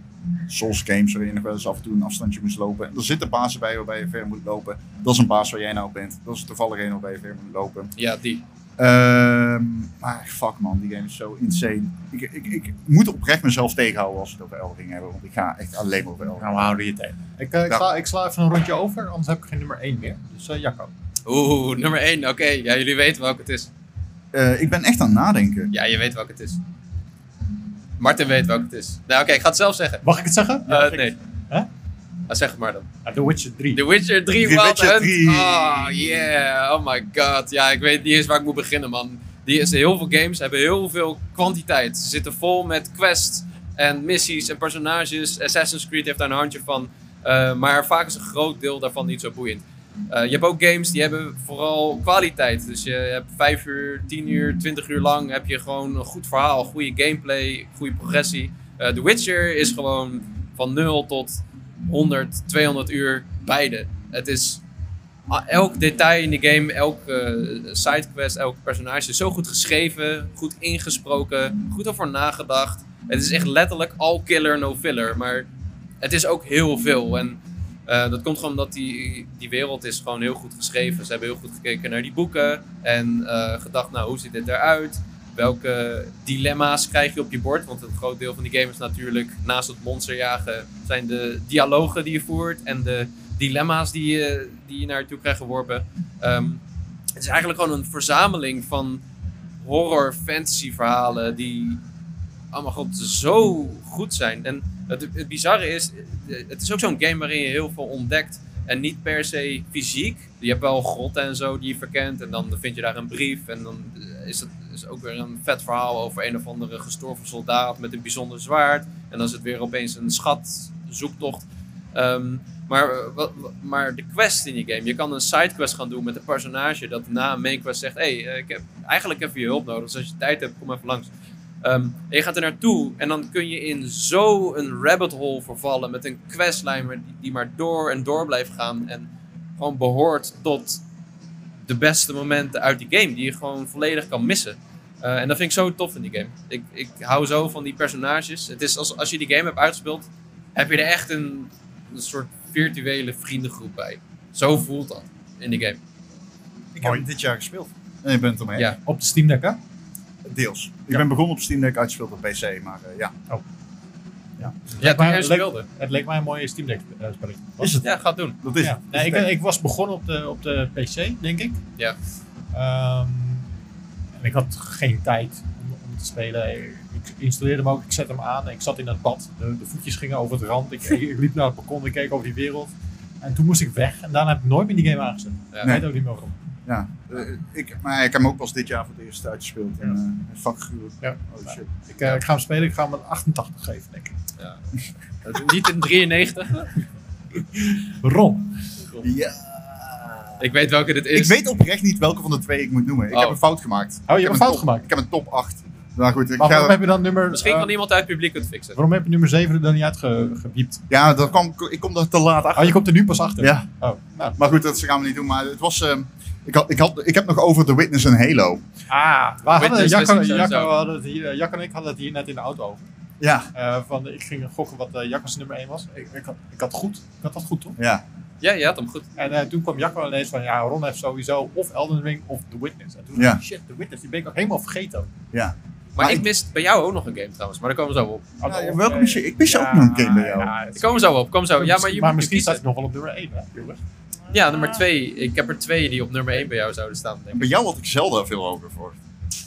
Speaker 3: Souls games waarin je nog wel eens af en toe een afstandje moest lopen. Er zitten bazen bij waarbij je ver moet lopen. Dat is een baas waar jij nou op bent. Dat is er toevallig een waarbij je ver moet lopen.
Speaker 2: Ja, die.
Speaker 3: Ehm, maar fuck man, die game is zo insane. Ik, ik, ik moet oprecht mezelf tegenhouden als we het over Eldering hebben. Want ik ga echt alleen maar over Elden Ring.
Speaker 1: Nou, we houden je tijd. Ik, eh, ik,
Speaker 2: Nou.
Speaker 3: Ja.
Speaker 1: sla, ik sla even een rondje over, anders heb ik geen nummer 1 meer. Dus eh, Jacco.
Speaker 2: Oeh, nummer 1, oké. Ja, jullie weten welke het is.
Speaker 3: Eh, ik ben echt aan het nadenken.
Speaker 2: Ja, je weet welke het is. Martin weet welke het is. Nou oké, ik ga het zelf zeggen.
Speaker 1: Mag ik het zeggen?
Speaker 2: Eh,
Speaker 1: Ja,
Speaker 2: nee.
Speaker 1: Hè?
Speaker 2: Ah, zeg het maar dan.
Speaker 1: Ah, The Witcher 3.
Speaker 2: The Witcher 3
Speaker 3: The
Speaker 2: Wild
Speaker 3: Witcher
Speaker 2: Hunt.
Speaker 3: 3.
Speaker 2: Oh yeah, oh my god. Ja, ik weet niet eens waar ik moet beginnen man. Die is, heel veel games hebben heel veel kwantiteit. Ze zitten vol met quests en missies en personages. Assassin's Creed heeft daar een handje van. Eh, maar vaak is een groot deel daarvan niet zo boeiend. Eh, je hebt ook games die hebben vooral kwaliteit. Dus je hebt 5 uur, 10 uur, 20 uur lang heb je gewoon een goed verhaal, goede gameplay, goede progressie. Eh, The Witcher is gewoon van 0 tot 100, 200 uur beide. Het is ah, elk detail in de game, elk eh, sidequest, elk personage is zo goed geschreven, goed ingesproken, goed over nagedacht. Het is echt letterlijk all killer, no filler. Maar het is ook heel veel. En eh, dat komt gewoon omdat die, die wereld is gewoon heel goed geschreven. Ze hebben heel goed gekeken naar die boeken en eh, gedacht, nou, hoe ziet dit eruit? Welke dilemma's krijg je op je bord? Want een groot deel van die game is natuurlijk, naast het monsterjagen, zijn de dialogen die je voert en de dilemma's die je, die je naar je toe krijgt geworpen. Ehm, het is eigenlijk gewoon een verzameling van horror fantasy verhalen die allemaal oh god zo goed zijn. En het, het bizarre is, eh, het is ook zo'n game waarin je heel veel ontdekt. En niet per se fysiek. Je hebt wel grotten en zo die je verkent. En dan vind je daar een brief. En dan eh, is het is ook weer een vet verhaal over een of andere gestorven soldaat met een bijzonder zwaard. En dan is het weer opeens een schatzoektocht. Ehm, maar, eh, wat- wat- maar de quest in je game. Je kan een sidequest gaan doen met een personage dat na een mainquest zegt: Hé, hey, eh, ik heb eigenlijk even je hulp nodig. Dus als je tijd hebt, kom even langs. Ehm, en je gaat er naartoe en dan kun je in zo'n rabbit hole vervallen met een questlijn maar- die, die maar door en door blijft gaan. En gewoon behoort tot de beste momenten uit die game, die je gewoon volledig kan missen. Eh, en dat vind ik zo tof in die game. Ik, ik hou zo van die personages. Het is als, als je die game hebt uitgespeeld, heb je er echt een, een soort virtuele vriendengroep bij. Zo voelt dat in die game.
Speaker 1: Ik
Speaker 3: Hoi.
Speaker 1: hem dit jaar gespeeld.
Speaker 3: En je bent ermee.
Speaker 2: Ja.
Speaker 1: Op de Steam Deck, hè?
Speaker 3: Deels. Ik
Speaker 1: Ja.
Speaker 3: ben begonnen op Steam Deck, uitgespeeld op PC. Maar eh, ja,
Speaker 2: Ja,
Speaker 1: maar
Speaker 2: toen jij
Speaker 1: leuk.
Speaker 2: speelde.
Speaker 1: Het leek mij een mooie Steam Deck eh, spelletje.
Speaker 3: Is het?
Speaker 2: Ja, ga het doen.
Speaker 3: dat is
Speaker 1: ja.
Speaker 3: het. Dus
Speaker 1: Nee, ik, ben- ik was begonnen op de, op de PC, denk ik.
Speaker 2: Ja.
Speaker 1: Ehm, en ik had geen tijd om, om te spelen. Ik installeerde hem ook, ik zette hem aan. Ik zat in het bad. De, de voetjes gingen over het rand. Ik, ik liep naar het balkon, ik keek over die wereld. En toen moest ik weg. En daarna heb ik nooit meer die game aangezet.
Speaker 2: Ja.
Speaker 1: Ik weet ook niet meer waarom.
Speaker 3: Ja, eh, ik, maar ik heb hem ook pas dit jaar voor het eerst uitgespeeld. En, eh, fuck, gruwelijk.
Speaker 1: Ja.
Speaker 3: Oh shit.
Speaker 1: Ik, eh, ik ga hem spelen, ik ga hem een 88 geven, denk ik. [LAUGHS]
Speaker 2: Ja. [LAUGHS] Niet in 93.
Speaker 1: Ron.
Speaker 3: Ja.
Speaker 2: Ik weet welke dit is.
Speaker 3: Ik weet oprecht niet welke van de twee ik moet noemen. Ik
Speaker 2: Oh.
Speaker 3: heb een fout gemaakt. Ik
Speaker 1: Oh, je
Speaker 3: heb
Speaker 1: hebt een fout
Speaker 3: top-
Speaker 1: gemaakt.
Speaker 3: Ik heb een top 8. Nou goed, ik
Speaker 1: Maar waarom
Speaker 3: ga,
Speaker 1: heb je dan nummer...
Speaker 2: Misschien
Speaker 1: eh,
Speaker 2: kan iemand uit het publiek het fixen.
Speaker 1: Waarom heb je nummer 7 er dan niet uitgewiept?
Speaker 3: ja, dat kwam, ik kom daar te laat achter.
Speaker 1: Oh, je komt er nu pas achter.
Speaker 3: Ja,
Speaker 1: Oh, nou.
Speaker 3: maar goed, dat gaan we niet doen. Maar het was, ehm, ik, had, ik, had, ik heb nog over The Witness en Halo.
Speaker 1: Ah, we hadden,
Speaker 2: Witness
Speaker 1: Jacco,
Speaker 2: wist ik sowieso.
Speaker 1: Jacco hadden het hier, eh, Jacco en ik hadden het hier net in de auto over.
Speaker 3: Ja,
Speaker 1: Eh, van, ik ging gokken wat eh, Jacco's nummer 1 was. Ik, ik, had, ik had goed. Ik had dat goed, toch?
Speaker 3: ja.
Speaker 2: Ja, je had hem goed.
Speaker 1: En eh, toen kwam Jacco ineens van, ja, Ron heeft sowieso of Elden Ring of The Witness. En toen
Speaker 3: Ja.
Speaker 1: dacht ik, shit, The Witness, die ben ik ook helemaal vergeten.
Speaker 3: Ja.
Speaker 2: Maar,
Speaker 3: Maar
Speaker 2: ik
Speaker 3: ik-
Speaker 2: mis bij jou ook nog een game trouwens, maar daar komen we zo op.
Speaker 3: Ja, ja, welke mis je? Ik mis ook nog een game bij jou.
Speaker 1: Ja,
Speaker 2: Ik kom zo op, kom zo. Ja, maar, je
Speaker 1: maar
Speaker 2: moet
Speaker 1: misschien
Speaker 2: je
Speaker 1: staat
Speaker 2: kiezen.
Speaker 1: het nog wel op nummer 1. Jongens.
Speaker 2: Ja, nummer 2. Ik heb er twee die op nummer 1 bij jou zouden staan. Denk ik.
Speaker 3: Bij jou had ik Zelda veel hoger voor.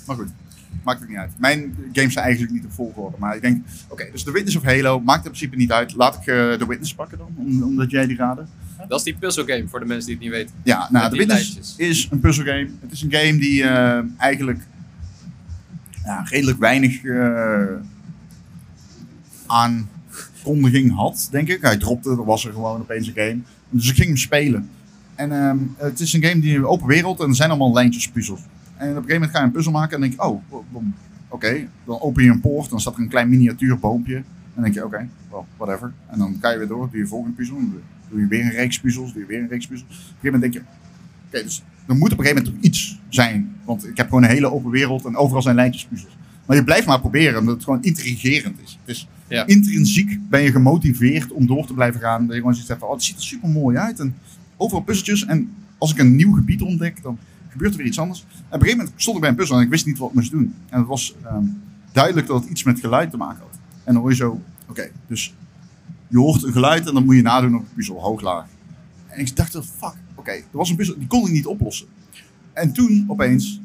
Speaker 3: Maar goed, maakt ook niet uit. Mijn games zijn eigenlijk niet op volgorde. Maar ik denk, oké, dus The Witness of Halo maakt in principe niet uit. Laat ik eh The Witness pakken dan, om- omdat jij die raadde.
Speaker 2: Dat is die puzzelgame voor de mensen die het niet weten.
Speaker 3: Ja, nou,
Speaker 2: Met
Speaker 3: The
Speaker 2: die
Speaker 3: Witness
Speaker 2: lijstjes.
Speaker 3: is een puzzelgame. Het is een game die eh, eigenlijk ja, redelijk weinig eh, aankondiging had, denk ik. Hij dropte, er was er gewoon opeens een game. Dus ik ging hem spelen. En ehm, het is een game die open wereld en er zijn allemaal lijntjes puzzels. En op een gegeven moment ga je een puzzel maken en denk je, oh, w- w- oké. Dan open je een poort, dan staat er een klein miniatuur boompje. En dan denk je, oké, well, whatever. En dan ga je weer door, doe je volgende puzzel. Dan doe je weer een reeks puzzels, doe je weer een reeks puzzels. Op een gegeven moment denk je, Oké, dus er moet op een gegeven moment toch iets zijn. Want ik heb gewoon een hele open wereld en overal zijn lijntjespuzzels. Maar je blijft maar proberen, omdat het gewoon intrigerend is. Het is
Speaker 2: Ja.
Speaker 3: intrinsiek ben je gemotiveerd om door te blijven gaan. Dat je gewoon zoiets hebt van, oh, het ziet er super mooi uit. En overal puzzeltjes. En als ik een nieuw gebied ontdek, dan gebeurt er weer iets anders. En op een gegeven moment stond ik bij een puzzel en ik wist niet wat ik moest doen. En het was ehm, duidelijk dat het iets met geluid te maken had. En dan hoor je zo, oké, dus je hoort een geluid en dan moet je nadoen op de puzzel, hoog, laag. En ik dacht, fuck, oké, er was een puzzel, die kon ik niet oplossen. En toen opeens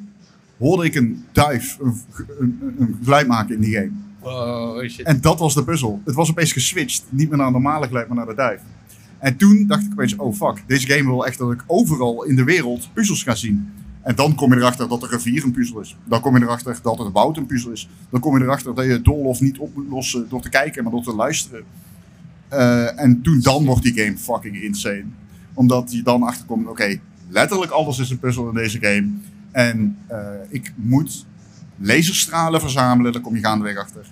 Speaker 3: hoorde ik een duif een, een, een geluid maken in die game.
Speaker 2: Wow, shit.
Speaker 3: En dat was de puzzel. Het was opeens geswitcht. Niet meer naar een normale geluid, maar naar de duif. En toen dacht ik opeens, oh fuck, deze game wil echt dat ik overal in de wereld puzzels ga zien. En dan kom je erachter dat de rivier een puzzel is. Dan kom je erachter dat het woud een puzzel is. Dan kom je erachter dat je het doolhof niet op moet lossen door te kijken, maar door te luisteren. Eh, en toen dan wordt die game fucking insane. Omdat je dan achterkomt, oké, letterlijk alles is een puzzel in deze game. En eh, ik moet laserstralen verzamelen, daar kom je gaandeweg achter.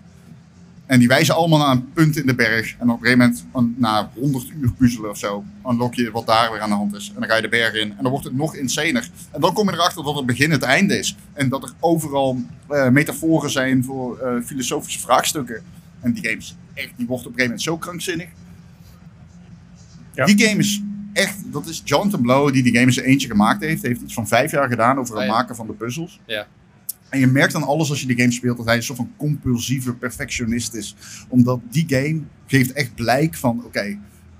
Speaker 3: En die wijzen allemaal naar een punt in de berg. En op een gegeven moment, an- na 100 uur puzzelen of zo, unlock je wat daar weer aan de hand is. En dan ga je de berg in. En dan wordt het nog insaner. En dan kom je erachter dat het begin het einde is. En dat er overal eh, metaforen zijn voor eh, filosofische vraagstukken. En die game is echt, die wordt op een gegeven moment zo krankzinnig.
Speaker 1: Ja.
Speaker 3: Die game is echt, dat is John Blow die die game in zijn eentje gemaakt heeft. Hij heeft iets van vijf jaar gedaan over het
Speaker 2: Ah, ja.
Speaker 3: maken van de puzzels.
Speaker 2: Ja.
Speaker 3: En je merkt dan alles als je die game speelt dat hij een soort van compulsieve perfectionist is. Omdat die game geeft echt blijk van: oké,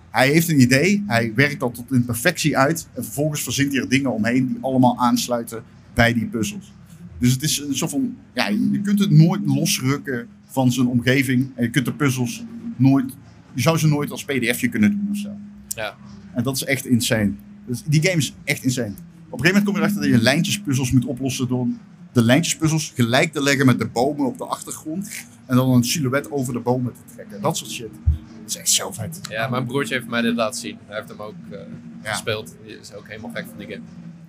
Speaker 3: hij heeft een idee, hij werkt dat tot in perfectie uit. En vervolgens verzint hij er dingen omheen die allemaal aansluiten bij die puzzels. Dus het is een soort van: ja, je kunt het nooit losrukken van zijn omgeving. En je kunt de puzzels nooit, je zou ze nooit als PDFje kunnen doen of zo.
Speaker 2: Ja.
Speaker 3: En dat is echt insane. Dus die game is echt insane. Op een gegeven moment kom je erachter dat je lijntjespuzzels moet oplossen door de lijntjespuzzels gelijk te leggen met de bomen op de achtergrond. En dan een silhouet over de bomen te trekken. Dat soort shit. Dat is echt zo vet.
Speaker 2: Ja, mijn broertje heeft mij dit laten zien. Hij heeft hem ook eh,
Speaker 3: Ja.
Speaker 2: gespeeld. Die is ook helemaal gek van die game.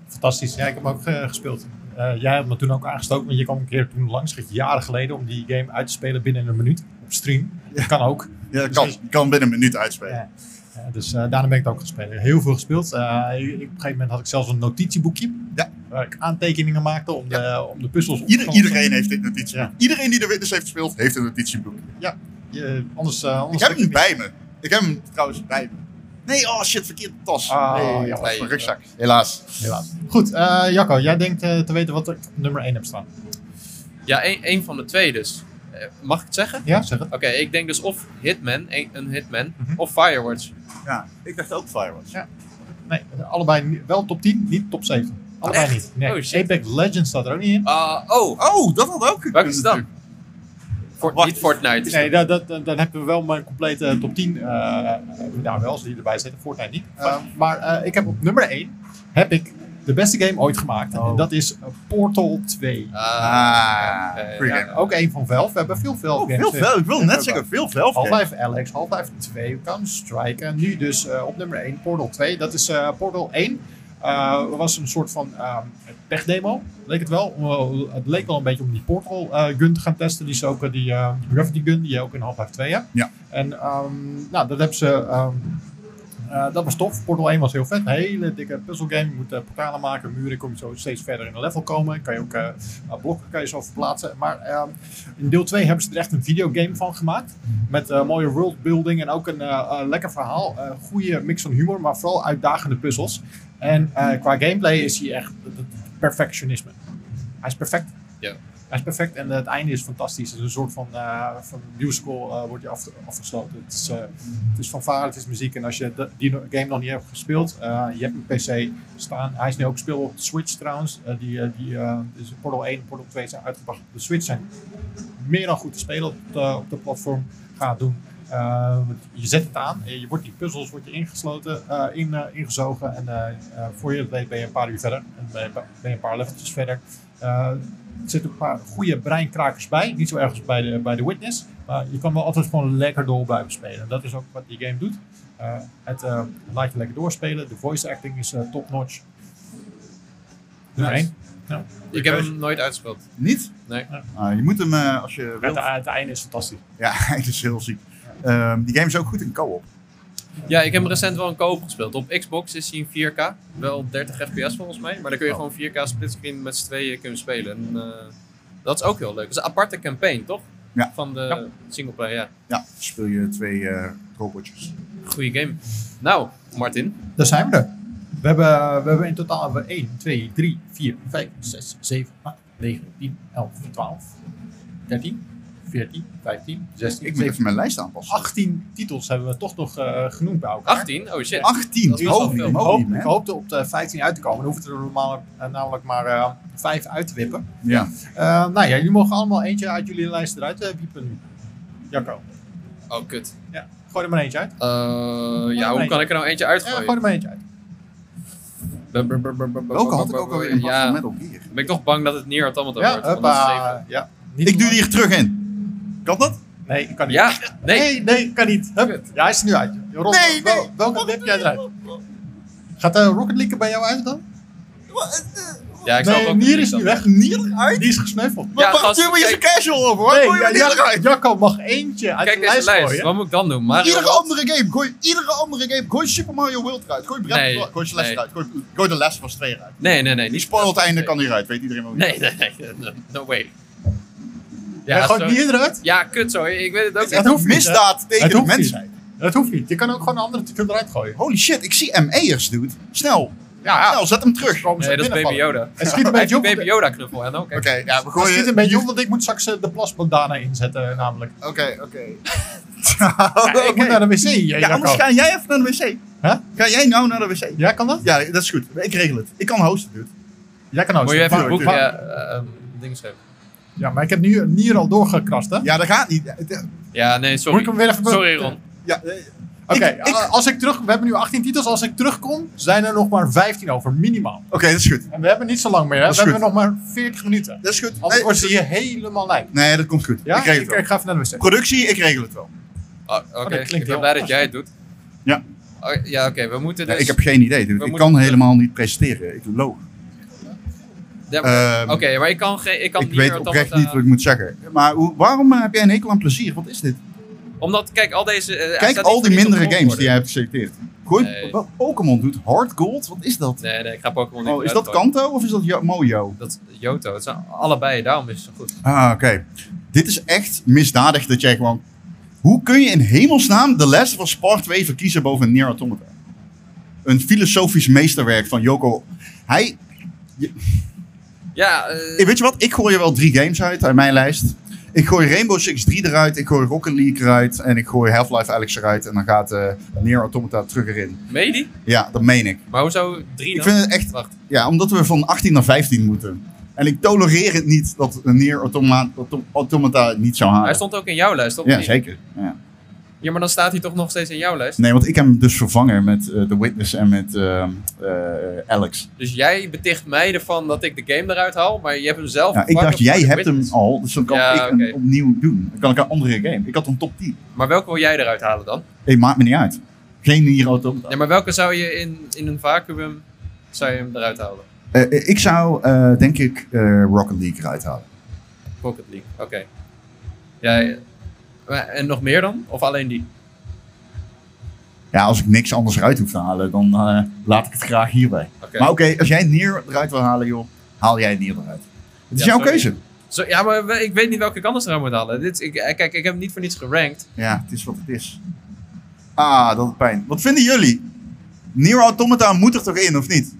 Speaker 1: Fantastisch. Ja, ik heb hem ook eh, gespeeld. Eh, jij hebt me toen ook aangestoken, want je kwam een keer toen langs, echt jaren geleden, om die game uit te spelen binnen een minuut op stream. Dat kan ook.
Speaker 3: Ja, dat kan, Je kan binnen een minuut uitspelen.
Speaker 1: Ja. Ja, dus eh, daarna ben ik het ook gespeeld. Heel veel gespeeld. Eh, ik- op een gegeven moment had ik zelfs een notitieboekje.
Speaker 3: Ja.
Speaker 1: Waar ik aantekeningen maakte om de, om de puzzels op te
Speaker 3: Ieder,
Speaker 1: lossen.
Speaker 3: iedereen heeft dit notitieboek.
Speaker 1: Ja.
Speaker 3: Iedereen die de Witness heeft gespeeld, heeft een notitieboek.
Speaker 1: Je- anders, eh,
Speaker 3: Ik
Speaker 1: anders
Speaker 3: heb hem bij me. Ik heb hem trouwens bij me. Nee, oh shit, verkeerde tas.
Speaker 1: Ah,
Speaker 3: nee,
Speaker 1: jammer.
Speaker 3: dat is mijn rugzak. Helaas.
Speaker 1: Helaas. Goed, eh, Jacco, jij denkt eh, te weten wat er op nummer 1 heb staan.
Speaker 2: Ja, één één van de twee dus. Eh, mag ik het zeggen?
Speaker 1: Ja, zeg het.
Speaker 2: Oké, ik denk dus of Hitman, een, een Hitman,
Speaker 1: Mhm.
Speaker 2: of Firewatch.
Speaker 3: Ja, ik dacht ook Firewatch.
Speaker 1: Ja. Nee, allebei ni- wel top 10, niet top 7. Allebei
Speaker 2: Echt?
Speaker 1: niet. Nee.
Speaker 2: Oh, shit.
Speaker 1: Apex Legends staat er ook niet in.
Speaker 2: Ah, oh,
Speaker 3: Oh, dat had ook gekund.
Speaker 2: welke is het dan?
Speaker 3: natuurlijk.
Speaker 2: Fort-
Speaker 3: Wacht.
Speaker 2: niet Fortnite.
Speaker 1: Nee, dat, dat, dat- dan hebben we wel mijn complete eh, top 10. eh nou, wel als die erbij zitten. Fortnite niet. Eh, maar eh, ik heb op nummer 1 heb ik de beste game ooit gemaakt. En
Speaker 3: Oh.
Speaker 1: dat is eh, Portal 2.
Speaker 2: Ah,
Speaker 3: Ah,
Speaker 2: eh,
Speaker 3: free
Speaker 2: ja.
Speaker 3: game.
Speaker 1: Ook één van Valve. We hebben veel Valve
Speaker 3: Oh,
Speaker 1: games. eh.
Speaker 3: veel Valve. Ik wil net
Speaker 1: Valve.
Speaker 3: zeggen, veel Valve. games.
Speaker 1: Half-Life Alex, Half-Life 2, Counter-Strike. En nu dus eh, op nummer 1 Portal 2. Dat is eh, Portal 1. eh, was een soort van ehm tech-demo, leek het wel. Om, eh, het leek wel een beetje om die Portal-gun te gaan testen. Die is ook eh, die eh, Gravity Gun, die je ook in Half-Life 2 hebt.
Speaker 3: Ja.
Speaker 1: En ehm, nou, dat hebben ze... ehm, eh, dat was tof. Portal 1 was heel vet. Een hele dikke puzzelgame. Je moet eh, portalen maken, muren. Kom je zo steeds verder in een level komen. Kan je ook eh, eh, blokken kan je zo verplaatsen. Maar ehm, in deel 2 hebben ze er echt een videogame van gemaakt. Met eh, mooie worldbuilding en ook een eh, eh, lekker verhaal. Eh goede mix van humor, maar vooral uitdagende puzzels. En eh, qua gameplay is hij echt het- het perfectionisme. Hij is perfect.
Speaker 2: Ja.
Speaker 1: Hij is perfect en eh, het einde is fantastisch. Het is een soort van, eh, van musical eh wordt je afge- afgesloten. Het is, eh het is fanfare, het is muziek. En als je de- die no- game nog niet hebt gespeeld, eh, je hebt een PC staan. Hij is nu ook speelbaar op de Switch trouwens. Eh, die, eh, die, eh, dus Portal 1 en Portal 2 zijn uitgebracht op de Switch. Zijn meer dan goed te spelen op de, op de platform. Ga het doen. Eh, want je zet het aan, en je wordt die puzzels wordt je ingesloten, eh, in, eh, ingezogen. En eh, eh, voor je het weet ben je een paar uur verder. En ben je, ben je een paar leveltjes verder. Eh, er zitten een paar goede breinkrakers bij. Niet zo erg als bij de, bij de Witness. Maar je kan wel altijd gewoon lekker door blijven spelen. En dat is ook wat die game doet. Eh, het eh, laat je lekker doorspelen. De voice acting is eh, top notch. Nummer
Speaker 2: Nice.
Speaker 1: één. Ja.
Speaker 2: Ik heb hem nooit uitgespeeld.
Speaker 3: Niet?
Speaker 2: Nee.
Speaker 3: Ah, je moet hem eh, als je
Speaker 1: Het,
Speaker 3: wil.
Speaker 1: het einde is fantastisch.
Speaker 3: Ja, [LAUGHS] hij is heel ziek. Ehm, die game is ook goed in co-op.
Speaker 2: Ja, ik heb hem recent wel een koop gespeeld. Op Xbox is hij in 4K. Wel 30 fps volgens mij. Maar dan kun je
Speaker 3: Oh.
Speaker 2: gewoon 4K splitscreen met z'n tweeën kunnen spelen. En, eh, dat is ook heel leuk. Het is een aparte campaign, toch?
Speaker 3: Ja.
Speaker 2: Van de
Speaker 1: Ja.
Speaker 2: singleplayer, ja.
Speaker 3: Ja, speel je twee eh, robotjes.
Speaker 2: Goeie game. Nou, Martin.
Speaker 1: Daar zijn we er. We hebben, we hebben in totaal hebben we 1, 2, 3, 4, 5, 6, 7, 8, 9, 10, 11, 12, 13, 14, 15, 16,
Speaker 3: Ik moet
Speaker 1: 17,
Speaker 3: even mijn lijst aanpassen.
Speaker 1: 18 titels hebben we toch nog eh, genoemd bij elkaar.
Speaker 2: 18? Oh shit.
Speaker 3: 18,
Speaker 2: Dat is wel
Speaker 3: holy
Speaker 2: veel.
Speaker 1: Ik, hoop,
Speaker 3: moly,
Speaker 1: ik
Speaker 3: man.
Speaker 1: hoopte op de 15 uit te komen. Dan hoeft er normaal, eh, namelijk maar eh 5 uit te wippen.
Speaker 3: Ja.
Speaker 1: Eh, nou ja, jullie mogen allemaal eentje uit jullie lijst eruit eh, wiepen nu. Jacco.
Speaker 2: Oh, kut.
Speaker 1: Ja, gooi er maar eentje uit.
Speaker 2: Eh, ja, hoe kan ik er nou eentje
Speaker 1: Ja, gooi
Speaker 2: uitgooien?
Speaker 1: er maar eentje uit.
Speaker 3: Welke had ik ook alweer in plaats
Speaker 2: Ja,
Speaker 3: van Metal Gear?
Speaker 2: ben ik toch bang dat het Nier Automata
Speaker 1: Ja,
Speaker 2: wordt. want dat is zeven.
Speaker 1: hoppa. Ja, niet
Speaker 3: Ik duw
Speaker 1: normaal.
Speaker 3: die er terug in. Kan dat?
Speaker 1: Nee, ik kan niet.
Speaker 2: Ja, nee.
Speaker 1: Nee, nee, kan niet. Hup. Ja, hij is er nu uit. Ron,
Speaker 3: Nee,
Speaker 1: wel-
Speaker 3: nee.
Speaker 1: Welke heb jij eruit? Gaat eh Rocket League er bij jou uit dan?
Speaker 2: Ja, ik zou
Speaker 1: nee,
Speaker 2: ook
Speaker 1: Nier
Speaker 2: niet
Speaker 1: is
Speaker 2: dat-
Speaker 1: nu weg.
Speaker 3: Nier eruit?
Speaker 1: Die is gesneuveld.
Speaker 2: Ja,
Speaker 3: maar
Speaker 2: gast,
Speaker 3: wacht, je
Speaker 2: kijk-
Speaker 3: er casual over. Waar gooi je Nier eruit?
Speaker 1: Jacco mag eentje uit
Speaker 2: Kijk
Speaker 1: de
Speaker 2: eens
Speaker 1: lijst
Speaker 2: de lijst.
Speaker 1: gooien.
Speaker 2: Wat moet ik dan doen? Mario
Speaker 3: Iedere andere game, gooi iedere andere game. Gooi Super Mario World eruit. Gooi Breath of
Speaker 2: Nee,
Speaker 3: the Wild- gooi Slash
Speaker 2: nee.
Speaker 3: eruit. Gooi, gooi de Last was 2 eruit.
Speaker 2: Nee, nee, nee.
Speaker 3: Die
Speaker 2: Niet
Speaker 3: spoil het einde
Speaker 2: nee.
Speaker 3: kan hieruit, weet iedereen wel. wie.
Speaker 2: Nee, nee, nee. No, no way.
Speaker 1: Hij
Speaker 2: Ja,
Speaker 1: gooit
Speaker 2: sorry.
Speaker 1: Nier eruit?
Speaker 2: ja, kut zo. Ik weet het ook
Speaker 3: Het
Speaker 2: niet.
Speaker 1: Het hoeft
Speaker 3: is
Speaker 1: niet,
Speaker 3: misdaad tegen
Speaker 1: Het
Speaker 3: de
Speaker 1: hoeft niet.
Speaker 3: mensheid.
Speaker 1: Dat hoeft niet. Je kan ook gewoon een andere titel eruit gooien.
Speaker 3: Holy shit, ik zie ME'ers, dude. Snel. Ja, snel, zet hem terug. Oké,
Speaker 2: Nee, dat is Baby Yoda.
Speaker 1: Het schiet een
Speaker 2: [LAUGHS] Hij heeft
Speaker 1: beetje
Speaker 2: die
Speaker 1: op.
Speaker 2: Baby
Speaker 1: Het
Speaker 2: Yoda knuffel en ook. hè. nou,
Speaker 3: ja, we
Speaker 1: schiet
Speaker 3: gooien...
Speaker 1: een beetje op, want ik moet straks eh, de plasbandana inzetten namelijk.
Speaker 3: Oké, oké.
Speaker 2: [LAUGHS]
Speaker 1: Ja, ik moet naar de wc, eh,
Speaker 3: Ja,
Speaker 1: Jacco.
Speaker 3: anders ga jij even naar de wc.
Speaker 1: Huh?
Speaker 3: Ga jij nou naar de wc?
Speaker 1: Ja, kan dat?
Speaker 3: Ja, dat is goed. Ik regel het. Ik kan hosten, dude.
Speaker 1: Jij kan ook.
Speaker 2: Moet je even
Speaker 1: Maar-
Speaker 2: een boek,
Speaker 1: maar-
Speaker 2: ja, eh, ehm, ding schrijven.
Speaker 1: Ja, maar ik heb nu Nier al doorgekrast, hè?
Speaker 3: Ja, dat gaat niet. Ja, het-
Speaker 2: Ja, nee,
Speaker 1: Moet ik hem
Speaker 2: sorry.
Speaker 1: weer even...
Speaker 2: Sorry, Ron.
Speaker 3: Ja, eh,
Speaker 1: Oké,
Speaker 3: Ik- ik-
Speaker 1: a- als ik terug... We hebben nu 18 titels. Als ik terugkom, zijn er nog maar 15 over, minimaal.
Speaker 3: Oké, dat is goed.
Speaker 1: En we hebben niet zo lang meer, hè?
Speaker 3: Dat
Speaker 1: We
Speaker 3: is
Speaker 1: hebben
Speaker 3: goed.
Speaker 1: nog maar 40 minuten.
Speaker 3: Dat is goed.
Speaker 1: Anders wordt ze
Speaker 3: Nee,
Speaker 1: hier helemaal lijp.
Speaker 3: nee, dat komt goed.
Speaker 1: Ja?
Speaker 3: Ik regel
Speaker 1: Ik,
Speaker 3: het wel.
Speaker 1: ik ga even naar de wc.
Speaker 3: Productie, ik regel het wel.
Speaker 2: Oh, Oké,
Speaker 1: dat klinkt
Speaker 2: ik ben
Speaker 1: heel
Speaker 2: blij dat
Speaker 1: anders.
Speaker 2: jij het doet.
Speaker 3: Ja.
Speaker 2: Oh, ja, oké, we moeten
Speaker 3: Ja,
Speaker 2: dus...
Speaker 3: ik heb geen idee, dude.
Speaker 2: We
Speaker 3: Ik
Speaker 2: moeten-
Speaker 3: kan helemaal niet presteren. Ik loog.
Speaker 2: Ja, maar-
Speaker 3: Ehm,
Speaker 2: Oké, maar ik kan geen... Ik, kan
Speaker 3: ik
Speaker 2: Nier
Speaker 3: weet oprecht
Speaker 2: Automata-
Speaker 3: niet wat ik moet zeggen. Maar hoe, waarom eh, heb jij een hekel aan plezier? Wat is dit?
Speaker 2: Omdat, kijk, al deze... eh, hij
Speaker 3: Kijk
Speaker 2: staat
Speaker 3: al
Speaker 2: niet
Speaker 3: die
Speaker 2: voor niets op
Speaker 3: mindere games
Speaker 2: volgorde.
Speaker 3: die jij hebt geselecteerd. Gooi
Speaker 2: Nee.
Speaker 3: wel, Pokémon, doet Hard Gold? Wat is dat?
Speaker 2: Nee, nee, ik ga Pokémon niet
Speaker 3: Oh, is dat
Speaker 2: uitgooien.
Speaker 3: Kanto of is dat Jo- Mojo?
Speaker 2: Dat is Johto. Het zijn allebei, daarom is het zo goed.
Speaker 3: Ah, oké. Dit is echt misdadig dat jij gewoon... Hoe kun je in hemelsnaam de les van Sport 2 verkiezen boven Nier Automata? Een filosofisch meesterwerk van Yoko. Hij...
Speaker 2: Ja, eh,
Speaker 3: Weet je wat? Ik gooi er wel drie games uit uit mijn lijst. Ik gooi Rainbow Six 3 eruit. Ik gooi Rocket League eruit. En ik gooi Half-Life Alyx eruit. En dan gaat eh Nier Automata terug erin.
Speaker 2: meen je die?
Speaker 3: Ja, dat meen ik.
Speaker 2: Maar hoezo drie
Speaker 3: Ik
Speaker 2: dan?
Speaker 3: vind het echt...
Speaker 2: Wacht.
Speaker 3: Ja, omdat we van 18 naar 15 moeten. En ik tolereer het niet dat een Nier Automa Autom- Automata het niet zou halen.
Speaker 2: Hij stond ook in jouw lijst, toch?
Speaker 3: Ja,
Speaker 2: Niet?
Speaker 3: zeker. Ja.
Speaker 2: Ja, maar dan staat hij toch nog steeds in jouw lijst.
Speaker 3: Nee, want ik heb hem dus vervangen met eh, The Witness en met eh, eh, Alex.
Speaker 2: Dus jij beticht mij ervan dat ik de game eruit haal, maar je hebt hem zelf.
Speaker 3: Ja, Nou, ik
Speaker 2: vervangen
Speaker 3: dacht, jij
Speaker 2: voor de
Speaker 3: hebt hem
Speaker 2: Witness.
Speaker 3: al, dus dan kan
Speaker 2: Ja,
Speaker 3: ik hem
Speaker 2: oké.
Speaker 3: opnieuw doen. Dan kan ik een andere game. Ik had een top 10.
Speaker 2: Maar welke wil jij eruit halen dan?
Speaker 3: Hey, maakt me niet uit. Geen Nier Automata.
Speaker 2: Nee, maar welke zou je in, in een vacuüm zou je hem eruit halen?
Speaker 3: Eh, eh, ik zou, eh, denk ik, eh, Rocket League eruit halen.
Speaker 2: Rocket League, oké. Ja, ja. Maar- en nog meer dan? Of alleen die?
Speaker 3: Ja, als ik niks anders eruit hoef te halen, dan eh, laat ik het graag hierbij.
Speaker 2: Oké.
Speaker 3: Maar oké, als jij Nier eruit wil halen, joh, haal jij Nier eruit. Het is
Speaker 2: Ja,
Speaker 3: jouw
Speaker 2: sorry.
Speaker 3: keuze.
Speaker 2: Zo, ja, maar we- ik weet niet welke ik anders eruit moet halen. Dit, ik, eh, kijk, ik heb hem niet voor niets gerankt.
Speaker 3: Ja, het is wat het is. Ah, dat is pijn. Wat vinden jullie? Nier Automata moet er toch in, of niet?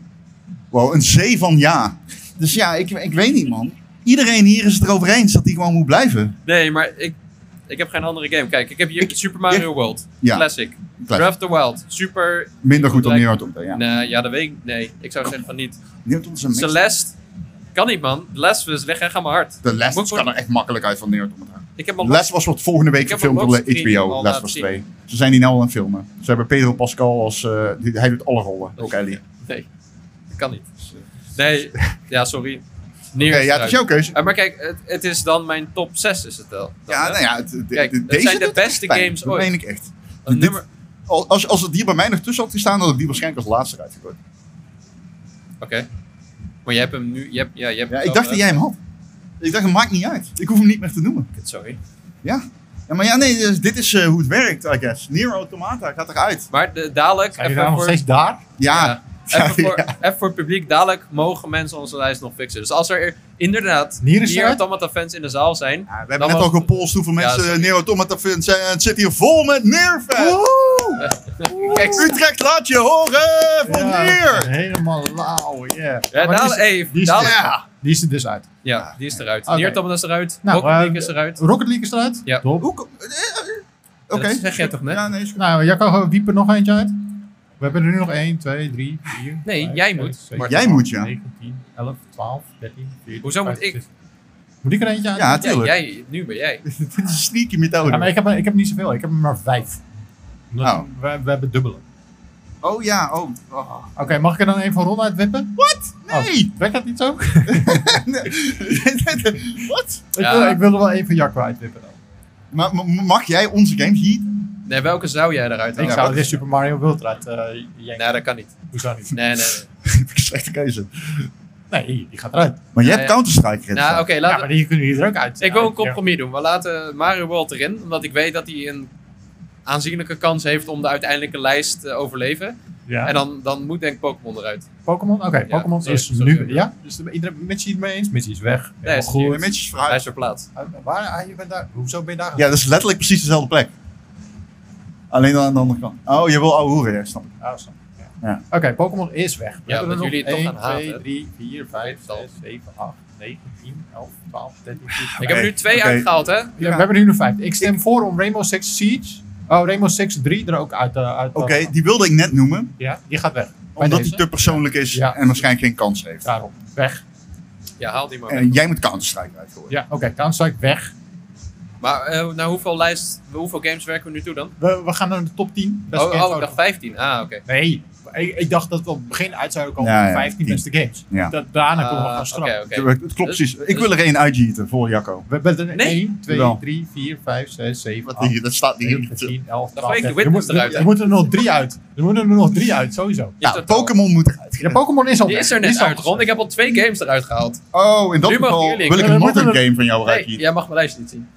Speaker 3: Wow, een C van ja. Dus ja, ik, ik weet niet, man. Iedereen hier is het erover eens dat die gewoon moet blijven.
Speaker 2: Nee, maar ik, ik heb geen andere game. Kijk, ik heb hier
Speaker 3: Ik-
Speaker 2: Super Mario World.
Speaker 3: Ja.
Speaker 2: Classic.
Speaker 3: Klaar.
Speaker 2: Breath of the Wild. Super...
Speaker 3: Minder goed dan
Speaker 2: Lijkt-
Speaker 3: Nier Automata, ja.
Speaker 2: Nee, ja, dat weet ik. Nee, ik zou zeggen van niet.
Speaker 3: Nier Automata is een mix.
Speaker 2: Celeste. Kan niet, man. The Last was weg en ga maar hard.
Speaker 3: De les
Speaker 2: Moet-
Speaker 3: kan er echt makkelijk uit van Nier Automata.
Speaker 2: Ik heb al
Speaker 3: Les was wat volgende week
Speaker 2: Ik heb
Speaker 3: gefilmd
Speaker 2: hem
Speaker 3: door
Speaker 2: ook gezien,
Speaker 3: HBO,
Speaker 2: al
Speaker 3: Les
Speaker 2: laten
Speaker 3: was
Speaker 2: zien.
Speaker 3: 2. Ze zijn die nou al aan het filmen. Ze hebben Pedro Pascal als... eh, die- hij doet alle rollen, ook Ellie.
Speaker 2: Nee, dat kan niet. Nee, ja, sorry. Neer
Speaker 3: Oké, ja, het is jouw keuze.
Speaker 2: Eh, maar kijk, het, het is dan mijn top 6 is het wel. Dan,
Speaker 3: Ja,
Speaker 2: hè?
Speaker 3: nou ja, het, de-
Speaker 2: Kijk,
Speaker 3: de-
Speaker 2: dat
Speaker 3: deze
Speaker 2: zijn de
Speaker 3: doet echt
Speaker 2: beste
Speaker 3: pijn.
Speaker 2: games
Speaker 3: dat
Speaker 2: ooit.
Speaker 3: meen ik echt.
Speaker 2: Een
Speaker 3: Dit-
Speaker 2: nummer...
Speaker 3: Al- Als, als het hier bij mij nog tussen had gestaan, had ik die waarschijnlijk als laatste uitgegooid.
Speaker 2: Oké. Maar je hebt hem nu... Je hebt, ja, je hebt
Speaker 3: Ja,
Speaker 2: hem
Speaker 3: ik
Speaker 2: wel,
Speaker 3: dacht dat
Speaker 2: eh,
Speaker 3: jij hem had. Ik dacht, het maakt niet uit. Ik hoef hem niet meer te noemen.
Speaker 2: Sorry.
Speaker 3: Ja. ja maar ja, nee, dus dit is eh, hoe het werkt, I guess. Nier Automata gaat eruit.
Speaker 2: Maar de- dadelijk...
Speaker 1: Zijn
Speaker 2: even
Speaker 1: jullie daar nog
Speaker 2: voor-
Speaker 1: steeds daar?
Speaker 3: Ja.
Speaker 2: Ja. Even,
Speaker 3: Ja,
Speaker 2: voor,
Speaker 3: ja.
Speaker 2: even voor het publiek, dadelijk mogen mensen onze lijst nog fixen. Dus als er e- inderdaad
Speaker 1: Nier is
Speaker 2: Nier
Speaker 1: eruit?
Speaker 2: Automata fans in de zaal zijn...
Speaker 3: Ja, we
Speaker 2: dan
Speaker 3: hebben net
Speaker 2: was-
Speaker 3: al gepolst hoeveel mensen
Speaker 2: sorry.
Speaker 3: Nier Automata fans zijn. en Het zit hier vol met Nier fans.
Speaker 2: Kijk,
Speaker 3: Utrecht laat je horen van
Speaker 1: Ja,
Speaker 3: Nier.
Speaker 1: Helemaal lauw, yeah.
Speaker 2: ja,
Speaker 1: Maar die
Speaker 2: dadelijk,
Speaker 1: is-
Speaker 2: hey,
Speaker 1: die is-
Speaker 2: dadelijk-
Speaker 3: Ja.
Speaker 1: Die is er dus uit.
Speaker 2: ja, die is eruit.
Speaker 1: Oké.
Speaker 2: Nier Automata is eruit,
Speaker 1: Nou,
Speaker 2: Rocket League
Speaker 1: eh,
Speaker 2: is eruit.
Speaker 1: Rocket League is eruit?
Speaker 2: Ja.
Speaker 1: Top.
Speaker 3: Hoe kom- eh, eh, Oké.
Speaker 2: Dat zeg jij toch net?
Speaker 3: Ja, nee, is goed. [LAUGHS]
Speaker 1: Nou, Jacco, wiep er nog eentje uit. We hebben er nu nog 1, 2, 3, 4.
Speaker 2: Nee, jij moet, Martin.
Speaker 3: Jij moet, ja.
Speaker 1: 9, 10, 11, 12, 13, 14.
Speaker 2: Hoezo moet
Speaker 1: 15,
Speaker 2: ik?
Speaker 1: 16. Moet ik er eentje uit?
Speaker 3: Ja,
Speaker 1: Ja,
Speaker 2: Ja,
Speaker 3: natuurlijk.
Speaker 2: jij, nu ben jij.
Speaker 3: Dit is sneaky methode.
Speaker 1: maar ik heb, ik heb niet zoveel. Ik heb er maar 5.
Speaker 3: Oh.
Speaker 1: We, we hebben dubbele.
Speaker 3: Oh ja, oh. oh. [LAUGHS]
Speaker 1: Oké, mag ik er dan een van Ron uitwippen? Oh,
Speaker 3: Nee!
Speaker 1: Werkt dat niet zo?
Speaker 3: [LAUGHS] Wat? Nou
Speaker 1: Ik,
Speaker 2: Ja.
Speaker 1: wil, ik wil er wel één van Jacco uitwippen dan.
Speaker 3: Maar m- mag jij onze games hier? [LAUGHS]
Speaker 2: Nee, welke zou jij eruit
Speaker 1: Ik
Speaker 2: halen?
Speaker 1: zou
Speaker 3: wat-
Speaker 1: de Super Mario World eruit eh, jenken.
Speaker 2: Nee, dat kan niet.
Speaker 1: Hoezo niet?
Speaker 2: Nee, nee. nee.
Speaker 3: Heb ik een slechte keuze.
Speaker 1: Nee, die gaat eruit.
Speaker 3: Maar jij
Speaker 2: Ja,
Speaker 3: hebt
Speaker 2: ja.
Speaker 3: Counter-Strike erin
Speaker 2: Nou, oké,
Speaker 3: staan.
Speaker 1: Ja,
Speaker 2: laten
Speaker 1: maar die kunnen jullie er ook uit.
Speaker 2: Ik wil een
Speaker 1: uitjenken.
Speaker 2: compromis doen. We laten Mario World erin, omdat ik weet dat hij een aanzienlijke kans heeft om de uiteindelijke lijst te overleven.
Speaker 1: Ja.
Speaker 2: En dan, dan moet denk ik Pokémon eruit.
Speaker 1: Pokémon? Oké,
Speaker 2: Ja,
Speaker 1: Pokémon
Speaker 2: sorry,
Speaker 1: is
Speaker 2: sorry.
Speaker 1: nu. Ja? Dus iedereen, Mitchie het mee eens? Mitchie is weg. Helemaal
Speaker 2: is hier.
Speaker 1: goed.
Speaker 3: De match is
Speaker 2: Hij
Speaker 3: verhuisd.
Speaker 2: is verplaatst.
Speaker 1: Uh, Waar? Ah, je bent daar. Hoezo ben je daar?
Speaker 3: Ja, dat is letterlijk precies dezelfde plek. Alleen dan aan de andere kant. Oh, je wil ouwe hoeren, ja, snap ik.
Speaker 1: Ah, zo. Ja.
Speaker 3: Ja.
Speaker 1: Oké, Pokémon is weg.
Speaker 2: Ja,
Speaker 1: hebben
Speaker 2: dat
Speaker 1: er
Speaker 2: jullie het
Speaker 1: nog
Speaker 2: toch
Speaker 1: 1,
Speaker 2: gaan
Speaker 1: 2,
Speaker 2: haten.
Speaker 1: 3, 4, 5,
Speaker 2: Zal.
Speaker 1: 6, 7, 8, 9, 10, 11, 12, 13, 14.
Speaker 2: Ik heb er nu twee
Speaker 3: oké.
Speaker 2: uitgehaald, hè?
Speaker 1: Ja, we hebben er nu nog vijf. Ik stem voor om Rainbow Six Siege. Oh, Rainbow Six 3 er ook uit. eh, uit
Speaker 3: Oké, die wilde ik net noemen.
Speaker 1: Ja, die gaat weg. Bij
Speaker 3: Omdat
Speaker 1: deze.
Speaker 3: hij te persoonlijk is
Speaker 1: Ja.
Speaker 3: en waarschijnlijk geen kans heeft.
Speaker 1: Daarom. Weg.
Speaker 2: Ja, haal die maar weg.
Speaker 3: En jij moet Counter-Strike uitgooien.
Speaker 1: Ja, oké. Counter-Strike weg.
Speaker 2: Maar eh naar hoeveel, lijst, hoeveel games werken we nu toe dan?
Speaker 1: We, we gaan naar de top 10.
Speaker 2: Oh,
Speaker 1: Beste games
Speaker 2: oh, ik
Speaker 1: ooit.
Speaker 2: dacht 15. Ah, oké.
Speaker 1: Nee, ik, ik dacht dat we op het begin uit zouden komen
Speaker 3: Ja,
Speaker 1: met
Speaker 3: ja,
Speaker 1: 15
Speaker 3: tien.
Speaker 1: beste games.
Speaker 3: Ja.
Speaker 1: Dat, daarna komen we
Speaker 2: Ah,
Speaker 1: gaan schrappen.
Speaker 2: oké, oké. Dus-
Speaker 3: Het klopt precies. Ik wil er één uitgieten voor Jacco.
Speaker 1: We hebben er
Speaker 2: Nee.
Speaker 1: 1, 2,
Speaker 3: Jawel.
Speaker 1: 3, 4, 5, 6, 7,
Speaker 3: Wat
Speaker 1: 8,
Speaker 2: Ah.
Speaker 3: hier, dat staat hier.
Speaker 1: 9, 10, 11,
Speaker 2: Dan
Speaker 1: 12,
Speaker 2: gooi ik de
Speaker 1: 13. Er moet-
Speaker 2: Witness eruit,
Speaker 1: Er
Speaker 2: hè?
Speaker 1: moeten er nog drie uit. Er moeten er nog drie uit, sowieso.
Speaker 2: Die is
Speaker 3: Ja,
Speaker 2: er al.
Speaker 3: Pokémon moet eruit.
Speaker 1: Ja, Pokémon is al
Speaker 2: Die
Speaker 1: weg.
Speaker 2: is er net
Speaker 1: al
Speaker 2: uit, Ron. Ik heb al twee games eruit gehaald.
Speaker 3: Oh, in dat
Speaker 2: Nu mag
Speaker 3: geval
Speaker 2: jullie.
Speaker 3: wil ik
Speaker 1: We
Speaker 3: een modern
Speaker 1: moeten er-
Speaker 3: game van jou
Speaker 2: Nee,
Speaker 3: uitgieten.
Speaker 2: jij mag mijn lijst niet zien.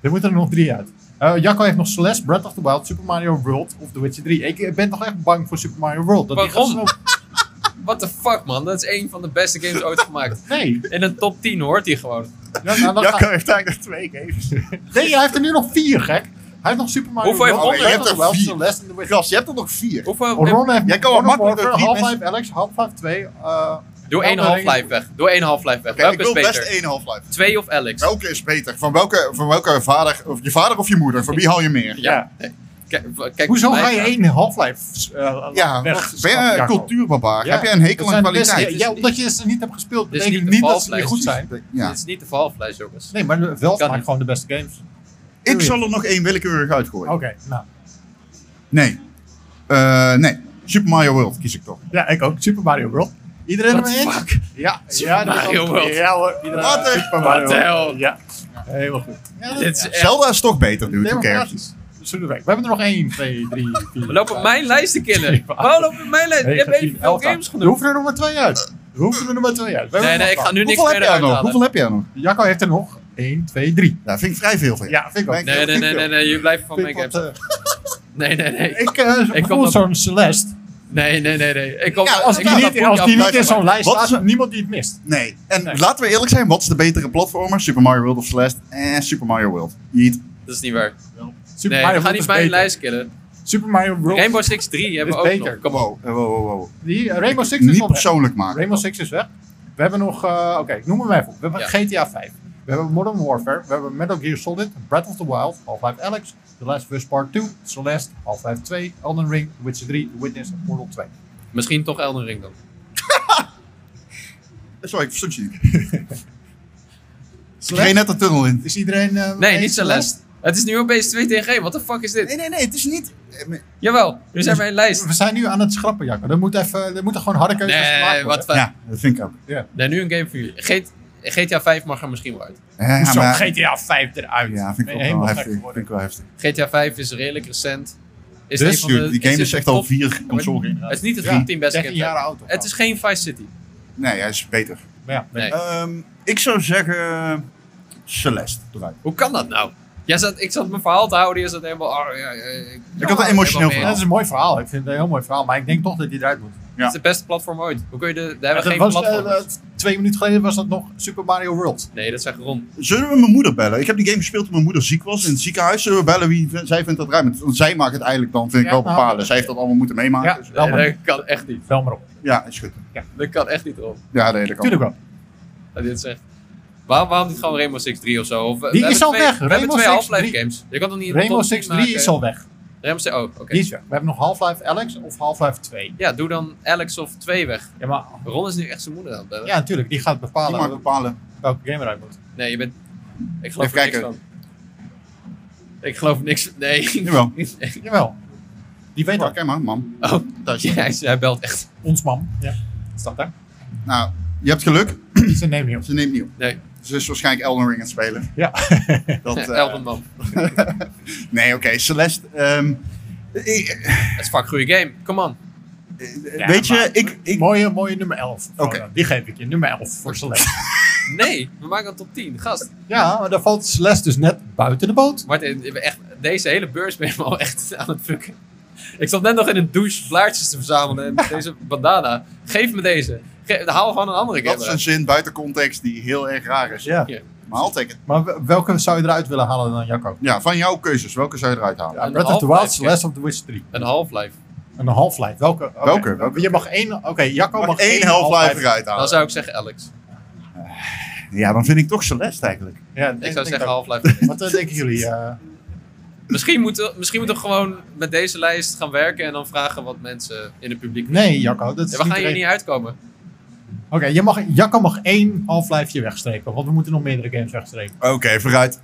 Speaker 1: Er moeten er nog drie uit. Eh, Jacco heeft nog Celeste, Breath of the Wild, Super Mario World of The Witcher 3. Ik ben toch echt bang voor Super Mario World. Dat die
Speaker 2: Waarom?
Speaker 1: gaat zo-
Speaker 2: What the fuck, man? Dat is een van de beste games ooit
Speaker 3: [LAUGHS]
Speaker 2: gemaakt.
Speaker 1: Nee.
Speaker 2: In een top 10 hoort hij gewoon.
Speaker 1: Ja, nou, dan
Speaker 3: Jacco
Speaker 1: ga-
Speaker 3: heeft eigenlijk nog twee games.
Speaker 1: nee, hij heeft er nu nog vier, gek. Hij heeft nog Super Mario
Speaker 2: Hoeveel heeft
Speaker 1: World,
Speaker 2: Ron?
Speaker 1: Breath of the
Speaker 3: Hij heeft
Speaker 1: Wild,
Speaker 3: er vier.
Speaker 1: Celeste en The Witcher
Speaker 3: Gras, je hebt er nog
Speaker 2: [LAUGHS]
Speaker 3: vier.
Speaker 2: Hoeveel?
Speaker 1: Oh, Ron heeft
Speaker 3: Jij kan wel
Speaker 1: Modern
Speaker 3: makkelijk
Speaker 1: Warfare,
Speaker 3: door drie
Speaker 1: Half-Life Alex, Half-Life 2. eh
Speaker 2: Doe één
Speaker 1: Elden Ring.
Speaker 2: Half-Life weg. Doe één Half-Life weg.
Speaker 3: Oké, ik
Speaker 2: Welke is
Speaker 3: wil best
Speaker 2: beter?
Speaker 3: één Half-Life.
Speaker 2: Twee of Alex?
Speaker 3: Welke is beter? Van welke, van welke vader, of je vader of je moeder? Van wie haal je meer?
Speaker 2: Ja. Nee. Kijk, w- eh, kijk,
Speaker 1: Hoezo
Speaker 2: mij
Speaker 1: ga je
Speaker 2: vragen.
Speaker 1: één Half-Life eh
Speaker 3: Ja,
Speaker 1: weg?
Speaker 3: wat, ben je een cultuurbarbaar?
Speaker 1: Ja.
Speaker 3: Heb je een hekel
Speaker 1: Dat
Speaker 3: aan
Speaker 1: zijn de beste-
Speaker 3: kwaliteit?
Speaker 1: Ja, ja, omdat je ze niet hebt gespeeld,
Speaker 2: Dit is
Speaker 1: betekent
Speaker 2: niet
Speaker 1: niet,
Speaker 2: de
Speaker 1: dat ze niet
Speaker 2: valslijst.
Speaker 1: goed zijn.
Speaker 3: Ja.
Speaker 2: Dit is niet de Half-Life, jongens.
Speaker 1: Nee, maar wel
Speaker 2: Kan
Speaker 1: maakt
Speaker 2: niet.
Speaker 1: gewoon de beste games.
Speaker 3: Ik zal er nog één willekeurig uitgooien.
Speaker 1: Oké, nou.
Speaker 3: Nee. Eh, nee. Super Mario World kies ik toch.
Speaker 1: Ja, ik ook. Super Mario World. Iedereen
Speaker 2: What
Speaker 1: ermee
Speaker 2: the
Speaker 1: eens?
Speaker 2: fuck?
Speaker 1: Ja,
Speaker 2: Super
Speaker 1: ja, dat is
Speaker 2: Mario
Speaker 1: ook-
Speaker 2: World.
Speaker 1: Ja hoor, iedereen.
Speaker 3: What the-
Speaker 1: Super
Speaker 2: What
Speaker 1: Mario
Speaker 2: the
Speaker 1: World.
Speaker 2: hell?
Speaker 1: Ja. Helemaal goed. Ja, dat
Speaker 2: Dit
Speaker 1: is
Speaker 2: is echt...
Speaker 3: Zelda is toch beter, dude. Who cares?
Speaker 1: democratisch. Zullen we weg. We hebben er nog één, twee, drie, vier.
Speaker 2: We lopen mijn lijst te killen.
Speaker 1: Zeven, acht,
Speaker 2: Waarom lopen we mijn lijst? [LAUGHS] Je hebt even veel games
Speaker 1: We
Speaker 2: genoemd.
Speaker 1: hoeven er nog maar twee uit. We hoeven er nog maar twee uit. We
Speaker 2: Nee,
Speaker 1: hebben
Speaker 2: nee,
Speaker 1: er
Speaker 2: ik
Speaker 1: nog
Speaker 2: ga nu niks
Speaker 3: Hoeveel
Speaker 2: meer
Speaker 3: heb jij er
Speaker 2: eruit halen.
Speaker 3: nog? Hoeveel heb jij er nog?
Speaker 1: wat. Jacco heeft er nog. 1, 2, 3.
Speaker 3: Ja, vind ik vrij veel van jou.
Speaker 1: Ja, vind ik ook.
Speaker 3: Ben
Speaker 2: Nee, nee, nee, nee, nee. Je blijft van mijn
Speaker 1: Vind
Speaker 2: games.
Speaker 1: wat, eh,
Speaker 2: Nee, nee, nee.
Speaker 1: Ik, eh
Speaker 2: Ik
Speaker 1: ik
Speaker 2: kom op-
Speaker 1: zo'n Celeste.
Speaker 2: Nee, nee, nee, nee. Ik kom...
Speaker 3: Ja,
Speaker 1: Als
Speaker 2: ik
Speaker 1: die
Speaker 2: ga
Speaker 1: niet,
Speaker 2: dat
Speaker 1: als die
Speaker 2: boekje
Speaker 1: niet in zo'n
Speaker 2: afblijven.
Speaker 1: lijst
Speaker 3: Wat
Speaker 1: staat,
Speaker 3: is
Speaker 1: is niemand die het mist.
Speaker 3: Nee. En
Speaker 1: Nee.
Speaker 3: laten we eerlijk zijn, wat is de betere platformer? Super Mario World of Celeste? Eh, Super Mario World. Jeet.
Speaker 2: Dat is niet waar.
Speaker 1: Super
Speaker 2: Nee, we
Speaker 1: Mario
Speaker 2: gaan
Speaker 1: World
Speaker 2: niet
Speaker 1: is
Speaker 2: mijn
Speaker 1: beter.
Speaker 2: lijst killen.
Speaker 1: Super Mario World.
Speaker 2: Rainbow Six 3 hebben we
Speaker 1: Is
Speaker 2: ook
Speaker 1: beter.
Speaker 2: nog. Kom op.
Speaker 3: Wow, wow, wow, wow.
Speaker 1: Die, eh, Rainbow Six is
Speaker 3: Niet
Speaker 1: al weg.
Speaker 3: persoonlijk maken.
Speaker 1: Rainbow Six is weg. We hebben nog, eh, oké, ik noem hem even op. We hebben
Speaker 2: Ja.
Speaker 1: GTA 5. We hebben Modern Warfare. We hebben Metal Gear Solid, Breath of the Wild, Half-Life Alex, The Last of Us Part 2, Celeste, Half-Life 2, Elden Ring, The Witcher 3, The Witness en Portal 2.
Speaker 2: Misschien toch Elden Ring dan.
Speaker 3: Sorry, ik verstond je [LAUGHS] niet. Ik reed net de tunnel in.
Speaker 1: Is iedereen... eh,
Speaker 2: Nee,
Speaker 1: eens?
Speaker 2: niet Celeste. Het is nu opeens 2 tegen 1. Wat de fuck is dit?
Speaker 3: Nee, nee, nee, het is niet... eh, maar-
Speaker 2: Jawel, nu zijn wij een lijst.
Speaker 1: We zijn nu aan het schrappen, Jacco. Er moeten even- er moeten gewoon harde keuzes gemaakt
Speaker 2: Nee,
Speaker 1: worden.
Speaker 2: wat fijn.
Speaker 3: Ja, dat vind ik ook.
Speaker 2: Nee, nu een game voor jullie. G- GTA 5 mag er misschien wel uit.
Speaker 3: Eh, Ja,
Speaker 1: Hoezo?
Speaker 3: maar-
Speaker 1: GTA 5 eruit.
Speaker 3: Ja, vind
Speaker 1: Ben
Speaker 3: ik
Speaker 1: je
Speaker 3: ook wel
Speaker 1: helemaal gek
Speaker 3: heftig. Vind
Speaker 1: geworden.
Speaker 3: ik wel heftig.
Speaker 2: GTA 5 is redelijk recent. Is
Speaker 3: Dus,
Speaker 2: een van de-
Speaker 3: dude, die game is
Speaker 2: in
Speaker 3: echt
Speaker 2: de
Speaker 3: al
Speaker 2: top- Oh,
Speaker 3: vier console
Speaker 2: Het is niet het
Speaker 1: Ja,
Speaker 2: top 10 beste
Speaker 1: 13
Speaker 2: game.
Speaker 1: jaar oud. of
Speaker 2: Het
Speaker 1: zo.
Speaker 2: is geen Vice City.
Speaker 3: Nee, hij is beter.
Speaker 1: Maar ja,
Speaker 2: Nee.
Speaker 3: Ehm, ik zou zeggen... Celeste, eruit.
Speaker 2: Hoe kan dat nou? Jij zat, ik zat mijn verhaal te houden, je zat helemaal... ah, ja, ja, ik
Speaker 3: had een emotioneel
Speaker 1: Ja, dat is een mooi verhaal. Ik vind het een heel mooi verhaal. Maar ik denk toch dat hij eruit moet.
Speaker 2: Het is de beste platform ooit. Hoe kun je de... Daar hebben we
Speaker 1: Dat
Speaker 2: geen
Speaker 1: was,
Speaker 2: platform.
Speaker 1: eh, dat- twee minuten geleden was dat nog Super Mario World.
Speaker 2: nee, dat zegt Ron.
Speaker 3: Zullen we mijn moeder bellen? Ik heb die game gespeeld toen mijn moeder ziek was in het ziekenhuis. Zullen we bellen wie v- zij vindt dat ruim? Want zij maakt het eigenlijk dan, vind ik
Speaker 1: Ja,
Speaker 3: wel
Speaker 1: nou,
Speaker 3: bepalen.
Speaker 1: dat-
Speaker 3: Zij heeft dat allemaal moeten meemaken.
Speaker 1: Ja,
Speaker 3: dus-
Speaker 1: wel maar.
Speaker 2: Nee, dat kan echt niet.
Speaker 1: Wel maar op.
Speaker 3: ja is goed.
Speaker 2: Dat kan echt niet, Ron.
Speaker 3: Ja, nee, dat kan.
Speaker 1: Tuurlijk wel.
Speaker 2: Dat dit zegt. Waarom, waarom niet gewoon Rainbow Six 3 of zo? Of, eh, we- we
Speaker 1: Die is
Speaker 2: hebben
Speaker 1: al
Speaker 2: twee-
Speaker 1: weg.
Speaker 2: We hebben
Speaker 1: Rainbow
Speaker 2: twee
Speaker 1: Six
Speaker 2: Half-Life
Speaker 1: 3.
Speaker 2: games. Je kan toch niet een
Speaker 1: Rainbow
Speaker 2: top 10
Speaker 1: Six 3
Speaker 2: maken?
Speaker 1: is al weg.
Speaker 2: Rainbow Six... Oh, oké.
Speaker 1: Die is weg. We hebben nog Half-Life Alex of Half-Life 2.
Speaker 2: Ja, doe dan Alex of 2 weg.
Speaker 1: Ja, maar,
Speaker 2: Ron is nu echt zijn moeder aan het bellen.
Speaker 1: ja natuurlijk. Die gaat
Speaker 3: Die mag
Speaker 1: bepalen
Speaker 3: bepalen.
Speaker 1: welke game eruit moet.
Speaker 2: Nee, je bent... Ik geloof
Speaker 3: Even
Speaker 2: er niks van. Ik geloof niks... Nee.
Speaker 3: Jawel.
Speaker 2: [LAUGHS] Nee.
Speaker 1: Jawel. Die weet
Speaker 3: Ja,
Speaker 1: dat.
Speaker 3: kijk maar, mam.
Speaker 2: Oh,
Speaker 3: Thuis.
Speaker 2: ja, hij, hij belt echt.
Speaker 1: Ons mam. Ja. Staat [CLEARS THROAT] daar.
Speaker 3: Nou, je hebt geluk.
Speaker 1: Zijn neem niet op.
Speaker 3: Ze neemt niet op.
Speaker 2: Nee,
Speaker 3: Ze is waarschijnlijk Elden Ring aan het
Speaker 1: [LAUGHS]
Speaker 3: spelen.
Speaker 1: Ja.
Speaker 2: [LAUGHS]
Speaker 3: Dat, eh,
Speaker 2: Elden Man.
Speaker 3: [LAUGHS] nee, oké. Celeste. ehm, ik-
Speaker 2: Het is fuck goede game. Come on.
Speaker 3: eh,
Speaker 1: Ja,
Speaker 3: weet je,
Speaker 1: maar-
Speaker 3: ik, ik,
Speaker 1: Mooie, mooie nummer 11. Gewoon,
Speaker 3: Oké.
Speaker 1: eh, Die geef ik je. Nummer 11 voor
Speaker 3: [LAUGHS]
Speaker 1: Celeste.
Speaker 2: Nee, we maken een top 10. Gast.
Speaker 1: ja, maar daar valt Celeste dus net buiten de boot.
Speaker 2: Martin, je bent echt, deze hele beurs ben je me al echt [LAUGHS] aan het fucken. Ik zat net nog in een douche blaartjes te verzamelen en met deze bandana. Geef me deze. Ge haal gewoon een andere game.
Speaker 3: dat is een zin buiten context die heel erg raar is.
Speaker 1: Ja.
Speaker 3: Maar altijd.
Speaker 1: Maar we- welke zou je eruit willen halen dan Jacco?
Speaker 3: Ja, van jouw keuzes. Welke zou je eruit halen?
Speaker 1: Ja,
Speaker 2: Een
Speaker 1: Breath of the
Speaker 2: Half-Life
Speaker 1: Wild, Celeste of the Witcher 3.
Speaker 2: Een Half-Life.
Speaker 1: Een Half-Life. Welke? Oké.
Speaker 3: Welke? Welke?
Speaker 1: Je mag één... Oké, Jacco mag,
Speaker 3: Mag één Half-Life eruit
Speaker 2: Dan
Speaker 3: halen.
Speaker 2: zou ik zeggen Alex.
Speaker 3: Ja, dan vind ik toch Celeste eigenlijk.
Speaker 1: Ja,
Speaker 2: Ik zou zeggen
Speaker 1: ook.
Speaker 2: Half-Life.
Speaker 1: Wat eh, denken jullie?
Speaker 2: [LAUGHS]
Speaker 1: eh,
Speaker 2: misschien, moeten, misschien moeten we gewoon met deze lijst gaan werken en dan vragen wat mensen in het publiek.
Speaker 1: nee, Jacco. Dat is
Speaker 2: Ja, we gaan
Speaker 1: niet
Speaker 2: hier
Speaker 1: de
Speaker 2: niet uitkomen.
Speaker 1: reden. Oké, je mag, Jacco mag één Half-Life wegstrepen. Want we moeten nog meerdere games wegstrepen.
Speaker 3: Oké, vooruit.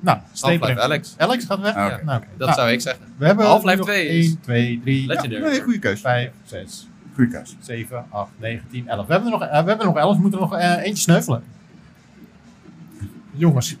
Speaker 1: Nou, streep
Speaker 2: Half-Life
Speaker 1: erin.
Speaker 2: Alex.
Speaker 1: Alex gaat weg?
Speaker 3: Oké.
Speaker 1: Ja, nou, oké.
Speaker 2: Dat
Speaker 1: Nou,
Speaker 2: zou ik zeggen.
Speaker 1: We hebben
Speaker 2: Half-Life
Speaker 1: nog
Speaker 2: 2 is-
Speaker 1: 1, 2, 3,
Speaker 2: Legendary.
Speaker 3: Nee, goede keus.
Speaker 1: 5, 6,
Speaker 3: Goede keus.
Speaker 1: 7, 8, 9, 10, 11. We hebben er nog, eh, we hebben er nog 11. We moeten er nog eh, eentje sneuvelen. Jongens,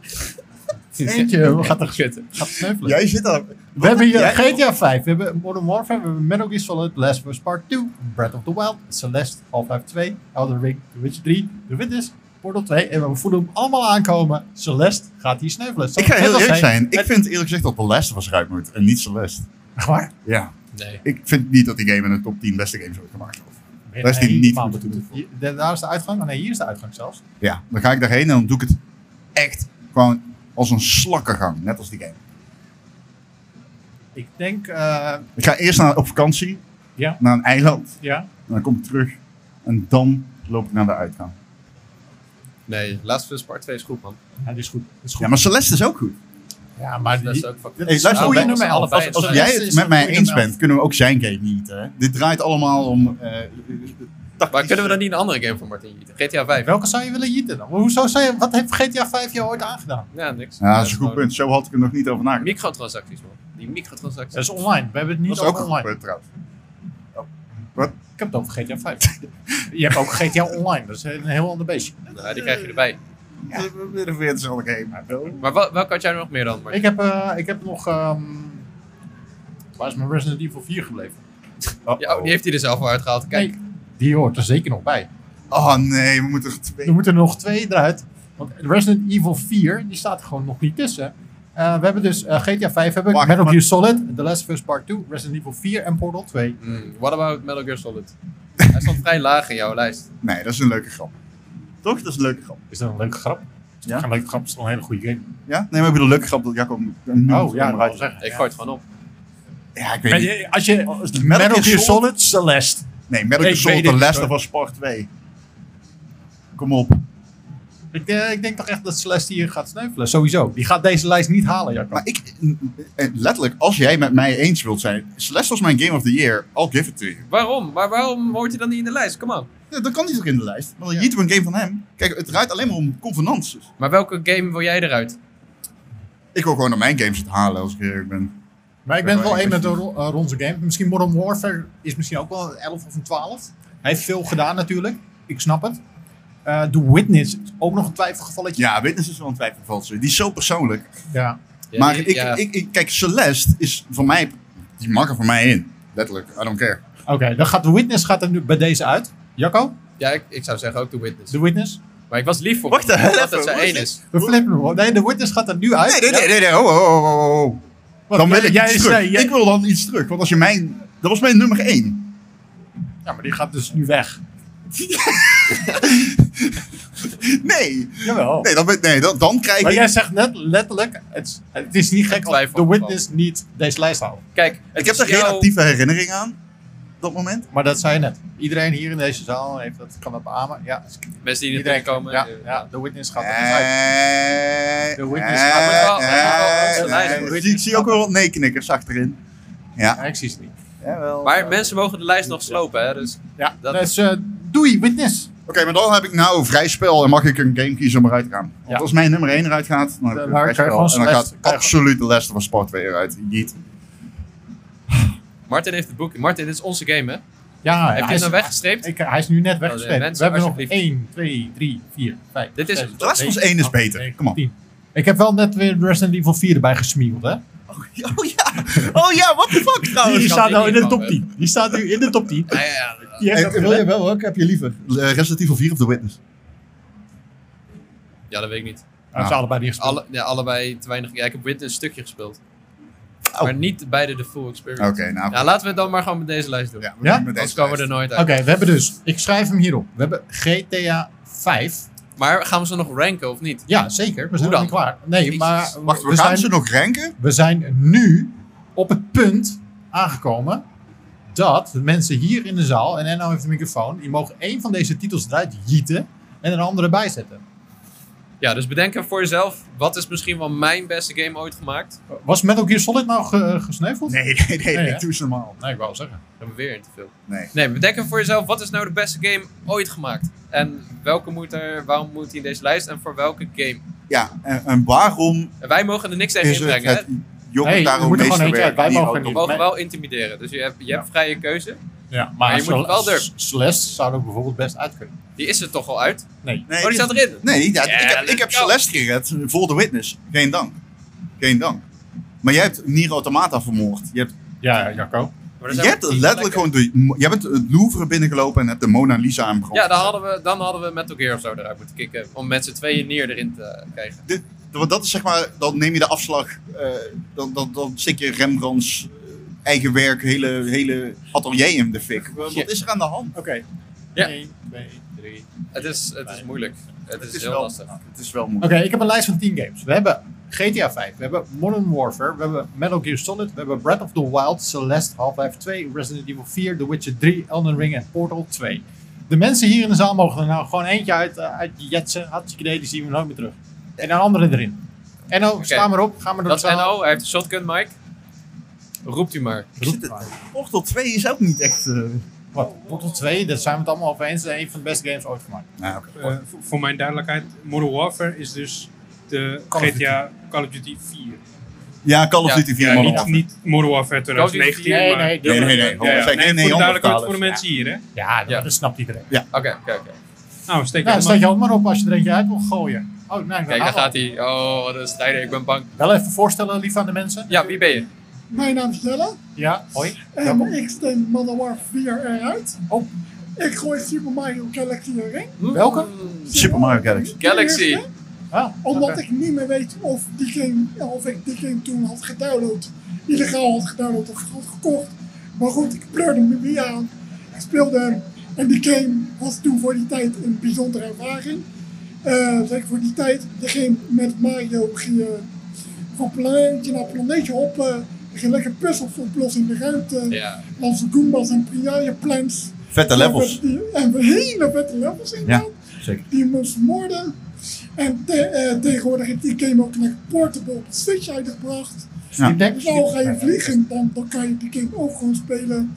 Speaker 1: eentje gaat er
Speaker 2: Kutten.
Speaker 1: gaat sneuvelen.
Speaker 3: Jij zit daar.
Speaker 1: We hebben hier
Speaker 3: Jij-
Speaker 1: GTA 5, we hebben Modern Warfare, we hebben Metal Gear Solid, Last of Us Part 2, Breath of the Wild, Celeste, Half-Life 2, Elden Ring, The Witcher 3, The Witness, Portal 2. En we voelen hem allemaal aankomen. Celeste gaat hier sneuvelen.
Speaker 3: Ik ga
Speaker 1: Net
Speaker 3: heel
Speaker 1: als
Speaker 3: eerlijk
Speaker 1: hij-
Speaker 3: zijn. Ik
Speaker 1: Net-
Speaker 3: vind eerlijk gezegd dat de Last was eruit moet en niet Celeste.
Speaker 1: Echt waar?
Speaker 3: Ja.
Speaker 2: Nee.
Speaker 3: Ik vind niet dat die game in de top 10 beste games wordt gemaakt. wordt. Daar is die
Speaker 1: Nee,
Speaker 3: niet
Speaker 1: maar-
Speaker 3: voor toe te voegen.
Speaker 1: Hier- Daar is de uitgang. Oh, nee, hier is de uitgang zelfs.
Speaker 3: Ja, dan ga ik daarheen en dan doe ik het echt gewoon als een slakkengang, net als die game.
Speaker 1: Ik denk, eh,
Speaker 3: Ik ga eerst naar, op vakantie
Speaker 1: Ja.
Speaker 3: naar een eiland
Speaker 1: ja.
Speaker 3: en dan kom ik terug en dan loop ik naar de uitgang.
Speaker 2: Nee, Last of Us Part 2 is goed, man.
Speaker 1: ja, die is goed. Die is goed.
Speaker 3: Ja, maar Celeste is ook goed.
Speaker 1: Ja, maar
Speaker 2: Dat is ook fucking
Speaker 1: dit
Speaker 3: Hey,
Speaker 1: is
Speaker 3: luister,
Speaker 1: een goede
Speaker 3: als-
Speaker 1: nummer
Speaker 2: als-
Speaker 1: 11.
Speaker 2: als-
Speaker 3: Als
Speaker 2: Celeste
Speaker 3: jij
Speaker 1: is
Speaker 3: het
Speaker 1: een
Speaker 3: met mij
Speaker 1: goede
Speaker 3: eens
Speaker 1: nummer elf.
Speaker 3: bent, kunnen we ook zijn game niet. Hè? Dit draait allemaal om... eh,
Speaker 2: Maar kunnen we dan niet een andere game van Martin Jieten? GTA 5.
Speaker 1: Welke zou je willen jieten dan? Hoezo zou je, wat heeft GTA 5 jou ooit aangedaan?
Speaker 2: Ja, niks.
Speaker 3: Ja, dat is een
Speaker 2: gewoon
Speaker 3: goed punt. Zo had ik er nog niet over nagedacht.
Speaker 2: Microtransacties, man. Die microtransacties.
Speaker 1: Dat is online. We hebben het niet
Speaker 3: Dat is ook
Speaker 1: over
Speaker 3: een
Speaker 1: online.
Speaker 3: goed punt trouwens.
Speaker 1: Ik heb het over GTA 5. [LAUGHS] je hebt ook GTA Online, dat is een heel ander beestje.
Speaker 2: Nou, die krijg je erbij.
Speaker 3: Ja. We willen weer dezelfde game.
Speaker 2: Maar wel, welke had jij nog meer dan? Martin?
Speaker 1: Ik heb, eh, ik heb nog. ehm, waar is mijn Resident Evil 4 gebleven?
Speaker 2: Ja, oh, die heeft hij er zelf al uitgehaald. Kijk,
Speaker 1: Nee, die hoort er zeker nog bij.
Speaker 3: Oh nee, we moeten er twee.
Speaker 1: Er moeten er nog twee eruit. Want Resident Evil 4 die staat er gewoon nog niet tussen. Eh, we hebben dus eh, GTA 5, hebben we,
Speaker 3: Wacht,
Speaker 1: Metal
Speaker 3: maar-
Speaker 1: Gear Solid, The Last of Us Part 2, Resident Evil 4 en Portal 2.
Speaker 2: hmm, what about Metal Gear Solid? Hij stond vrij laag in jouw lijst.
Speaker 3: Nee, dat is een leuke grap. Toch? Dat is een leuke grap.
Speaker 1: Is dat een leuke grap? Is
Speaker 3: Ja. Oh,
Speaker 1: toch Een leuke grap is toch een hele goede game.
Speaker 3: Ja? Nee, maar ik bedoel, een leuke grap dat Jacob een
Speaker 1: Oh ja, dat
Speaker 3: eruit-
Speaker 1: wil ik zeggen.
Speaker 2: Ik
Speaker 1: Ja.
Speaker 2: gooi het gewoon op.
Speaker 3: Ja, ik
Speaker 1: Ben
Speaker 3: weet niet.
Speaker 1: je- Als je
Speaker 3: Gear
Speaker 1: Metal Gear
Speaker 3: Solid-
Speaker 1: Solid, Celeste.
Speaker 3: Nee, Metal Gear
Speaker 1: Ik
Speaker 3: Solid
Speaker 1: weet
Speaker 3: The
Speaker 1: het
Speaker 3: Last
Speaker 1: niet,
Speaker 3: of Us Part 2. Kom op.
Speaker 1: Ik, eh, ik denk toch echt dat Celeste hier gaat sneuvelen. Sowieso. Die gaat deze lijst niet halen, Jacco.
Speaker 3: Maar ik, eh, letterlijk, als jij met mij eens wilt zijn, Celeste was mijn Game of the Year, I'll give it to you.
Speaker 2: Waarom? Maar waarom hoort hij dan niet in de lijst? Kom on.
Speaker 3: Ja, dan kan die toch in de lijst. Want dan jieten we een game van hem. Kijk, het draait alleen maar om convenances.
Speaker 2: Maar welke game wil jij eruit?
Speaker 3: Ik wil gewoon naar mijn games het halen als ik eerlijk ben.
Speaker 1: Maar ik ben het wel
Speaker 3: Maar
Speaker 1: één
Speaker 3: ik
Speaker 1: met de
Speaker 3: weet
Speaker 1: ro- eh, Ronse Game. Misschien Modern Warfare is misschien ook wel een 11 of een 12. Hij heeft veel gedaan natuurlijk. Ik snap het. Eh The Witness is ook nog een twijfelgevalletje.
Speaker 3: Ja, Witness is wel een twijfelvalse. Die is zo persoonlijk.
Speaker 1: Ja.
Speaker 2: Ja,
Speaker 3: maar
Speaker 2: die-
Speaker 3: ik,
Speaker 2: ja.
Speaker 3: ik, ik, kijk, Celeste is voor mij, die mag er voor mij in. Letterlijk, I don't care.
Speaker 1: Oké, dan gaat The Witness gaat er nu bij deze uit. Jacco,
Speaker 2: Ja, ik, ik zou zeggen ook The Witness.
Speaker 1: The Witness.
Speaker 2: Maar ik was lief voor
Speaker 3: Wacht
Speaker 2: hem,
Speaker 3: even,
Speaker 2: omdat het
Speaker 3: wacht
Speaker 2: zijn één
Speaker 3: even.
Speaker 2: is.
Speaker 1: We flippen hem. hoor. Nee, The Witness gaat er nu uit.
Speaker 3: Nee, nee, nee, nee, nee. Oh, oh, oh, oh, oh.
Speaker 1: Wat,
Speaker 3: Dan wil ik
Speaker 1: jij
Speaker 3: iets
Speaker 1: zei-
Speaker 3: terug.
Speaker 1: jij-
Speaker 3: Ik wil dan iets terug. Want als je mijn... Dat was mijn nummer één.
Speaker 1: Ja, maar die gaat dus nu weg.
Speaker 3: Nee.
Speaker 1: Jawel.
Speaker 3: Nee, dan, ben- nee, dan, dan krijg
Speaker 1: Maar
Speaker 3: ik...
Speaker 1: jij zegt net letterlijk, het is, het is niet gek als
Speaker 2: twijfel
Speaker 1: The
Speaker 2: gevallen.
Speaker 1: Witness niet deze lijst haalt.
Speaker 2: Kijk,
Speaker 3: ik heb er geen actieve herinnering aan. Op dat moment.
Speaker 1: Maar dat zei je net. Iedereen hier in deze zaal heeft dat, kan dat beamen. Ja,
Speaker 2: Mensen die
Speaker 1: iedereen
Speaker 2: niet komen.
Speaker 1: Ja,
Speaker 2: eh,
Speaker 1: ja, The Witness gaat er dus uit.
Speaker 3: Eh,
Speaker 1: The Witness.
Speaker 3: eh,
Speaker 1: Maar
Speaker 2: wel-
Speaker 3: eh,
Speaker 2: maar wel onze lijst,
Speaker 3: eh,
Speaker 2: The
Speaker 3: ik
Speaker 2: Witness.
Speaker 3: zie- Ik zie ook wel wat nee-knikkers achterin.
Speaker 1: Ja,
Speaker 3: Ja.
Speaker 1: ik zie ze niet.
Speaker 3: Jawel.
Speaker 2: Maar
Speaker 3: Oké,
Speaker 2: mensen mogen de lijst nog slopen, hè? Dus
Speaker 1: Ja,
Speaker 2: Dat-
Speaker 1: dus eh, doei, Witness.
Speaker 3: maar dan heb ik nou vrij spel en mag ik een game kiezen om eruit te gaan. Want
Speaker 1: Ja.
Speaker 3: als mijn nummer 1 eruit gaat, dan heb ik
Speaker 1: Dan
Speaker 3: een vrij
Speaker 1: kan je
Speaker 3: spel. En
Speaker 1: gewoon
Speaker 3: dan
Speaker 1: Celeste-
Speaker 3: gaat
Speaker 1: kan je
Speaker 3: absoluut de Last of Us Part 2 eruit. Jeet.
Speaker 2: Martin heeft het boekje. Martin, dit is onze game, hè?
Speaker 1: Ja,
Speaker 2: Heb je
Speaker 1: hij
Speaker 2: hem
Speaker 1: is-
Speaker 2: dan weggestreept?
Speaker 1: Ik, hij is nu net weggespeeld.
Speaker 2: mensen,
Speaker 1: We hebben nog
Speaker 2: alsjeblieft.
Speaker 1: 1, 2, 3, 4, 5.
Speaker 2: Dit is-
Speaker 3: De Last of Us 1 is beter. Kom op.
Speaker 1: Ik heb wel net weer Resident Evil 4 erbij gesmield,
Speaker 2: Nou,
Speaker 1: hè?
Speaker 3: [LAUGHS] Oh ja, oh ja, what the fuck
Speaker 1: Die,
Speaker 2: die
Speaker 1: staat nou in de
Speaker 2: kwam,
Speaker 1: top
Speaker 2: hè?
Speaker 1: 10. Die staat nu in de top 10.
Speaker 2: Ja, ja, ja.
Speaker 1: Die heeft dat
Speaker 3: wil je
Speaker 1: gered.
Speaker 3: wel, welke heb je liever? Resident Evil 4 of The Witness?
Speaker 2: Ja, dat weet ik niet.
Speaker 1: Hij heeft ze allebei niet gespeeld.
Speaker 2: Alle, ja, allebei te weinig. Ja, ik heb Witness een stukje gespeeld. Maar niet beide de full
Speaker 3: Oh. Oké,
Speaker 2: experience.
Speaker 3: nou.
Speaker 2: Ja, laten we het dan maar gewoon met deze lijst doen.
Speaker 3: Ja, we
Speaker 1: Ja?
Speaker 3: doen met
Speaker 2: Anders
Speaker 3: deze
Speaker 2: komen we er
Speaker 3: lijst.
Speaker 2: nooit uit.
Speaker 1: Oké, we hebben dus. Ik schrijf hem hierop. We hebben GTA 5.
Speaker 2: Maar gaan we ze nog ranken of niet?
Speaker 1: Ja, zeker. We zijn
Speaker 2: Hoe
Speaker 1: nog niet klaar. Nee,
Speaker 2: Jezus.
Speaker 1: maar
Speaker 3: Wacht, we,
Speaker 1: we,
Speaker 3: gaan
Speaker 1: zijn,
Speaker 3: ze nog ranken?
Speaker 1: we zijn nu op het punt aangekomen dat de mensen hier in de zaal, en Enno heeft de microfoon, die mogen één van deze titels eruit jieten en een andere bijzetten.
Speaker 2: Ja, dus bedenk even voor jezelf. Wat is misschien wel mijn beste game ooit gemaakt?
Speaker 1: Was Metal Gear Solid nou ge- gesneuveld?
Speaker 3: Nee, nee, nee,
Speaker 1: Nee, hè?
Speaker 3: ik doe ze normaal.
Speaker 1: Nee, ik wou zeggen.
Speaker 2: Dan hebben we weer in te veel.
Speaker 3: Nee.
Speaker 2: Nee, bedenk even voor jezelf. Wat is nou de beste game ooit gemaakt? En welke moet er, waarom moet die in deze lijst? En voor welke game?
Speaker 3: Ja, en, en waarom
Speaker 2: En wij mogen er niks tegen
Speaker 3: is het,
Speaker 2: inbrengen. hè?
Speaker 3: het jongen
Speaker 1: Nee, we
Speaker 3: daarom
Speaker 1: moeten gewoon
Speaker 3: meesterwerk
Speaker 1: eentje uit. Wij
Speaker 3: hier
Speaker 1: mogen
Speaker 3: ook
Speaker 1: niet.
Speaker 2: We
Speaker 3: op?
Speaker 2: mogen wel intimideren. Dus je hebt, je hebt vrije keuze.
Speaker 1: Ja, maar,
Speaker 2: je moet
Speaker 1: Cel-
Speaker 2: het wel durven.
Speaker 1: S- Celeste zou er bijvoorbeeld best uit kunnen.
Speaker 2: Die is er toch al uit?
Speaker 1: Nee.
Speaker 3: Nee,
Speaker 2: Oh, die
Speaker 3: dit-
Speaker 2: staat erin.
Speaker 3: Nee, ja,
Speaker 2: Ja,
Speaker 3: ik heb,
Speaker 2: let's
Speaker 3: ik heb
Speaker 2: go.
Speaker 3: Celeste gered voor The Witness. Geen dank. Geen dank. Maar jij hebt Nier Automata vermoord. Je hebt,
Speaker 1: Ja, Jacco.
Speaker 2: Maar er
Speaker 3: je
Speaker 2: zijn
Speaker 3: hebt
Speaker 2: maar tien
Speaker 3: letterlijk
Speaker 2: plekken.
Speaker 3: gewoon de, jij bent het Louvre binnengelopen en hebt de Mona Lisa aan brand
Speaker 2: Ja, dan
Speaker 3: gezet.
Speaker 2: hadden, we, dan hadden we Metal Gear of zo eruit moeten kicken. Om met z'n tweeën neer erin te krijgen.
Speaker 3: Dit- Want dat is zeg maar, dan neem je de afslag, eh, dan, dan, dan stik je Rembrandts eh, eigen werk, hele, hele atelier in de fik. Wat
Speaker 2: Ja.
Speaker 3: is er aan de hand?
Speaker 1: Oké.
Speaker 2: Ja.
Speaker 1: Eén, twee, drie.
Speaker 2: Het is, het is moeilijk. Het is,
Speaker 3: Het is
Speaker 2: heel
Speaker 3: wel-
Speaker 2: lastig.
Speaker 3: Het is wel
Speaker 1: Oké,
Speaker 3: moeilijk.
Speaker 1: ik heb een lijst van 10 games. We hebben GTA 5, we hebben Modern Warfare, we hebben Metal Gear Solid, we hebben Breath of the Wild, Celeste, Half-Life 2, Resident Evil 4, The Witcher 3, Elden Ring en Portal 2. De mensen hier in de zaal mogen er nou gewoon eentje uit, eh, uit jetsen. Hartstikke idee, die zien we nooit meer terug. En een andere erin. Enno, sta maar op, ga maar door
Speaker 2: Dat
Speaker 1: de
Speaker 2: is
Speaker 1: zaal.
Speaker 2: NO, hij heeft een shotgun, Mike. Roept u maar.
Speaker 1: Roep het maar.
Speaker 3: Portal 2 is ook niet echt... eh,
Speaker 1: Wat, Portal 2, daar zijn we het allemaal over eens, dat is een van de beste games ooit gemaakt.
Speaker 3: nou, oké.
Speaker 5: Eh, voor- voor mijn duidelijkheid, Modern Warfare is dus de
Speaker 1: Call of
Speaker 5: GTA Call of Duty 4.
Speaker 3: Ja, Call of
Speaker 2: Ja.
Speaker 3: Duty 4
Speaker 5: Ja,
Speaker 3: man
Speaker 5: niet,
Speaker 3: af.
Speaker 5: niet Modern Warfare 2019,
Speaker 2: Call of
Speaker 1: Nee,
Speaker 5: maar...
Speaker 1: nee,
Speaker 3: Nee, nee, nee.
Speaker 5: Ja, ja.
Speaker 3: Zeg, nee,
Speaker 5: Nee,
Speaker 3: nee,
Speaker 5: voor de duidelijkheid
Speaker 3: honderdtalers.
Speaker 5: voor de mensen hier, hè?
Speaker 1: Ja, dat,
Speaker 2: Ja.
Speaker 1: dat snapt iedereen.
Speaker 2: Oké, oké, oké.
Speaker 5: Nou,
Speaker 1: Nou,
Speaker 5: steek nou,
Speaker 1: dan staat je hand maar op als je er eentje uit wil gooien. Oh, nee,
Speaker 2: Kijk, daar gaat hij. Oh, wat een strijder. Ik ben bang.
Speaker 1: Wel even voorstellen, lief aan de mensen.
Speaker 2: Ja, wie ben je?
Speaker 6: Mijn naam is Jelle
Speaker 1: Ja, hoi.
Speaker 6: en
Speaker 1: Welkom.
Speaker 6: ik steem Modern Warfare 4 eruit.
Speaker 1: Oh.
Speaker 6: Ik gooi Super Mario Galaxy erin.
Speaker 2: Hm?
Speaker 1: Welke?
Speaker 3: Super Mario Galaxy.
Speaker 6: De
Speaker 2: Galaxy.
Speaker 6: eerste,
Speaker 1: Ah,
Speaker 6: Omdat
Speaker 1: oké.
Speaker 6: ik niet meer weet of, die game, of ik die game toen had gedownload, illegaal had gedownload of had gekocht. Maar goed, ik pleurde me weer aan. Ik speelde hem en die game was toen voor die tijd een bijzondere ervaring. Eh, zeker voor die tijd. De game met Mario ging je van planeetje naar planeetje op. eh, je ging lekker puzzels oplossen in de ruimte.
Speaker 2: Ja.
Speaker 6: Onze Goombas en Piranha Plants.
Speaker 3: Vette levels.
Speaker 6: En we hele vette levels in.
Speaker 3: Ja.
Speaker 1: Zeker.
Speaker 6: die me vermoorden. En te- eh, tegenwoordig heeft die game ook een portable op de Switch uitgebracht.
Speaker 1: Steam Deck?
Speaker 6: Dus al ga je vliegen, dan, dan kan je die game ook gewoon spelen.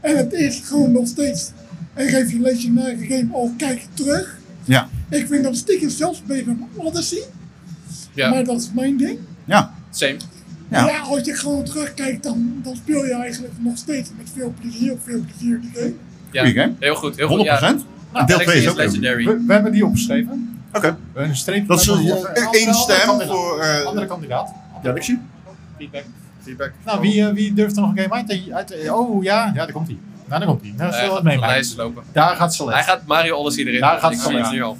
Speaker 6: En het is gewoon nog steeds een revolutionaire game, al kijk je terug.
Speaker 3: Ja.
Speaker 6: Ik vind dat stiekem zelfs beter dan Odyssey,
Speaker 2: Ja,
Speaker 6: maar dat is mijn ding.
Speaker 3: Ja,
Speaker 2: same.
Speaker 3: Ja.
Speaker 6: Ja. als je gewoon terugkijkt, dan, dan speel je eigenlijk nog steeds met veel plezier, veel plezier die game.
Speaker 2: Ja.
Speaker 3: goeie game.
Speaker 2: Heel goed, heel
Speaker 3: 100%.
Speaker 2: goed. Ja.
Speaker 3: En deel 2 is ook
Speaker 2: legendary.
Speaker 1: We, we hebben die opgeschreven.
Speaker 3: Oké.
Speaker 1: We hebben Een streep
Speaker 3: Dat is
Speaker 1: bij
Speaker 3: een-
Speaker 1: voor-
Speaker 3: een-
Speaker 1: eh,
Speaker 3: één
Speaker 1: andere
Speaker 3: stem
Speaker 1: kandidaat.
Speaker 3: voor, eh,
Speaker 1: andere kandidaat.
Speaker 3: Ja, ik zie.
Speaker 1: Feedback.
Speaker 3: Feedback.
Speaker 1: Nou, wie, eh, wie durft er nog een game uit? uit eh, oh ja, ja, daar komt hij. Nou, daar komt hij. Nou,
Speaker 2: Hij
Speaker 1: zullen we
Speaker 2: gaat
Speaker 1: het
Speaker 2: de
Speaker 1: meemaken.
Speaker 2: lijst lopen.
Speaker 1: Daar gaat Celeste.
Speaker 2: Hij gaat Mario Odyssey erin.
Speaker 1: Daar gaat
Speaker 2: Ik
Speaker 1: het
Speaker 2: zie
Speaker 1: van,
Speaker 2: het
Speaker 1: ja.
Speaker 2: nu al.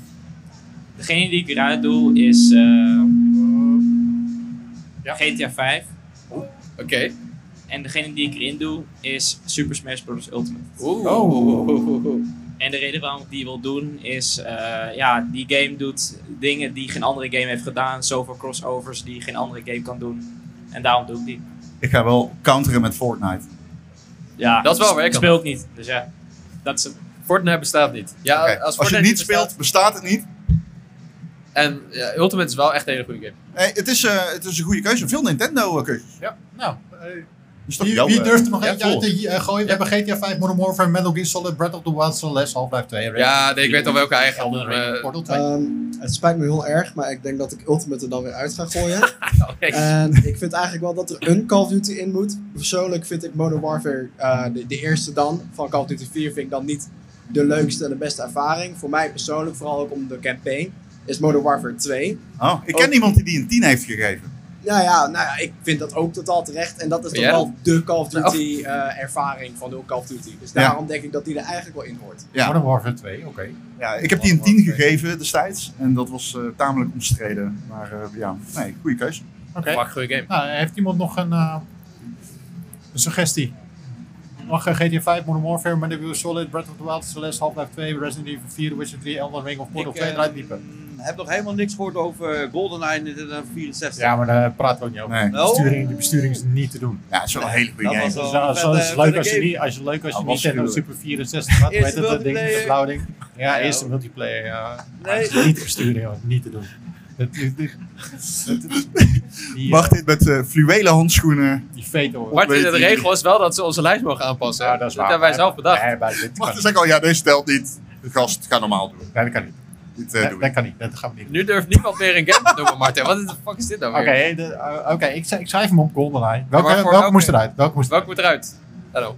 Speaker 4: Degene die ik eruit doe is eh,
Speaker 1: Ja.
Speaker 4: GTA 5.
Speaker 2: Oké.
Speaker 4: En degene die ik erin doe is Super Smash Bros. Ultimate.
Speaker 2: Oeh.
Speaker 1: Oh.
Speaker 4: En de reden waarom ik die wil doen is, eh, ja, die game doet dingen die geen andere game heeft gedaan. Zoveel crossovers die geen andere game kan doen. En daarom doe ik die.
Speaker 3: Ik ga wel counteren met Fortnite.
Speaker 4: Ja,
Speaker 2: Dat is wel waar ik
Speaker 4: Ik
Speaker 2: aan-
Speaker 4: speel ik niet, dus ja. Dat is het.
Speaker 2: Fortnite bestaat niet. Ja,
Speaker 3: Oké,
Speaker 2: als,
Speaker 3: Als je
Speaker 2: Fortnite
Speaker 3: het niet speelt,
Speaker 2: bestaat-
Speaker 3: bestaat het niet.
Speaker 2: En ja, Ultimate is wel echt een hele goede game.
Speaker 3: Hey, het, is, eh, het is een goede keuze. Veel Nintendo-keuzes.
Speaker 1: Ja, nou. eh,
Speaker 3: Dus toch
Speaker 1: Wie,
Speaker 3: jouw,
Speaker 1: wie
Speaker 3: eh,
Speaker 1: durft er nog
Speaker 2: ja,
Speaker 1: eentje uit
Speaker 2: cool.
Speaker 1: te eh, gooien? We hebben GTA 5, Modern Warfare, Metal Gear Solid, Breath of the Wild, Celeste, Half-Life 2. Rayman,
Speaker 2: Ja, nee, ik weet al welke eh, hij gaat
Speaker 1: Elden Ring,
Speaker 2: doen,
Speaker 1: Portal 2.
Speaker 7: Ehm, het spijt me heel erg, maar ik denk dat ik Ultimate er dan weer uit ga gooien. en ik vind eigenlijk wel dat er een Call of Duty in moet. Persoonlijk vind ik Modern Warfare, eh, de, de eerste dan, van Call of Duty 4, vind ik dan niet de leukste en de beste ervaring. Voor mij persoonlijk, vooral ook om de campaign, is Modern Warfare 2.
Speaker 3: Oh, ik ken
Speaker 7: Oh.
Speaker 3: iemand die die een 10 heeft gegeven.
Speaker 7: Nou ja, nou ja, ik vind dat ook totaal terecht. En dat is toch
Speaker 2: Ja.
Speaker 7: wel de Call of Duty eh, ervaring van de Call of Duty. Dus
Speaker 3: Ja.
Speaker 7: daarom denk ik dat die er eigenlijk wel in hoort.
Speaker 3: Ja.
Speaker 1: Modern Warfare 2, oké.
Speaker 3: Ja, ik heb die een
Speaker 1: Wacht, wacht,
Speaker 3: 10
Speaker 1: oké.
Speaker 3: gegeven destijds. En dat was eh, tamelijk omstreden. Maar eh, ja, nee, goede keuze.
Speaker 1: Oké.
Speaker 2: Fuck, goede game.
Speaker 1: Nou, heeft iemand nog een, eh, een suggestie? Mag eh, GTA 5, Modern Warfare, Metal Gear Solid, Breath of the Wild, Celeste, Half-Life 2, Resident Evil 4, The Witcher 3, Elden Ring of Portal
Speaker 8: Ik
Speaker 1: 2
Speaker 8: eh,
Speaker 1: eruit liepen?
Speaker 8: heb nog helemaal niks gehoord over GoldenEye in 1964.
Speaker 1: Ja, maar daar praten we ook niet over.
Speaker 3: Nee.
Speaker 1: De,
Speaker 8: Wel?
Speaker 1: besturing, de besturing is niet te doen.
Speaker 3: Ja, het is wel een hele goede
Speaker 8: Dat
Speaker 3: game.
Speaker 8: was wel
Speaker 1: Dus,
Speaker 8: een
Speaker 1: nou, zo-
Speaker 8: vette-
Speaker 1: het is leuk
Speaker 8: vette
Speaker 1: als je
Speaker 8: game.
Speaker 1: niet, als je, leuk als je
Speaker 3: Ja, was
Speaker 1: Nintendo
Speaker 3: gruwelijk.
Speaker 1: Super 64 had, hoe heet
Speaker 8: Eerste
Speaker 1: dat, dat ding, de
Speaker 8: multiplayer.
Speaker 1: blauwe ding. Ja,
Speaker 8: Ja,
Speaker 1: eerste
Speaker 8: hoor.
Speaker 1: multiplayer, ja. Maar
Speaker 8: Nee.
Speaker 1: het is niet te besturen, joh. Niet te doen. Het, het- het-
Speaker 2: [LAUGHS]
Speaker 1: het- die,
Speaker 3: Mag dit met eh fluwelen handschoenen?
Speaker 1: die veto.
Speaker 2: Maar de
Speaker 3: Weet je-
Speaker 2: regel is wel dat ze onze lijst mogen aanpassen.
Speaker 1: Ja,
Speaker 2: hè? dat hebben wij zelf bedacht.
Speaker 1: Nee, maar dit
Speaker 3: Mag
Speaker 1: kan
Speaker 3: ik
Speaker 1: niet.
Speaker 3: zeggen, oh ja, deze stelt niet. De gast, ga normaal doen.
Speaker 1: Nee, dat kan niet.
Speaker 3: Dit eh,
Speaker 1: Nee,
Speaker 3: doe
Speaker 1: dat
Speaker 3: ik.
Speaker 1: kan niet. Dat gaan we niet doen.
Speaker 2: Nu durft niemand meer een game te noemen, Martin. Wat de fuck is dit nou
Speaker 1: Oké,
Speaker 2: weer?
Speaker 1: de- eh, oké, ik, schrijf- ik schrijf hem op, GoldenEye. Welke,
Speaker 2: maar voor-
Speaker 1: welke
Speaker 2: oké.
Speaker 1: moest eruit? Welke moest
Speaker 2: Welke
Speaker 1: eruit?
Speaker 2: moet eruit? Hallo.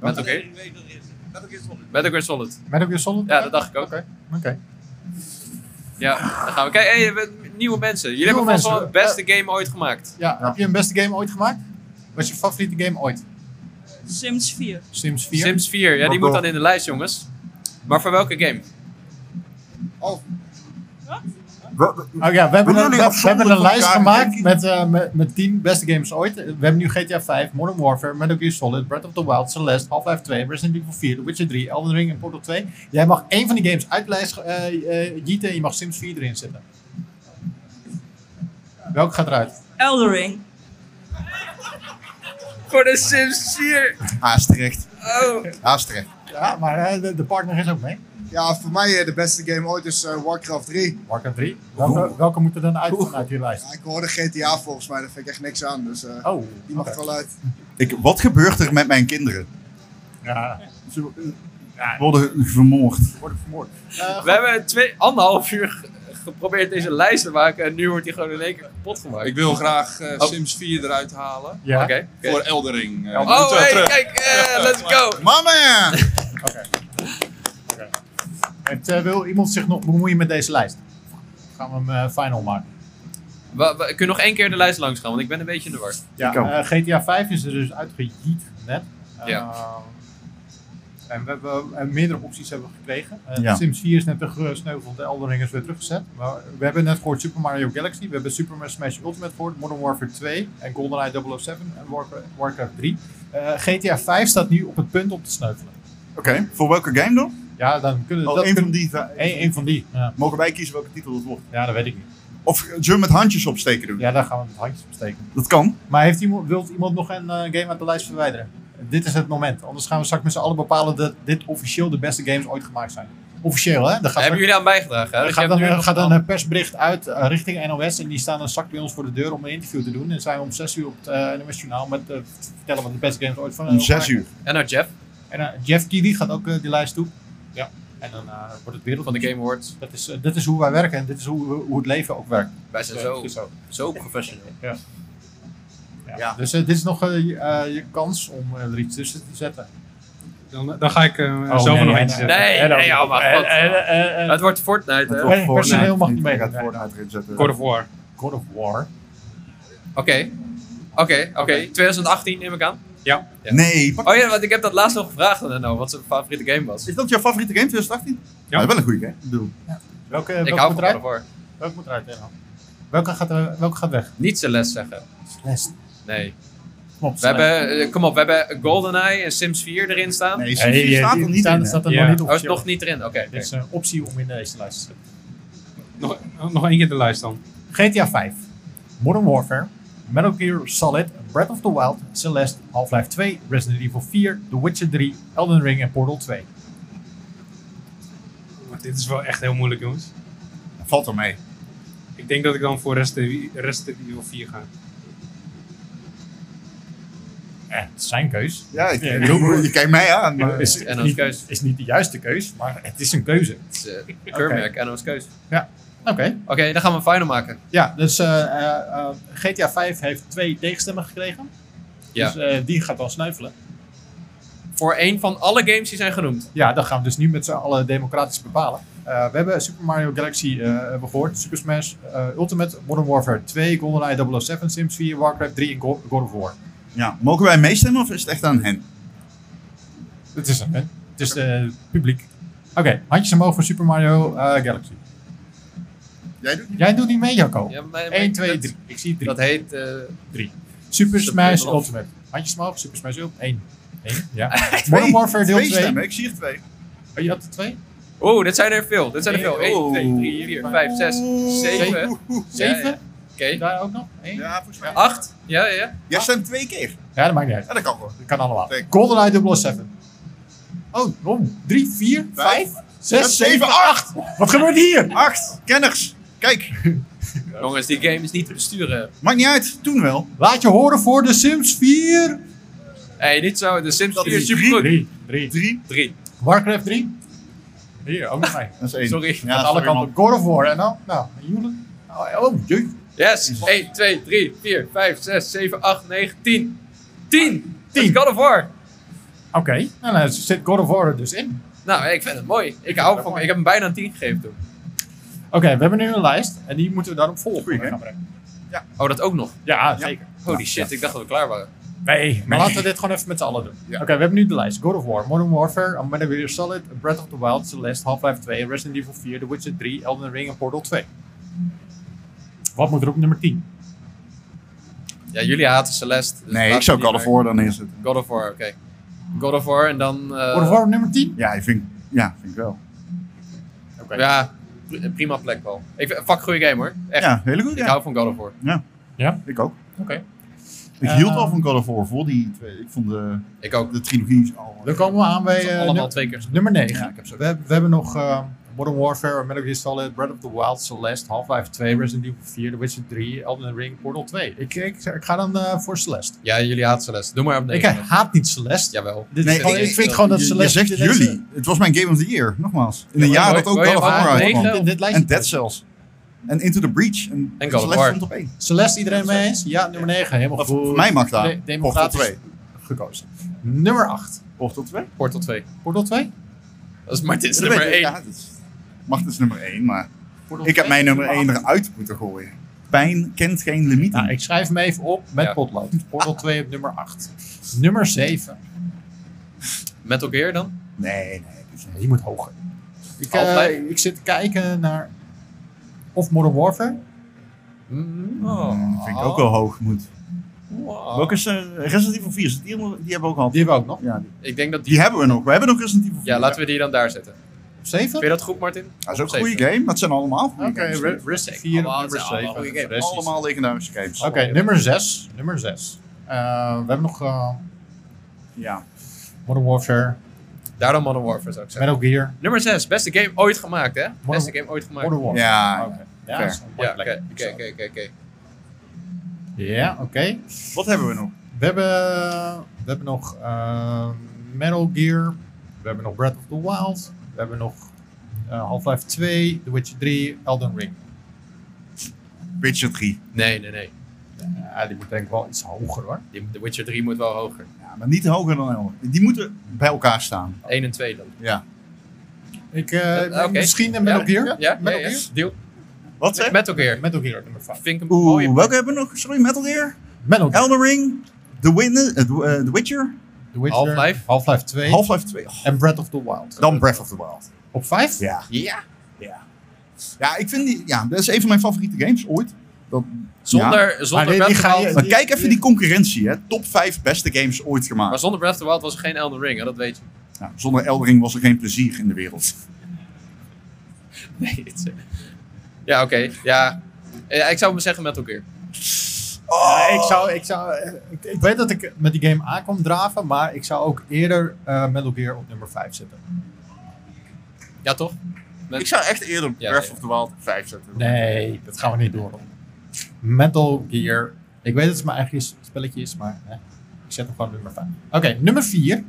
Speaker 2: Metal Gear? Metal Gear Solid.
Speaker 1: Metal Gear Solid?
Speaker 2: Ja, dat dacht ik ook.
Speaker 1: Oké. Oké.
Speaker 2: Ja, daar gaan we. Kijk, hey, je bent nieuwe mensen. Jullie
Speaker 1: Nieuwe
Speaker 2: hebben vast wel
Speaker 1: mensen.
Speaker 2: het beste game ooit gemaakt.
Speaker 1: Ja, heb je een beste game ooit gemaakt? Wat is je favoriete game ooit?
Speaker 9: Sims 4.
Speaker 1: Sims 4?
Speaker 2: Sims 4, ja, die
Speaker 3: Wat
Speaker 2: moet
Speaker 3: wel?
Speaker 2: dan in de lijst, jongens. Maar voor welke game?
Speaker 1: Oh ja, we hebben,
Speaker 3: doen
Speaker 1: een,
Speaker 3: nu
Speaker 1: we- we
Speaker 3: afzonderlijk
Speaker 1: hebben een
Speaker 3: van
Speaker 1: lijst
Speaker 3: elkaar.
Speaker 1: gemaakt met, eh met, met 10 beste games ooit. We hebben nu GTA 5, Modern Warfare, Metal Gear Solid, Breath of the Wild, Celeste, Half-Life 2, Resident Evil 4, The Witcher 3, Elden Ring en Portal 2. Jij mag één van die games uit de lijst eh, eh, jieten en je mag Sims 4 erin zetten. Welke gaat eruit?
Speaker 9: Elden Ring.
Speaker 2: Voor de Sims 4!
Speaker 3: Haast terecht.
Speaker 2: Oh.
Speaker 3: Haast terecht.
Speaker 1: Ja, maar eh, de, de partner is ook mee.
Speaker 10: Ja, voor mij eh, de beste game ooit is eh, Warcraft 3.
Speaker 1: Warcraft 3. Welke, welke moet er dan uit vanuit die
Speaker 10: Ja,
Speaker 1: lijst?
Speaker 10: ik hoorde GTA volgens mij, daar vind ik echt niks aan. Dus eh,
Speaker 1: Oh,
Speaker 10: die mag
Speaker 1: oké.
Speaker 10: er wel uit.
Speaker 3: Ik, wat gebeurt er met mijn kinderen?
Speaker 1: Ja,
Speaker 3: Ze worden vermoord.
Speaker 1: worden vermoord. Eh,
Speaker 2: We hebben twee, anderhalf uur ge- geprobeerd deze lijst te maken en nu wordt die gewoon in één keer kapot gemaakt.
Speaker 8: Ik wil graag eh,
Speaker 2: Oh.
Speaker 8: Sims 4 eruit halen.
Speaker 1: ja,
Speaker 2: Oké. oké.
Speaker 8: Voor Eldering. Uh,
Speaker 2: Oh, hey, kijk, eh, let's go!
Speaker 3: Mama!
Speaker 1: Het, eh, wil iemand zich nog bemoeien met deze lijst? Gaan we hem eh, final maken?
Speaker 2: We, we kunnen nog één keer de lijst langs gaan, want ik ben een beetje in de war.
Speaker 1: Ja,
Speaker 3: Ik ook.
Speaker 1: eh, GTA 5 is er dus uitgejiet net. Eh,
Speaker 2: Ja.
Speaker 1: En we hebben eh, meerdere opties hebben we gekregen. Eh,
Speaker 3: Ja.
Speaker 1: Sims 4 is net gesneuveld, de Elden Ring is weer teruggezet. Maar we hebben net gehoord Super Mario Galaxy, we hebben Super Smash Ultimate gehoord, Modern Warfare 2 en GoldenEye 007 en Warcraft, Warcraft 3. Eh, GTA 5 staat nu op het punt om te sneuvelen.
Speaker 3: Oké, voor welke game dan?
Speaker 1: Ja, dan kunnen
Speaker 3: Oh,
Speaker 1: dat
Speaker 3: een van
Speaker 1: kunnen-
Speaker 3: die.
Speaker 1: Eén, één van die. Ja.
Speaker 3: Mogen wij kiezen welke titel het wordt?
Speaker 1: ja, dat weet ik niet.
Speaker 3: Of zullen we met handjes opsteken doen?
Speaker 1: Ja, daar gaan we het handjes op steken.
Speaker 3: Dat kan.
Speaker 1: Maar heeft iemand, wilt iemand nog een eh, game uit de lijst verwijderen? Dit is het moment. Anders gaan we straks met z'n allen bepalen dat dit officieel de beste games ooit gemaakt zijn. Officieel, hè? Dan gaat
Speaker 2: Hebben
Speaker 1: er-
Speaker 2: jullie aan bijgedragen? Hè?
Speaker 1: Er
Speaker 2: Dat je
Speaker 1: gaat
Speaker 2: hebt
Speaker 1: dan,
Speaker 2: nu
Speaker 1: er
Speaker 2: nog
Speaker 1: gaat dan
Speaker 2: een-
Speaker 1: een persbericht uit eh, richting NOS en die staan een zak bij ons voor de deur om een interview te doen. En zijn we om 6 uur op het eh, NOS Journaal met eh, te vertellen wat de beste games ooit van
Speaker 3: Om zes uur.
Speaker 2: En nou Jeff.
Speaker 1: En eh, Jeff Keighley gaat ook eh, die lijst toe. Ja. En dan eh, wordt het wereld
Speaker 2: Van de Game Awards.
Speaker 1: Dat is, eh, dit is hoe wij werken en dit is hoe, hoe het leven ook werkt. Dus, eh,
Speaker 2: Wij zijn
Speaker 1: Ja,
Speaker 2: zo,
Speaker 1: goed
Speaker 2: zo. professioneel.
Speaker 1: Ja. Ja. Dus eh, dit is nog eh, je- eh, je kans om eh, er iets tussen te zetten.
Speaker 5: Dan, dan ga ik eh zelf er nog eentje zetten.
Speaker 2: Nee, nee, oh, maar god.
Speaker 1: eh, eh.
Speaker 2: Het wordt Fortnite, hè?
Speaker 1: wordt Nee, Fortnite. personeel mag niet mee.
Speaker 3: Ik ga het Fortnite erin zetten.
Speaker 5: God of War.
Speaker 1: God of War.
Speaker 2: Oké. Oké, oké. 2018 neem ik aan.
Speaker 5: Ja.
Speaker 3: Nee, pak-
Speaker 2: Oh ja, want ik heb dat laatst nog gevraagd aan Menno, wat zijn favoriete game was.
Speaker 3: Is dat jouw favoriete game 2018?
Speaker 5: Ja.
Speaker 3: Nou, wel een goede game. Ik bedoel,
Speaker 1: Welke,
Speaker 2: Ik
Speaker 1: welke
Speaker 2: hou
Speaker 1: moet
Speaker 2: van God of
Speaker 1: eruit?
Speaker 2: War.
Speaker 1: Welke moet eruit? Erhan? Welke gaat, er- welke gaat weg?
Speaker 2: Niet Celeste zeggen.
Speaker 1: Celeste.
Speaker 2: Nee.
Speaker 1: Klopt.
Speaker 2: We hebben, eh, kom op, we hebben GoldenEye en Sims 4 erin staan.
Speaker 3: nee,
Speaker 1: Hey,
Speaker 3: Sims
Speaker 1: eh,
Speaker 3: staat
Speaker 1: die-
Speaker 3: er
Speaker 1: die
Speaker 3: niet
Speaker 1: staan-
Speaker 3: in. hè?
Speaker 1: staat er
Speaker 5: Ja.
Speaker 1: nog niet
Speaker 2: Oh, is
Speaker 1: officieel.
Speaker 2: nog niet erin? Oké. oké.
Speaker 1: Dit is een optie om in deze lijst te zetten.
Speaker 5: Nog, nog één keer de lijst dan.
Speaker 1: GTA 5, Modern Warfare, Metal Gear Solid, Breath of the Wild, Celeste, Half-Life 2, Resident Evil 4, The Witcher 3, Elden Ring en Portal 2.
Speaker 5: Want dit is wel echt heel moeilijk, jongens.
Speaker 3: Valt er mee.
Speaker 5: Ik denk dat ik dan voor eh, Resident Resident Evil 4 ga.
Speaker 1: Eh, het is zijn keus.
Speaker 3: Ja, ik,
Speaker 1: Ja,
Speaker 3: ik
Speaker 1: heel
Speaker 3: bedoel,
Speaker 1: moeilijk.
Speaker 3: je kijkt mij aan. Maar,
Speaker 1: is,
Speaker 2: en als
Speaker 1: niet,
Speaker 2: keus.
Speaker 1: is niet de juiste keus, maar het is een keuze.
Speaker 2: Het is eh, een keurmerk en ons keus.
Speaker 1: Oké.
Speaker 2: Oké, dan gaan we een final maken.
Speaker 1: Ja, dus eh, eh, eh, GTA 5 heeft twee tegenstemmen gekregen.
Speaker 2: Ja.
Speaker 1: Dus eh, die gaat dan snuivelen.
Speaker 2: Voor één van alle games die zijn genoemd.
Speaker 1: Ja, dat gaan we dus nu met z'n allen democratisch bepalen. Eh, we hebben Super Mario Galaxy eh, hebben we gehoord, Super Smash eh, Ultimate, Modern Warfare 2, GoldenEye 007, Sims 4, Warcraft 3 en Go- God of War.
Speaker 3: ja, mogen wij meestemmen of is het echt aan hen?
Speaker 1: Het is een, het is eh, publiek. Oké, handjes omhoog voor Super Mario eh, Galaxy.
Speaker 3: Jij doet niet.
Speaker 1: Jij doet niet mee, Jacco.
Speaker 2: Ja, maar- maar
Speaker 1: 1,
Speaker 2: ik-
Speaker 1: 2,
Speaker 2: dat-
Speaker 1: 3. Ik zie 3.
Speaker 2: Dat heet... eh,
Speaker 1: Super
Speaker 2: Super
Speaker 1: Smash
Speaker 2: Ultimate.
Speaker 1: Ultimate. Handjes omhoog, Super Smash Ultimate. 1. 1,
Speaker 2: [LAUGHS]
Speaker 1: ja. Modern Warfare deel
Speaker 3: twee
Speaker 1: 2.
Speaker 3: stemmen, ik zie er twee.
Speaker 1: Oh, je had er 2?
Speaker 2: Oeh, Oh, dit zijn er veel. Dit zijn er veel. 1,
Speaker 3: Oh.
Speaker 2: 2, 3, 4, 5, 6, 7.
Speaker 3: Oeh.
Speaker 1: 7?
Speaker 2: Oké.
Speaker 1: Daar ook nog? 1? Ja.
Speaker 3: Ja, volgens mij.
Speaker 2: 8. Ja, ja, ja.
Speaker 3: Jij stemt twee keer.
Speaker 1: dat maakt niet uit.
Speaker 3: Ja, dat kan gewoon.
Speaker 1: Dat kan allemaal.
Speaker 3: Zeker.
Speaker 1: GoldenEye 007. Oh, om. 3, 4,
Speaker 3: Vijf,
Speaker 1: 5, 6,
Speaker 3: zes, zeven,
Speaker 1: 7, 8. Wat gebeurt hier?
Speaker 3: Acht, kenners. Kijk,
Speaker 2: Jongens, die game is niet te besturen.
Speaker 3: maakt niet uit. Toen wel.
Speaker 1: Laat je horen voor de Sims 4.
Speaker 2: Hé, niet zo. De Sims
Speaker 3: Dat
Speaker 2: 4 is
Speaker 3: is
Speaker 2: supergoed.
Speaker 1: 3. 3.
Speaker 3: Drie.
Speaker 2: 3.
Speaker 1: Warcraft 3. Hier, ook nog
Speaker 3: [LAUGHS]
Speaker 1: mij.
Speaker 3: Dat is één.
Speaker 2: Sorry,
Speaker 3: Ja,
Speaker 1: Aan alle
Speaker 3: sorry, man.
Speaker 1: kanten. God of War. En nou, nou, Joelen. Oh, oh, jee.
Speaker 2: Yes. 1, 2, 3, 4, 5, 6, 7, 8, 9, 10. 10!
Speaker 1: Tien.
Speaker 2: God of War.
Speaker 1: Oké, nou, nou, zit God of War er dus in.
Speaker 2: Nou, ik vind het mooi. Ik
Speaker 1: het
Speaker 2: hou
Speaker 1: ook
Speaker 2: van.
Speaker 1: mooi.
Speaker 2: Ik heb hem bijna een 10 gegeven toen.
Speaker 1: Oké, we hebben nu een lijst en die moeten we daarop volgen.
Speaker 3: Goeie, hè?
Speaker 1: gaan brengen.
Speaker 2: Oh, dat ook nog.
Speaker 1: Ja, zeker.
Speaker 2: Holy shit, ik dacht dat we klaar waren.
Speaker 1: Nee, maar laten we dit gewoon even met z'n allen doen.
Speaker 3: Ja.
Speaker 1: Oké, we hebben nu de lijst. God of War, Modern Warfare, Metal Gear Solid, Breath of the Wild, Celeste, Half-Life 2, Resident Evil 4, The Witcher 3, Elden Ring en Portal 2. Wat moet er op nummer 10?
Speaker 2: Ja, jullie haten Celeste. dus
Speaker 3: Nee, ik
Speaker 2: laten
Speaker 3: zou
Speaker 2: we die
Speaker 3: God of
Speaker 2: maar-
Speaker 3: War dan neerzetten.
Speaker 2: God of War, oké. God of War en dan... eh,
Speaker 1: God of War op nummer 10?
Speaker 3: Ja, ik vind, ja, vind ik wel.
Speaker 1: Oké.
Speaker 2: Ja, pri- prima plek wel. Ik vind, fuck goede game hoor. Echt.
Speaker 3: Ja, hele goed.
Speaker 2: Ik
Speaker 3: Ja.
Speaker 2: hou van God of War.
Speaker 3: Ik ook.
Speaker 1: Oké.
Speaker 3: Ik
Speaker 1: Eh,
Speaker 3: hield al van God of War voor die twee. Ik vond de,
Speaker 2: Ik Ehm, ook.
Speaker 3: de trilogie al...
Speaker 1: Dan komen we aan bij eh,
Speaker 2: allemaal
Speaker 1: nummer,
Speaker 2: twee keer.
Speaker 1: nummer 9.
Speaker 2: Ja, ik heb ze ook.
Speaker 1: we, hebben- we hebben nog eh, Modern Warfare, Metal Gear Solid, Breath of the Wild, Celeste, Half-Life 2, Resident Evil 4, The Witcher 3, Elden Ring, Portal 2. Ik, ik, ik ga dan eh, voor Celeste.
Speaker 2: Ja, jullie haten Celeste. Doe maar op
Speaker 1: Ik eh,
Speaker 2: negen.
Speaker 1: haat niet Celeste.
Speaker 2: Jawel.
Speaker 1: Dit
Speaker 3: Nee,
Speaker 1: is gewoon-
Speaker 3: ik-
Speaker 1: Oh, ik,
Speaker 3: ik-
Speaker 1: vind gewoon dat
Speaker 3: je, je
Speaker 1: Celeste...
Speaker 3: zegt
Speaker 1: dit is-
Speaker 3: jullie. Het was mijn Game of the Year, nogmaals. In een
Speaker 2: Ja,
Speaker 3: jaar
Speaker 2: maar
Speaker 3: dat ook
Speaker 2: wou je
Speaker 3: God of
Speaker 2: hem
Speaker 3: War
Speaker 2: aan
Speaker 3: uitkwam.
Speaker 2: negen?
Speaker 1: Ah, Dit, dit lijstje
Speaker 3: En Dead Cells. En Into the Breach. En,
Speaker 2: En God of
Speaker 3: Celeste
Speaker 2: War.
Speaker 3: stond op één.
Speaker 1: Celeste, iedereen mee eens? Ja, nummer 9. Helemaal
Speaker 3: Of
Speaker 1: goed.
Speaker 3: voor mij mag daar.
Speaker 1: De-
Speaker 3: Portal
Speaker 1: democratisch
Speaker 3: 2.
Speaker 1: gekozen. Nummer 8.
Speaker 3: Portal 2?
Speaker 2: Portal 2.
Speaker 1: Portal 2?
Speaker 2: Dat is Martins nummer 1.
Speaker 3: Ja, dat is, mag dus nummer 1, maar
Speaker 1: Portal
Speaker 3: ik heb
Speaker 1: 2?
Speaker 3: mijn nummer 1 eruit moeten gooien. Pijn kent geen limieten.
Speaker 1: Nou, ik schrijf hem even op met
Speaker 2: Ja.
Speaker 1: potlood. Portal 2 op nummer 8. Nummer 7.
Speaker 2: Metal Gear dan?
Speaker 3: Nee, nee. dus- dat is niet.
Speaker 1: Die moet hoger. Ik, eh,
Speaker 2: Half-Life.
Speaker 1: ik zit te kijken naar... Of Modern Warfare.
Speaker 2: Mm,
Speaker 3: Mm,
Speaker 2: oh.
Speaker 3: vind ik ook wel hoog moet.
Speaker 2: Wow.
Speaker 3: Welke is eh, Resident Evil 4? Is het die, onder- die hebben we ook al.
Speaker 1: Die hebben we ook nog.
Speaker 3: Ja, die,
Speaker 2: Ik denk dat die...
Speaker 3: die hebben we nog. We hebben nog Resident Evil 4.
Speaker 2: Ja, laten we die dan daar zetten.
Speaker 1: Op
Speaker 2: Vind
Speaker 1: 7?
Speaker 2: je dat goed, Martin?
Speaker 3: Dat is ook een
Speaker 2: Zeven.
Speaker 3: goede game. Dat zijn allemaal goede
Speaker 1: Oké,
Speaker 3: games.
Speaker 1: Re- Rest 4 op nummer 7.
Speaker 3: Allemaal legendarische games.
Speaker 1: Oké, nummer 6. Nummer 6. we hebben nog eh,
Speaker 3: Ja.
Speaker 1: Modern Warfare.
Speaker 2: Daar dan Modern Warfare zou ik zeggen.
Speaker 1: Metal Gear.
Speaker 2: Nummer 6, beste game ooit gemaakt, hè? beste game ooit gemaakt.
Speaker 1: Modern Warfare. Ja, Oké. ja,
Speaker 2: Fair.
Speaker 1: dat is een mooie
Speaker 2: Ja,
Speaker 1: plek.
Speaker 2: oké, oké, oké, oké, oké.
Speaker 1: Ja, oké.
Speaker 3: Wat hebben we nog?
Speaker 1: We hebben, we hebben nog eh, Metal Gear. We hebben nog Breath of the Wild. We hebben nog eh, Half-Life 2, The Witcher 3, Elden Ring.
Speaker 3: Witcher 3.
Speaker 2: Nee, nee, nee.
Speaker 1: Ja, die moet denk ik wel iets hoger hoor.
Speaker 2: Die, de Witcher 3 moet wel hoger.
Speaker 3: Ja, maar niet hoger dan Elden Ring. Die moeten bij elkaar staan.
Speaker 2: 1 en 2 dan.
Speaker 3: Ja.
Speaker 1: Ik, eh,
Speaker 2: Oké.
Speaker 1: Misschien een Metal
Speaker 2: Ja,
Speaker 1: Gear?
Speaker 2: Ja, ja,
Speaker 1: Metal
Speaker 2: ja, ja.
Speaker 1: Gear?
Speaker 2: Deal.
Speaker 3: Wat zeg?
Speaker 2: Metal Gear.
Speaker 1: Metal Gear, nummer 5.
Speaker 2: Vind ik een mooie
Speaker 3: Oeh, welke hebben we nog? Sorry, Metal Gear?
Speaker 1: Metal
Speaker 3: Gear. Elden Ring? The, Win eh, The, eh, The Witcher?
Speaker 1: The Witcher, Half-Life. Half-Life 2.
Speaker 3: Half-Life 2.
Speaker 1: En Breath of the Wild.
Speaker 3: Dan Breath of the Wild.
Speaker 1: Op 5?
Speaker 3: Ja.
Speaker 2: Ja.
Speaker 3: Ja. Ja, ik vind die... Ja, dat is een van mijn favoriete games ooit. Dat,
Speaker 2: Zonder-
Speaker 3: ja.
Speaker 2: zonder Maar die- die Breath of the ga je- Wild-
Speaker 3: Maar
Speaker 2: die-
Speaker 3: kijk even die concurrentie, hè. Top 5 beste games ooit gemaakt.
Speaker 2: Maar zonder Breath of the Wild was er geen Elden Ring, hè? dat weet je. [LAUGHS]
Speaker 3: Nou, zonder Elden Ring was er geen plezier in de wereld.
Speaker 2: Nee, het is- Ja, oké. Ja. Ja, ik zou me zeggen Metal Gear.
Speaker 1: Ja, ik, zou, ik, zou, eh, ik, ik weet dat ik met die game aankom draven, maar ik zou ook eerder eh, Metal Gear op nummer 5 zetten.
Speaker 2: Ja, toch?
Speaker 3: Ik zou echt eerder Breath of the Wild 5 zetten.
Speaker 1: Nee, dat gaan we niet door. Metal Gear. Ik weet dat het mijn eigen spelletje is, maar eh, ik zet hem gewoon op nummer 5. Oké, nummer 4.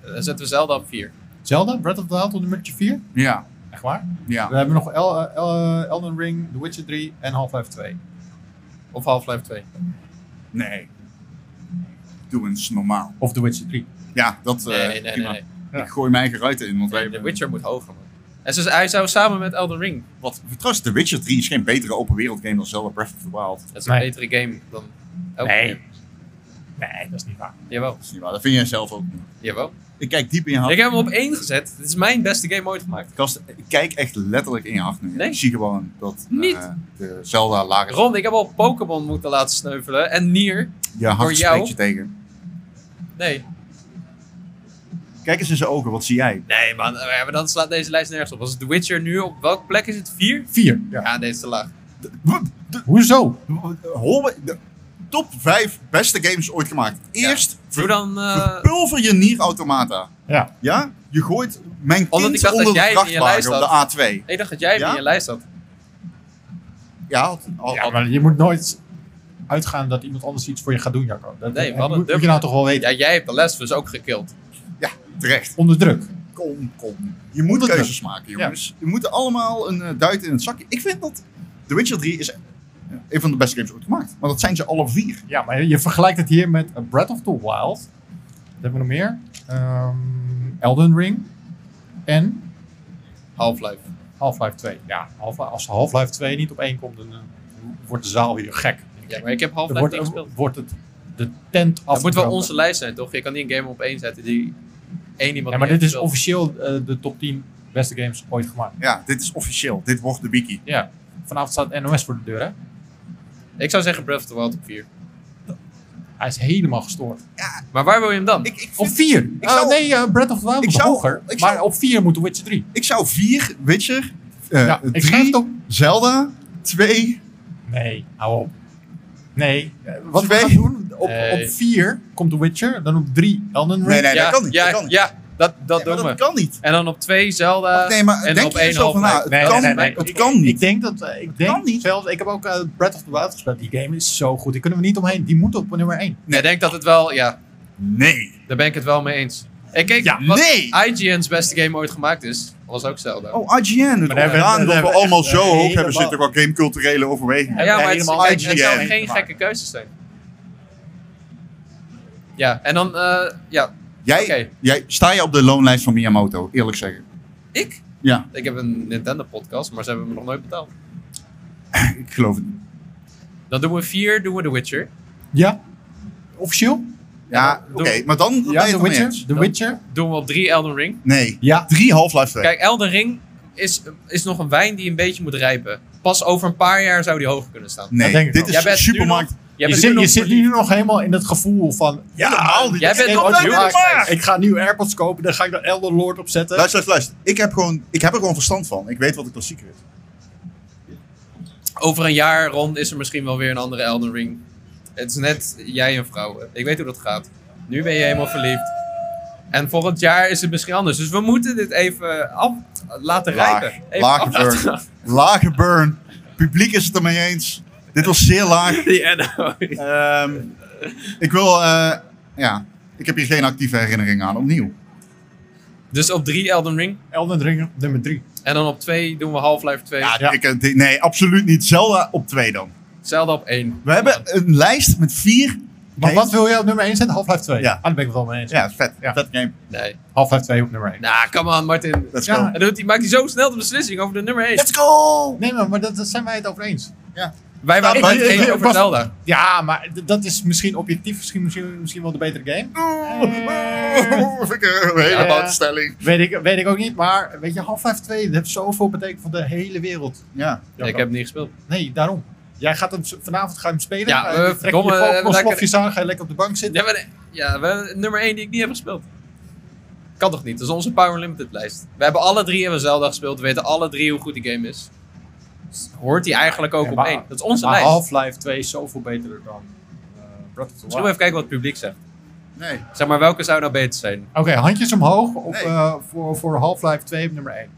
Speaker 2: Dan zetten we Zelda op 4.
Speaker 1: Zelda, Breath of the Wild op nummertje 4.
Speaker 3: Ja.
Speaker 1: Echt waar?
Speaker 3: Ja.
Speaker 1: We hebben nog El- eh, El- eh, Elden Ring, The Witcher 3 en Half-Life 2.
Speaker 2: Of Half-Life 2.
Speaker 1: Eh,
Speaker 3: Nee. Doe eens normaal.
Speaker 1: Of The Witcher 3.
Speaker 3: Ja, dat... eh,
Speaker 2: Nee, nee, nee,
Speaker 3: prima.
Speaker 2: nee,
Speaker 3: Ik gooi mijn eigen ruiten in, want wij...
Speaker 2: De Witcher moet hoger, man. En ze, hij zou samen met Elden Ring.
Speaker 3: Wat? Trouwens, The Witcher 3 is geen betere open wereld game dan Zelda Breath of the Wild.
Speaker 2: Dat is een betere game dan Elden Ring.
Speaker 1: Nee, dat is niet waar.
Speaker 2: Jawel.
Speaker 3: Dat is niet waar, dat vind jij zelf ook niet.
Speaker 2: Jawel.
Speaker 3: Ik kijk diep in je hart.
Speaker 2: Ik heb hem op één gezet. Dit is mijn beste game ooit gemaakt.
Speaker 3: Gast, ik kijk echt letterlijk in je hart nu.
Speaker 2: Nee.
Speaker 3: Ik zie gewoon dat eh,
Speaker 2: Niet.
Speaker 3: de Zelda lager is.
Speaker 2: Ron, ik heb al Pokémon moeten laten sneuvelen. En Nier.
Speaker 3: Je
Speaker 2: Door
Speaker 3: hart
Speaker 2: jou.
Speaker 3: spreekt je tegen.
Speaker 2: Nee.
Speaker 3: Kijk eens in zijn ogen, wat zie jij?
Speaker 2: Nee, man. eh, Maar dan slaat deze lijst nergens op. Als The Witcher nu op welke plek is het? Vier?
Speaker 1: 4.
Speaker 2: Ja, deze is te laag.
Speaker 1: Hoezo?
Speaker 3: Holle, de top 5 beste games ooit gemaakt. Eerst
Speaker 2: Doe dan... eh,
Speaker 3: [LAUGHS] pulver je nier automata.
Speaker 1: Ja.
Speaker 3: Ja? Je gooit mijn
Speaker 2: Omdat ik
Speaker 3: kind
Speaker 2: dacht
Speaker 3: onder
Speaker 2: dat
Speaker 3: de
Speaker 2: jij hem in je lijst
Speaker 3: vrachtwagen
Speaker 2: had.
Speaker 3: op de A2.
Speaker 2: ik dacht dat jij hem
Speaker 3: Ja?
Speaker 2: in je lijst had.
Speaker 3: Ja, had- al-
Speaker 1: Ja, maar je moet nooit uitgaan dat iemand anders iets voor je gaat doen, Jacco. Dat,
Speaker 2: Nee, we
Speaker 1: dat
Speaker 2: hadden
Speaker 1: moet, moet je
Speaker 2: dubbel.
Speaker 1: nou toch wel weten.
Speaker 2: Ja, jij hebt de les dus ook gekild.
Speaker 3: ja, terecht.
Speaker 1: Onder druk.
Speaker 3: Kom, kom. Je moet
Speaker 1: Onder
Speaker 3: keuzes
Speaker 1: druk.
Speaker 3: maken, jongens. Je moet allemaal een eh, duit in het zakje. Ik vind dat The Witcher 3 is eh, een van de beste games ooit gemaakt. Maar dat zijn ze alle vier.
Speaker 1: Ja, maar je vergelijkt het hier met eh, Breath of the Wild. Wat hebben we nog meer? Ehm, Elden Ring. En
Speaker 2: Half-Life.
Speaker 1: Half-Life 2. Ja, Half- als Half-Life 2 niet op één komt, dan eh, wordt de zaal hier gek.
Speaker 2: Ja, maar ik heb
Speaker 1: Dan
Speaker 2: Half-Life
Speaker 1: wordt,
Speaker 2: niet gespeeld.
Speaker 1: wordt het de tent af.
Speaker 2: Het moet wel onze lijst zijn, toch? Je kan niet een game op één zetten die één iemand
Speaker 1: Ja, maar
Speaker 2: niet
Speaker 1: dit is
Speaker 2: heeft gespeeld.
Speaker 1: officieel eh, de top 10 beste games ooit gemaakt.
Speaker 3: Ja, dit is officieel. Dit wordt de wiki.
Speaker 1: Ja. Vanavond staat NOS voor de deur, hè?
Speaker 2: Ik zou zeggen Breath of the Wild op vier.
Speaker 1: Hij is helemaal gestoord.
Speaker 2: Maar waar wil je hem dan?
Speaker 3: Ik, ik,
Speaker 1: Op
Speaker 3: vind,
Speaker 1: 4.
Speaker 3: zou-
Speaker 1: nee, eh, Breath of the Wild
Speaker 3: Ik
Speaker 1: moet
Speaker 3: zou-
Speaker 1: hoger.
Speaker 3: ik
Speaker 1: maar
Speaker 3: zou-
Speaker 1: op 4 moet The Witcher 3.
Speaker 3: ik zou vier Witcher, eh
Speaker 1: Ja, ik schrijf
Speaker 3: drie
Speaker 1: het op.
Speaker 3: Zelda, twee...
Speaker 1: Nee, hou op. Nee. eh, Wat
Speaker 3: Twee.
Speaker 1: we gaan doen, op,
Speaker 2: Nee.
Speaker 1: op vier komt The Witcher, dan op drie Elden Ring.
Speaker 3: Nee, nee,
Speaker 2: ja,
Speaker 3: dat kan niet.
Speaker 2: Ja,
Speaker 3: dat kan niet.
Speaker 2: ja, dat, dat
Speaker 3: Nee,
Speaker 2: doen
Speaker 3: maar
Speaker 2: we.
Speaker 3: dat kan niet.
Speaker 2: En dan op twee Zelda.
Speaker 3: Nee, maar
Speaker 2: en
Speaker 3: denk
Speaker 2: op
Speaker 3: je
Speaker 2: één
Speaker 3: jezelf van,
Speaker 2: Half-Life.
Speaker 3: nou, het kan, het kan
Speaker 1: ik,
Speaker 3: niet.
Speaker 1: Ik denk dat, eh, ik denk
Speaker 3: kan niet.
Speaker 1: zelfs, ik heb ook eh, Breath of the Wild gespeeld. Die game is zo goed, die kunnen we niet omheen. Die moet op nummer 1.
Speaker 2: Nee, ik denk dat het wel, ja,
Speaker 3: Nee.
Speaker 2: daar ben ik het wel mee eens. En kijk,
Speaker 3: Ja,
Speaker 2: wat
Speaker 3: nee.
Speaker 2: IGN's beste game ooit gemaakt is, was ook Zelda.
Speaker 3: Oh, IGN. Het
Speaker 1: daar hebben- daar
Speaker 3: orgaan dat we
Speaker 1: hebben we
Speaker 3: allemaal
Speaker 1: echt
Speaker 3: zo
Speaker 1: een
Speaker 3: hoog hebben
Speaker 1: helemaal-
Speaker 3: zitten qua gameculturele overwegingen.
Speaker 2: ja, ja, maar het,
Speaker 1: helemaal
Speaker 2: kijk, het
Speaker 3: IGN.
Speaker 2: zou geen
Speaker 1: Maar-
Speaker 2: gekke keuzes zijn. Ja, en dan, eh, ja,
Speaker 3: Jij,
Speaker 2: Oké.
Speaker 3: jij, sta je op de loonlijst van Miyamoto, eerlijk zeggen?
Speaker 2: ik?
Speaker 3: Ja,
Speaker 2: Ik heb een Nintendo-podcast, maar ze hebben me nog nooit betaald.
Speaker 3: ik geloof het niet.
Speaker 2: Dan doen we vier, doen we The Witcher.
Speaker 1: Ja? Officieel?
Speaker 3: Ja,
Speaker 2: doe-
Speaker 3: oké, maar dan ben je
Speaker 1: Ja,
Speaker 3: het
Speaker 1: The
Speaker 3: ermee
Speaker 1: Witcher.
Speaker 3: eens.
Speaker 1: The Witcher.
Speaker 2: Doen we op drie Elden Ring.
Speaker 3: Nee,
Speaker 1: Ja.
Speaker 3: drie Half-Life 2.
Speaker 2: Kijk, Elden Ring is, is nog een wijn die een beetje moet rijpen. Pas over een paar jaar zou die hoger kunnen staan.
Speaker 1: dat denk
Speaker 3: nee,
Speaker 1: ik
Speaker 3: dit
Speaker 1: wel.
Speaker 2: Jij
Speaker 3: is
Speaker 2: bent nu
Speaker 3: supermarkt.
Speaker 2: nog-
Speaker 1: je
Speaker 2: Jij bent
Speaker 1: zit,
Speaker 2: nu
Speaker 1: je
Speaker 2: nog
Speaker 1: zit nu nog helemaal in dat gevoel van...
Speaker 3: Ja, al die
Speaker 2: Jij
Speaker 3: dingen.
Speaker 2: bent
Speaker 1: Game ooit
Speaker 2: opnieuw
Speaker 1: gemaakt.
Speaker 2: gemaakt.
Speaker 1: Ik ga nieuwe AirPods kopen, dan ga ik er Elden Lord op zetten.
Speaker 3: Luister, luister, luister. Ik heb, gewoon, ik heb er gewoon verstand van. Ik weet wat de klassieker is.
Speaker 2: Over een jaar rond is er misschien wel weer een andere Elden Ring. Het is net jij en vrouw. Ik weet hoe dat gaat. Nu ben je helemaal verliefd. En volgend jaar is het misschien anders. Dus we moeten dit even af laten rijpen.
Speaker 3: Laag,
Speaker 2: Even
Speaker 3: lage
Speaker 2: af laten-
Speaker 3: burn. Lage burn. Publiek is het ermee eens. Dit was zeer laag.
Speaker 2: Ja, nou.
Speaker 3: Ehm, ik wil, eh, ja, ik heb hier geen actieve herinnering aan, opnieuw.
Speaker 2: Dus op drie Elden Ring.
Speaker 1: Elden Ring, nummer drie.
Speaker 2: En dan op twee doen we Half-Life 2.
Speaker 3: Ja, Ik, eh, die- nee, absoluut niet. Zelda op twee dan.
Speaker 2: Zelda op één.
Speaker 3: We hebben een lijst met vier.
Speaker 1: Maar wat wil jij op nummer 1 zetten? Half-Life 2?
Speaker 3: Ja.
Speaker 1: Ah, daar ben ik het wel mee eens.
Speaker 3: Ja, vet. Vet game.
Speaker 2: Nee.
Speaker 1: Half-Life 2 op nummer 1.
Speaker 2: Nou, come on, Martin.
Speaker 3: Let's
Speaker 1: go.
Speaker 2: En dan doet hij- maakt hij zo snel de beslissing over de nummer 1.
Speaker 3: Let's go!
Speaker 1: Nee, maar, maar dat, dat zijn wij het over eens.
Speaker 3: Ja.
Speaker 2: Wij waren
Speaker 1: Ik-
Speaker 2: het
Speaker 1: ik-
Speaker 2: eens
Speaker 1: ik-
Speaker 2: over
Speaker 1: pas-
Speaker 2: Zelda.
Speaker 1: Ja, maar d- dat is misschien objectief, misschien, misschien, misschien wel de betere game.
Speaker 3: Vind ik een hele
Speaker 1: Ja.
Speaker 3: boute stelling.
Speaker 1: Weet ik, weet ik ook niet, maar weet je, Half-Life 2 dat heeft zoveel betekend voor de hele wereld.
Speaker 3: Ja.
Speaker 2: ik heb het niet gespeeld.
Speaker 1: Nee, daarom. Jij gaat hem, z- vanavond ga je hem spelen.
Speaker 2: Ja,
Speaker 1: Ga
Speaker 2: eh,
Speaker 1: je- trek je
Speaker 2: verdomme, eh,
Speaker 1: popcorn,
Speaker 2: lekker-
Speaker 1: slokjes aan, ga je lekker op de bank zitten.
Speaker 2: Ja, maar, nee. ja we- nummer 1 die ik niet heb gespeeld. Kan toch niet? Dat is onze Power Limited lijst. We hebben alle drie hebben Zelda gespeeld. We weten alle drie hoe goed die game is. Dus Hoort die eigenlijk ook
Speaker 1: Ja,
Speaker 2: op
Speaker 1: maar-
Speaker 2: één? Dat is onze
Speaker 1: maar
Speaker 2: lijst.
Speaker 1: Half-Life 2 is zoveel beter dan eh Breath of the
Speaker 2: Zullen
Speaker 1: Wild.
Speaker 2: we even kijken wat het publiek zegt?
Speaker 3: Nee.
Speaker 2: Zeg maar, welke zou nou beter zijn?
Speaker 1: Oké, handjes omhoog op,
Speaker 3: Nee.
Speaker 1: eh, voor, voor Half-Life 2 op nummer 1.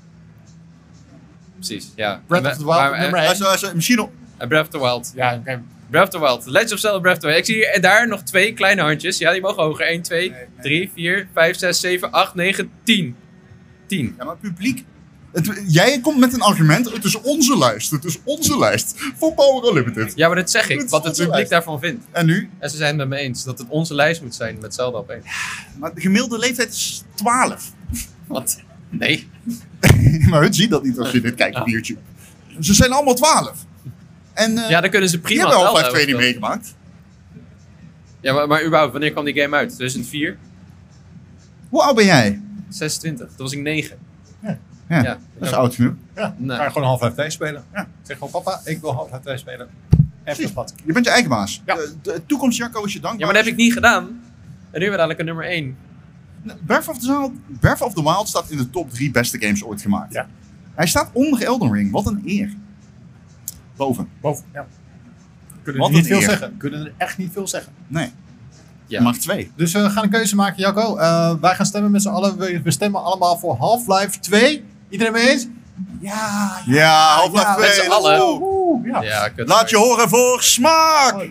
Speaker 2: Precies, ja.
Speaker 1: Breath of the Wild
Speaker 2: Maar-
Speaker 1: op
Speaker 2: maar-
Speaker 1: nummer
Speaker 3: Hij
Speaker 1: 1.
Speaker 3: zou- hij zou- misschien op.
Speaker 2: eh, Breath of the Wild.
Speaker 1: Ja, oké.
Speaker 2: Breath of the Wild. Legend of Zelda Breath of the Wild. Ik zie hier en daar nog twee kleine handjes. Ja, die mogen hoger. 1, 2, 3, 4, 5, 6, 7, 8, 9, 10. 10.
Speaker 3: Ja, maar publiek. Het, jij komt met een argument. Het is onze lijst. Het is onze lijst. Voor Power Unlimited.
Speaker 2: Ja, maar dat zeg
Speaker 3: Dat
Speaker 2: ik.
Speaker 3: is
Speaker 2: Wat het
Speaker 3: onze
Speaker 2: publiek
Speaker 3: lijst.
Speaker 2: daarvan vindt.
Speaker 3: En nu?
Speaker 2: En ze zijn het met me eens dat het onze lijst moet zijn met Zelda op één.
Speaker 3: Maar de gemiddelde leeftijd is 12.
Speaker 2: Wat? Nee.
Speaker 3: [LAUGHS] maar hun zien dat niet als je dit kijkt op YouTube. Ze zijn allemaal 12. En eh
Speaker 2: Ja, dan kunnen ze
Speaker 3: die
Speaker 2: prima eh,
Speaker 3: hebben
Speaker 2: Zelda
Speaker 3: Half-Life 2 niet
Speaker 2: overspelen.
Speaker 3: meegemaakt.
Speaker 2: Ja, maar, maar überhaupt, wanneer kwam die game uit? 2004?
Speaker 3: Hoe oud ben jij?
Speaker 2: 26. Toen was ik 9.
Speaker 3: Ja,
Speaker 2: Ja.
Speaker 3: dat is oud genoeg.
Speaker 1: Ja,
Speaker 2: Nee.
Speaker 1: ga je gewoon Half-Life 2 spelen.
Speaker 3: Ja.
Speaker 1: Zeg gewoon, papa, ik wil Half-Life 2 spelen. Even
Speaker 3: Precies.
Speaker 1: een pad.
Speaker 3: Je bent je eigen baas.
Speaker 1: Ja.
Speaker 3: De, de toekomst Jacco is je dankbaar.
Speaker 2: Ja, maar dat heb ik niet gedaan. En nu hebben we dadelijk een nummer 1.
Speaker 3: Breath of, the Wild, Breath of the Wild staat in de top 3 beste games ooit gemaakt.
Speaker 1: Ja.
Speaker 3: Hij staat onder Elden Ring. Wat een eer. Boven.
Speaker 1: Boven, ja. Kunnen
Speaker 3: Wat
Speaker 1: er niet
Speaker 3: een
Speaker 1: veel
Speaker 3: eer.
Speaker 1: zeggen. Kunnen er echt niet veel zeggen.
Speaker 3: Nee.
Speaker 2: Ja.
Speaker 3: Mag twee.
Speaker 1: Dus we gaan een keuze maken, Jacco. Eh, wij gaan stemmen met z'n allen. We, we stemmen allemaal voor Half-Life 2. Iedereen mee eens? Ja.
Speaker 3: Ja, Half-Life
Speaker 1: Ja,
Speaker 2: met
Speaker 3: 2.
Speaker 2: z'n allen.
Speaker 3: woe.
Speaker 1: Oeh, ja.
Speaker 2: Ja, kut.
Speaker 3: Laat je horen voor smaak.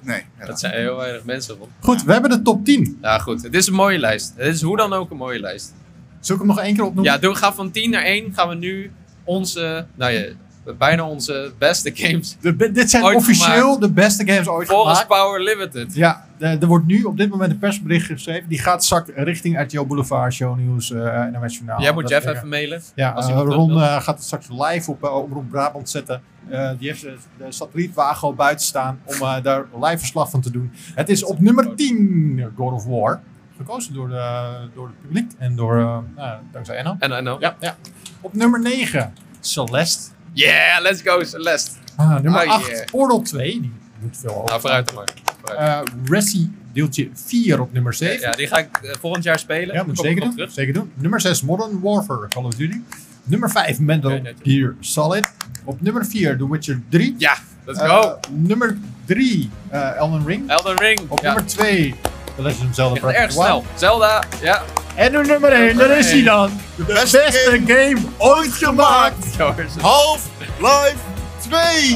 Speaker 3: Nee. ja,
Speaker 2: Dat zijn heel weinig mensen. Man.
Speaker 1: Goed, we hebben de top 10.
Speaker 2: Ja, goed. Het is een mooie lijst. Het is hoe dan ook een mooie lijst.
Speaker 1: Zul ik hem nog één keer opnoemen?
Speaker 2: Ja, doe, ga van 10 naar 1. Gaan we nu onze, nou ja, bijna onze beste games.
Speaker 1: De be- dit zijn
Speaker 2: Ooit
Speaker 1: officieel
Speaker 2: gemaakt.
Speaker 1: de beste games ooit
Speaker 2: Volgens
Speaker 1: gemaakt.
Speaker 2: Power Limited.
Speaker 1: Ja, de- er wordt nu op dit moment een persbericht geschreven. Die gaat zakt richting RTL Boulevard, Show News, eh NOS Journaal.
Speaker 2: Jij moet
Speaker 1: Dat
Speaker 2: Jeff
Speaker 1: soort
Speaker 2: even mailen.
Speaker 1: dingen. Ja,
Speaker 2: als
Speaker 1: eh,
Speaker 2: iemand dat
Speaker 1: Ron
Speaker 2: wil.
Speaker 1: eh, gaat het straks live op eh, Omroep Brabant zetten. Eh, die heeft de, de satellietwagen al buiten staan om eh, daar live verslag van te doen. Het is op nummer 10, God of War. Gekozen door, de, door het publiek en door, eh, nou, dankzij Enno.
Speaker 2: En en nou.
Speaker 1: Ja, ja. Op nummer 9, Celeste.
Speaker 2: Yeah, let's go Celeste.
Speaker 1: Ah, nummer
Speaker 2: Ah,
Speaker 1: 8,
Speaker 2: yeah.
Speaker 1: Oordeel 2. Die moet veel over.
Speaker 2: Nou, vooruit dan maar. Vooruit.
Speaker 1: Eh, Resi deeltje 4 op nummer 7.
Speaker 2: Ja, die ga ik eh, volgend jaar spelen.
Speaker 1: Ja, moet
Speaker 2: Kom ik
Speaker 1: zeker
Speaker 2: nog
Speaker 1: doen.
Speaker 2: terug.
Speaker 1: Zeker doen. Nummer 6, Modern Warfare, Call of Duty. Nummer 5, Metal
Speaker 2: Nee, nee, nee.
Speaker 1: Gear Solid. Op nummer 4, The Witcher 3.
Speaker 2: Ja, let's
Speaker 1: Eh,
Speaker 2: go.
Speaker 1: nummer 3, eh, Elden Ring.
Speaker 2: Elden Ring.
Speaker 1: Op
Speaker 2: ja.
Speaker 1: nummer 2, The Legend of Zelda
Speaker 2: Die gaat
Speaker 1: Breath of
Speaker 2: erg
Speaker 1: the Wild.
Speaker 2: snel. Zelda, ja.
Speaker 1: En op nummer 1, daar is hij dan.
Speaker 3: De beste, game ooit gemaakt.
Speaker 2: Jongens. Oké,
Speaker 3: Half-Life 2.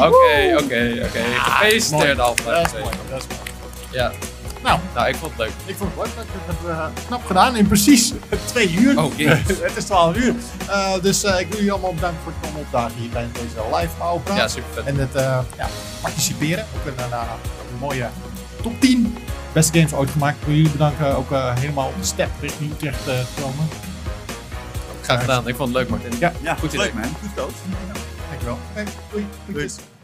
Speaker 2: oké, oké. Gefeliciteerd Alpha.
Speaker 1: Dat is Ah, mooi, dat is mooi.
Speaker 2: Ja.
Speaker 1: Nou,
Speaker 2: Nou, ik vond het leuk.
Speaker 1: ik vond het leuk. Dat hebben we eh, knap gedaan in precies 2 uur.
Speaker 2: Oh, jezus.
Speaker 1: [LAUGHS] het is 12 uur. Eh, dus eh, ik wil jullie allemaal bedanken voor het komen opdagen hier bij deze live Power Praat.
Speaker 2: Ja, super vet.
Speaker 1: En het eh, ja, participeren. Ook een, eh, een mooie top 10 beste games ooit gemaakt. Ik wil jullie bedanken. Ook eh, helemaal op de step richting Utrecht eh, te komen.
Speaker 2: Graag gedaan. Ik vond het leuk, Martin.
Speaker 1: Ja,
Speaker 3: Ja,
Speaker 2: Goed
Speaker 3: goed
Speaker 2: idee.
Speaker 3: leuk man. Goed dood.
Speaker 1: dankjewel. Hey, doei. Doei.
Speaker 3: Doei.